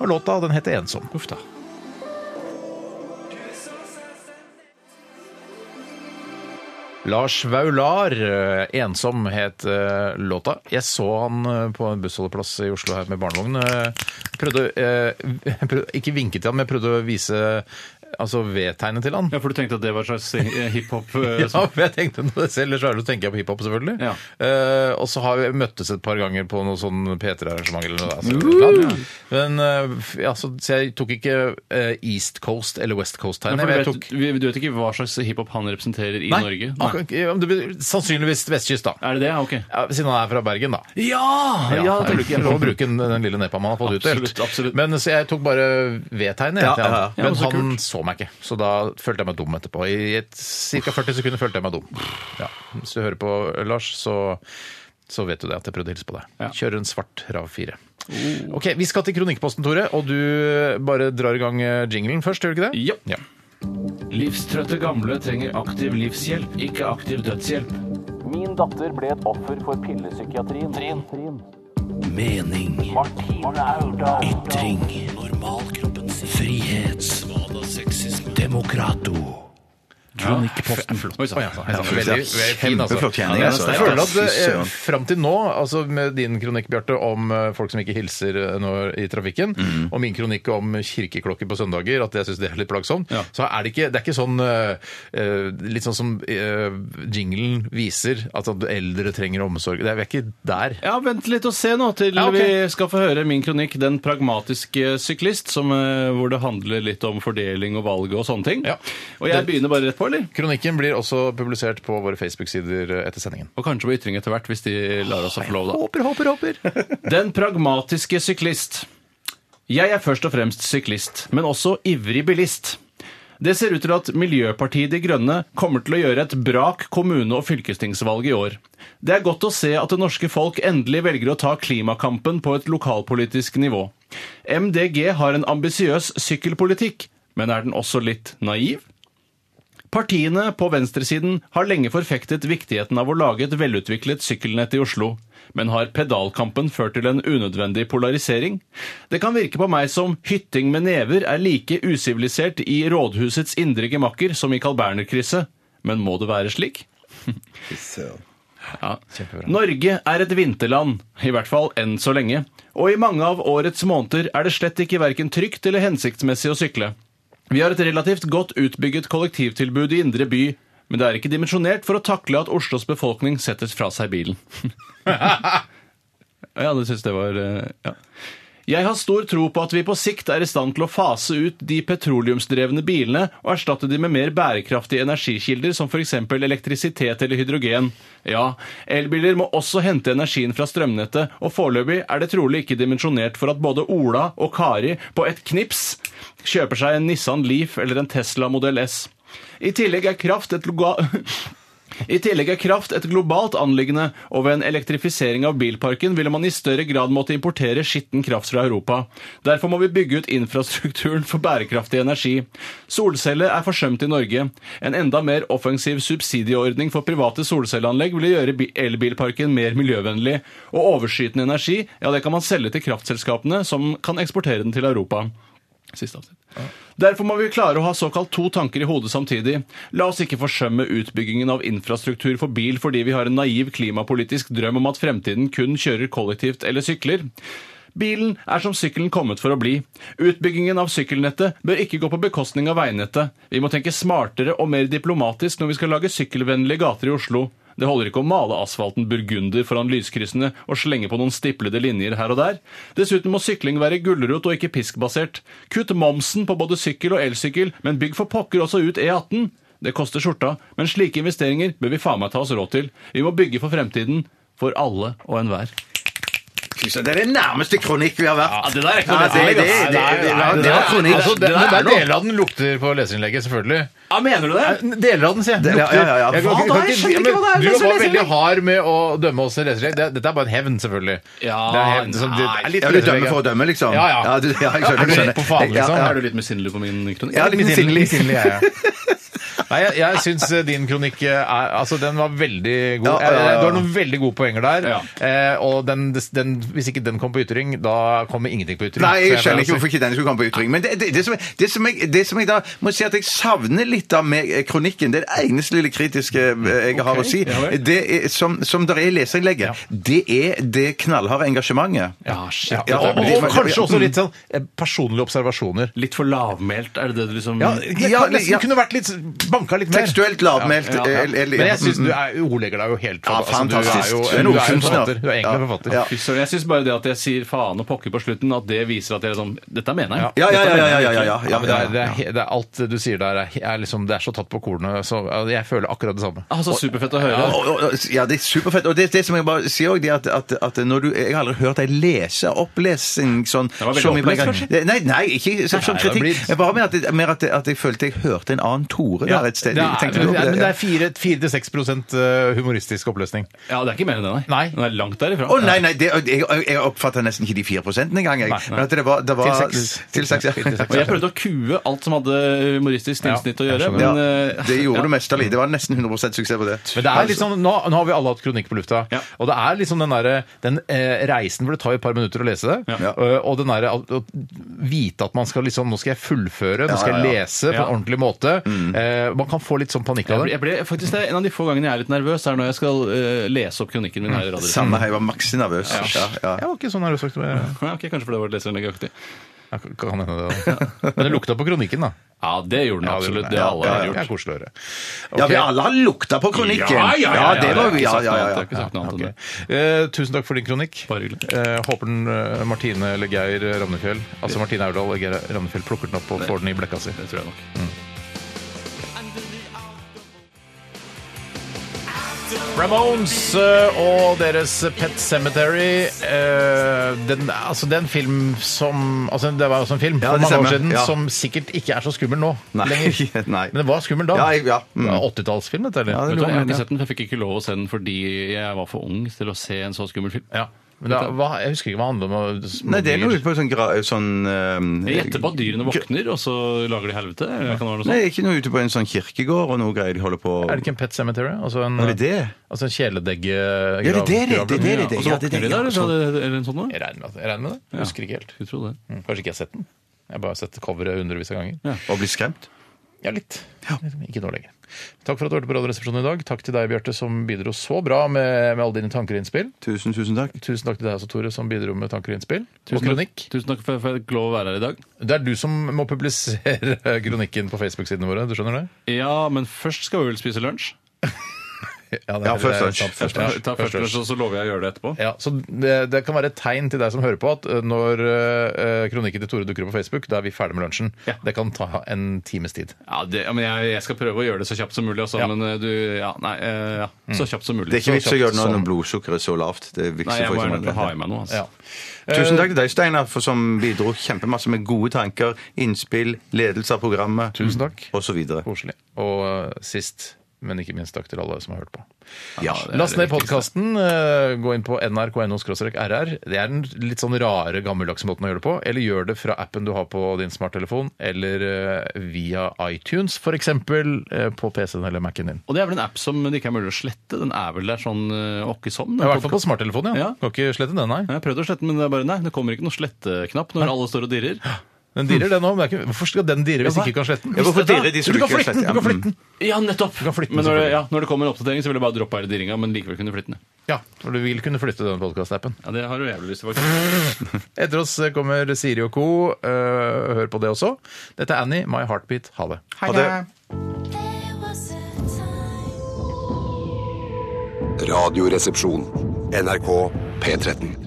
S4: og låta den heter 'Ensom'. Uff da. Lars Vaular, eh, 'Ensom', het eh, låta. Jeg så han eh, på en bussholdeplass i Oslo her med barnevogn. eh, Prøvde, eh, prøvde Ikke vinke til han, men jeg prøvde å vise altså V-tegnet til han.
S5: Ja, for du tenkte at det var et slags eh, hiphop eh,
S4: Ja,
S5: som-
S4: for jeg tenkte når jeg ser Lars Vaular, så tenker jeg på hiphop, selvfølgelig.
S5: Ja.
S4: Eh, og så har vi møttes et par ganger på noe sånn P3-arrangement eller noe. Altså, Men eh, f- altså, så jeg tok ikke eh, East Coast eller West Coast her.
S5: Nei, for du,
S4: men jeg
S5: vet,
S4: tok
S5: vi- du vet ikke hva slags hiphop han representerer i Norge? Nei.
S4: akkurat ikke. Ja, men det blir Sannsynligvis vestkyst, da.
S5: Er det det? Ja, Ok.
S4: Ja, siden han er fra Bergen, da.
S5: Ja!
S4: Ah, Ja,
S5: ja
S4: det er jo ikke lov å bruke den, den lille neppa man har fått
S5: Absolutt,
S4: utdelt.
S5: absolutt.
S4: Men så jeg tok bare V-tegnet.
S6: Ja,
S4: jeg, til han.
S6: ja, ja.
S5: Ja, men
S4: Men
S5: så
S4: han så meg ikke, så da følte jeg meg dum etterpå. I et, ca. 40 sekunder følte jeg meg dum. Ja. Hvis du hører på, Lars, så, så vet du det at jeg prøvde å hilse på deg.
S5: Ja. Oh.
S4: Kjører en svart Rav 4. Ok, Vi skal til Kronikkposten, Tore, og du bare drar i gang eh, jinglen først, gjør du ikke det?
S5: Ja. Livstrøtte gamle trenger aktiv livshjelp, ikke aktiv dødshjelp.
S7: Min datter ble et offer for pillepsykiatrien. Mening. Ytring. Normalkroppen sin. Frihet. Demokrato. Kronikkposten.
S5: Oi, sånn, sant.
S4: Ja, veldig, veldig fin, altså.
S6: Kjempeflott kjenning,
S4: Ja,
S6: altså.
S4: Jeg føler at
S6: Fy
S4: eh,
S6: søren.
S4: fram til nå, altså med din kronikk, Bjarte, om eh, folk som ikke hilser eh, når, i trafikken,
S6: Mhm.
S4: og min kronikk om kirkeklokker på søndager, at jeg syns det er litt plagsomt,
S5: Ja.
S4: så er det ikke, det er ikke sånn eh, eh, Litt sånn som eh, jinglen viser, at at eldre trenger omsorg. Det er, vi er ikke der.
S5: Ja, vent litt og se nå til
S4: Ja, ok.
S5: vi skal få høre min kronikk 'Den pragmatiske syklist', som, eh, hvor det handler litt om fordeling og valg og sånne ting.
S4: Ja.
S5: Og jeg begynner bare rett på, eller?
S4: Kronikken blir også publisert på våre Facebook-sider eh, etter sendingen.
S5: Og kanskje på ytring etter hvert, hvis de lar oss å få lov, da.
S4: Håper, håper, håper!
S5: Den pragmatiske syklist. Jeg er først og fremst syklist, men også ivrig bilist. Det ser ut til at Miljøpartiet De Grønne kommer til å gjøre et brak kommune- og fylkestingsvalg i år. Det er godt å se at det norske folk endelig velger å ta klimakampen på et lokalpolitisk nivå. MDG har en ambisiøs sykkelpolitikk, men er den også litt naiv? Partiene på venstresiden har lenge forfektet viktigheten av å lage et velutviklet sykkelnett i Oslo, men har pedalkampen ført til en unødvendig polarisering? Det kan virke på meg som hytting med never er like usivilisert i rådhusets indre gemakker som i Carl Berner-krysset, men må det være slik? Ja. Norge er et vinterland, i hvert fall enn så lenge. Og i mange av årets måneder er det slett ikke verken trygt eller hensiktsmessig å sykle. Vi har et relativt godt utbygget kollektivtilbud i indre by, men det er ikke dimensjonert for å takle at Oslos befolkning setter fra seg bilen. ja, det syns det var eh, ja. Jeg har stor tro på at vi på sikt er i stand til å fase ut de petroleumsdrevne bilene og erstatte de med mer bærekraftige energikilder som f.eks. elektrisitet eller hydrogen. Ja, elbiler må også hente energien fra strømnettet, og foreløpig er det trolig ikke dimensjonert for at både Ola og Kari på et knips kjøper seg en Nissan Leaf eller en Tesla Model S. I tillegg er kraft et loga... I tillegg er kraft et globalt anliggende, og ved en elektrifisering av bilparken ville man i større grad måtte importere skitten kraft fra Europa. Derfor må vi bygge ut infrastrukturen for bærekraftig energi. Solceller er forsømt i Norge. En enda mer offensiv subsidieordning for private solcelleanlegg ville gjøre bi- elbilparken mer miljøvennlig, og overskytende energi, ja det kan man selge til kraftselskapene, som kan eksportere den til Europa. Siste avsnitt. Derfor må vi klare å ha såkalt to tanker i hodet samtidig. La oss ikke forsømme utbyggingen av infrastruktur for bil fordi vi har en naiv klimapolitisk drøm om at fremtiden kun kjører kollektivt eller sykler. Bilen er som sykkelen kommet for å bli. Utbyggingen av sykkelnettet bør ikke gå på bekostning av veinettet. Vi må tenke smartere og mer diplomatisk når vi skal lage sykkelvennlige gater i Oslo. Det holder ikke å male asfalten burgunder foran lyskryssene og slenge på noen stiplede linjer her og der. Dessuten må sykling være gulrot og ikke piskbasert. Kutt momsen på både sykkel og elsykkel, men bygg for pokker også ut E18. Det koster skjorta, men slike investeringer bør vi faen meg ta oss råd til. Vi må bygge for fremtiden. For alle og enhver.
S6: Fy søren, Det er den nærmeste kronikk vi har vært.
S5: Ja, det der er ikke
S6: Nei,
S5: noe
S6: det, det,
S5: leserinnlegg,
S6: det, det, var- det var kronikk.
S4: Altså, det,
S6: Det
S4: det
S6: er
S4: er
S6: noe.
S4: deler av den lukter på leserinnlegget, selvfølgelig.
S5: Ja, mener du det?
S4: Deler av den, sier jeg.
S6: Det- ja,
S4: Lukter.
S6: ja, ja, ja.
S4: Jeg kan
S6: Hva
S4: ikke-
S6: da?
S4: kan
S6: Jeg skjønner ikke hva det er.
S4: Du
S6: Det er så
S4: var veldig
S6: leserinnlegg.
S4: hard med å dømme oss i leserinnlegg. Det- Dette er bare en hevn, selvfølgelig.
S5: Ja,
S4: det er hevn, som, det
S5: nei.
S4: er litt
S6: Ja, du dømmer for å dømme, liksom?
S4: Ja, ja.
S6: du, ja jeg skjønner.
S4: Er du
S6: skjønner.
S4: rett på faen,
S6: Ja,
S4: liksom?
S6: ja.
S5: Er du litt misunnelig på min kronikk?
S6: Ja, litt misunnelig.
S4: Misunnelig er jeg. Nei, jeg, jeg syns din kronikk eh, er, altså, den var veldig god.
S6: Ja, ja, ja, ja.
S4: Eh, Du har noen veldig gode poenger der.
S5: Ja.
S4: Eh, og den, den, hvis ikke den kom på ytring, da kommer ingenting på ytring.
S6: Nei,
S4: Så
S6: jeg skjønner
S4: bare
S6: ikke hvorfor ikke den skulle komme på ytring. Men det, det, det, som, jeg- det, som, jeg, det som jeg da må si at jeg savner litt av med eh, kronikken, det er det eneste lille kritiske eh, jeg har å si,
S5: ja vel.
S6: det er, som, som der er i leserinnlegget, det er det knallharde engasjementet.
S5: Ja, shit.
S4: Ja, og, og,
S6: det-
S4: og kanskje
S6: mm.
S4: også litt sånn eh, personlige observasjoner.
S5: Litt for lavmælt, er det det du liksom
S4: Ja, det kan
S6: ja.
S4: nesten kunne vært litt banka litt mer.
S6: Tekstuelt lavmælt,
S4: Ja, ja.
S6: eller- eller-
S4: Men jeg syns du er, ordlegger deg jo helt
S6: Ja,
S4: altså, du er
S6: fantastisk.
S4: jo-
S6: Du er en
S4: Du er jo
S6: ordkunstner, ja.
S4: forfatter. Du er egentlig forfatter.
S6: Ja.
S5: Fy søren, Jeg syns bare det at jeg sier faen og pokker på slutten, at det viser at jeg er sånn Dette mener jeg.
S6: Ja, ja, ja, ja, ja, ja, ja,
S4: Ja, men det er,
S6: ja,
S4: det er, he- det er alt du sier der, er, er liksom, det er så tatt på kornet. Så ja, jeg føler akkurat det samme.
S5: Altså, superfett å høre.
S6: Ja, og- og- og- ja, det er superfett. Og det, det som jeg bare sier også, det er at, at, at når du, jeg har aldri hørt deg lese opplesning sånn.
S5: var veldig
S6: så mye på
S5: opplest,
S6: en gang.
S5: kanskje?
S6: Det- Nei, nei, ikke som sånn
S4: det blir-
S6: kritikk. Jeg bare mener at, det- mer at, det- at jeg følte jeg hørte en annen Tore der et sted.
S4: det er,
S6: Tenkte
S4: men,
S6: du
S4: det
S6: over
S4: er, men det
S6: Ja.
S4: er fire- fire til seks prosent eh, humoristisk oppløsning.
S5: Ja, det er ikke mer enn det, nei.
S4: Nei.
S5: Den er langt derifra.
S6: Å nei, nei, det, jeg, jeg oppfatta nesten ikke de fire prosentene engang. jeg. Men at det var, det var
S4: Til seks.
S6: Til seks, ja.
S5: Og jeg prøvde å kue alt som hadde humoristisk snillsnitt å
S4: Ja, jeg
S5: gjøre,
S4: skjønner.
S5: men
S6: ja,
S5: eh,
S6: det gjorde
S5: ja.
S6: du mesterlig. Det var nesten 100 suksess på det.
S4: Men det er litt sånn, nå, nå har vi alle hatt kronikk på lufta,
S5: Ja.
S4: og det er liksom den derre den eh, reisen hvor det tar et par minutter å lese det,
S5: Ja.
S4: eh, og den derre å vite at man skal liksom Nå skal jeg fullføre, nå skal
S6: ja,
S4: jeg
S6: ja. Mm.
S4: lese på
S5: Ja.
S4: en ordentlig måte. Eh, man kan få litt sånn panikk
S5: Jeg
S4: av
S5: ble,
S4: det.
S5: jeg ble, faktisk det er En av de få gangene jeg er litt nervøs, er når jeg skal eh, lese opp kronikken min her i
S6: Mm.
S5: radioen.
S6: Samme her, jeg var maks nervøs. Ja, ja.
S4: Jeg var ikke så nervøs, faktisk, men jeg-
S5: Ja, ok, kanskje fordi det var et leserinnlegg-aktig.
S4: jeg kan hende det. da. Men det lukta på kronikken, da.
S5: Ja, det gjorde den
S4: Ja,
S5: absolutt.
S4: det
S5: Det alle har
S4: Det er
S5: gjort.
S4: koselig å høre.
S6: Ja,
S4: Ok.
S6: vi alle har lukta på kronikken. det var vi. Ja, ja, ja.
S5: Jeg har
S6: ja.
S5: ikke sagt noe annet enn det.
S4: Eh, tusen takk for din kronikk.
S5: Bare hyggelig.
S4: Eh, håper den eh, Martine eller Geir Ravnefjell Altså Martine Aurdal og Geir Ravnefjell plukker den opp og får den i blekka si.
S5: Det tror jeg nok.
S4: Ramones eh, og deres Pet Cemetery. eh, Den, altså, det er en film som altså, Det var også en film
S6: Ja,
S4: for
S6: det
S4: mange år
S6: stemmer.
S4: siden
S6: Ja.
S4: som sikkert ikke er så skummel nå
S6: Nei.
S4: lenger.
S6: Nei.
S4: Men det var skummel da.
S6: Ja, jeg- ja. Mm.
S4: Det var 80-tallsfilm, dette, eller?
S6: Ja, det
S5: Vet du hva, Jeg har ikke
S6: Ja.
S5: sett den, for jeg fikk ikke lov å se den fordi jeg var for ung til å se en så skummel film.
S4: Ja. Men da, hva, jeg husker ikke hva det handler om.
S6: Nei, det er noe ute på sånn, gra sånn ehm,
S5: Jeg gjetter på at dyrene våkner, og så lager de helvete. eller Det kan være noe
S6: Nei,
S5: sånt.
S6: ikke noe ute på en sånn kirkegård og noe greier de holder på
S4: Er det ikke en Pet Cemetery? Altså en,
S6: Er det det?
S4: Altså en kjæledegge
S6: Ja, det er det, det er det, det er det.
S5: Og så
S6: Ja, det
S5: våkner de
S6: er det.
S5: der,
S6: Ja,
S5: eller
S6: sånn.
S5: er det en sånn noe?
S4: Jeg regner med det. Jeg regner med det. Jeg Husker ikke helt.
S5: Jeg tror det.
S4: Mm, Kanskje ikke jeg har sett den. Jeg har bare sett coveret hundrevis av ganger.
S6: Og bli skremt?
S4: Ja, litt. Ikke nå lenger. Takk for at du hørte på Radioresepsjonen i dag. Takk til deg, Bjarte, som bidro så bra med, med alle dine tanker og innspill.
S6: Tusen, tusen takk.
S4: Tusen takk til deg også, Tore, som bidro med tanker og innspill. og
S5: Tusen takk,
S4: kronikk.
S5: tusen takk for at jeg fikk lov å være her i dag.
S4: Det er du som må publisere kronikken på Facebook-sidene våre. Du skjønner det?
S5: Ja, men først skal vi vel spise lunsj.
S4: Ja, det
S6: Ja,
S4: er-
S6: først
S4: det er
S6: lunsj.
S4: sant. Først
S5: Ja,
S4: lunsj.
S5: ta først lunsj, og så lover jeg å gjøre det etterpå.
S4: Ja, så det, det kan være et tegn til deg som hører på at eh, når eh, kronikken til Tore dukker opp på Facebook, da er vi ferdig med lunsjen.
S5: Ja.
S4: Det kan ta en times tid.
S5: Ja, det, ja, men jeg, jeg skal prøve å gjøre det så kjapt som mulig, altså.
S4: Ja.
S5: Men eh, du Ja, nei. eh, Ja, så kjapt som mulig.
S6: Det er ikke
S5: Så
S6: vits å
S5: kjapt
S6: gjøre noe
S5: som-
S6: når blodsukkeret er så lavt. Det er
S5: Nei,
S6: viktig
S5: jeg
S6: for
S5: må
S6: eksempel.
S5: gjerne ha i meg noe, altså.
S4: Ja.
S6: Tusen takk til deg, Steinar, for som bidro kjempemasse med gode tanker, innspill, ledelse av programmet
S4: Tusen takk.
S6: og så videre.
S4: Koselig. Og eh, sist, men ikke minst takk til alle som har hørt på.
S6: Ja.
S5: det er
S4: Last
S5: det
S4: ned podkasten. Gå inn på nrk.no-rr. Det er den litt sånn rare, gammeldagse måten å gjøre det på. Eller gjør det fra appen du har på din smarttelefon, eller eh, via iTunes, f.eks. på PC-en eller Mac-en din.
S5: Og det er vel en app som det ikke er mulig å slette? Den er vel der sånn eh, åkke som?
S4: I hvert fall på smarttelefonen, ja.
S5: Ja.
S4: Kan ikke slette den, nei.
S5: Jeg har prøvd å slette den, men det er bare nei, det kommer ikke noen sletteknapp når alle står og dirrer.
S4: Den dirrer, den òg. men det er ikke- Hvorfor skal den dirre hvis
S5: Ja,
S4: ikke du kan slette den?
S6: Ja, hvorfor
S4: Hvis det er-
S6: dirrer de som
S4: du kan
S6: ikke
S4: flytte den!
S6: sletter?
S4: Du kan
S6: Ja, mm.
S4: flytte den!
S5: Ja, nettopp!
S4: kan flytte den,
S5: men når det,
S4: selvfølgelig.
S5: ja, når det kommer en oppdatering, så vil jeg bare droppe hele dirringa, men likevel kunne flytte den.
S4: Ja, for du vil kunne flytte den podkastappen.
S5: Ja, det har jo jævlig lyst til, faktisk.
S4: Etter oss kommer Siri og co. Eh, Hør på det også. Dette er Annie, My Heartbeat. Ha det.
S6: Ha det.
S1: Radioresepsjon. NRK P13.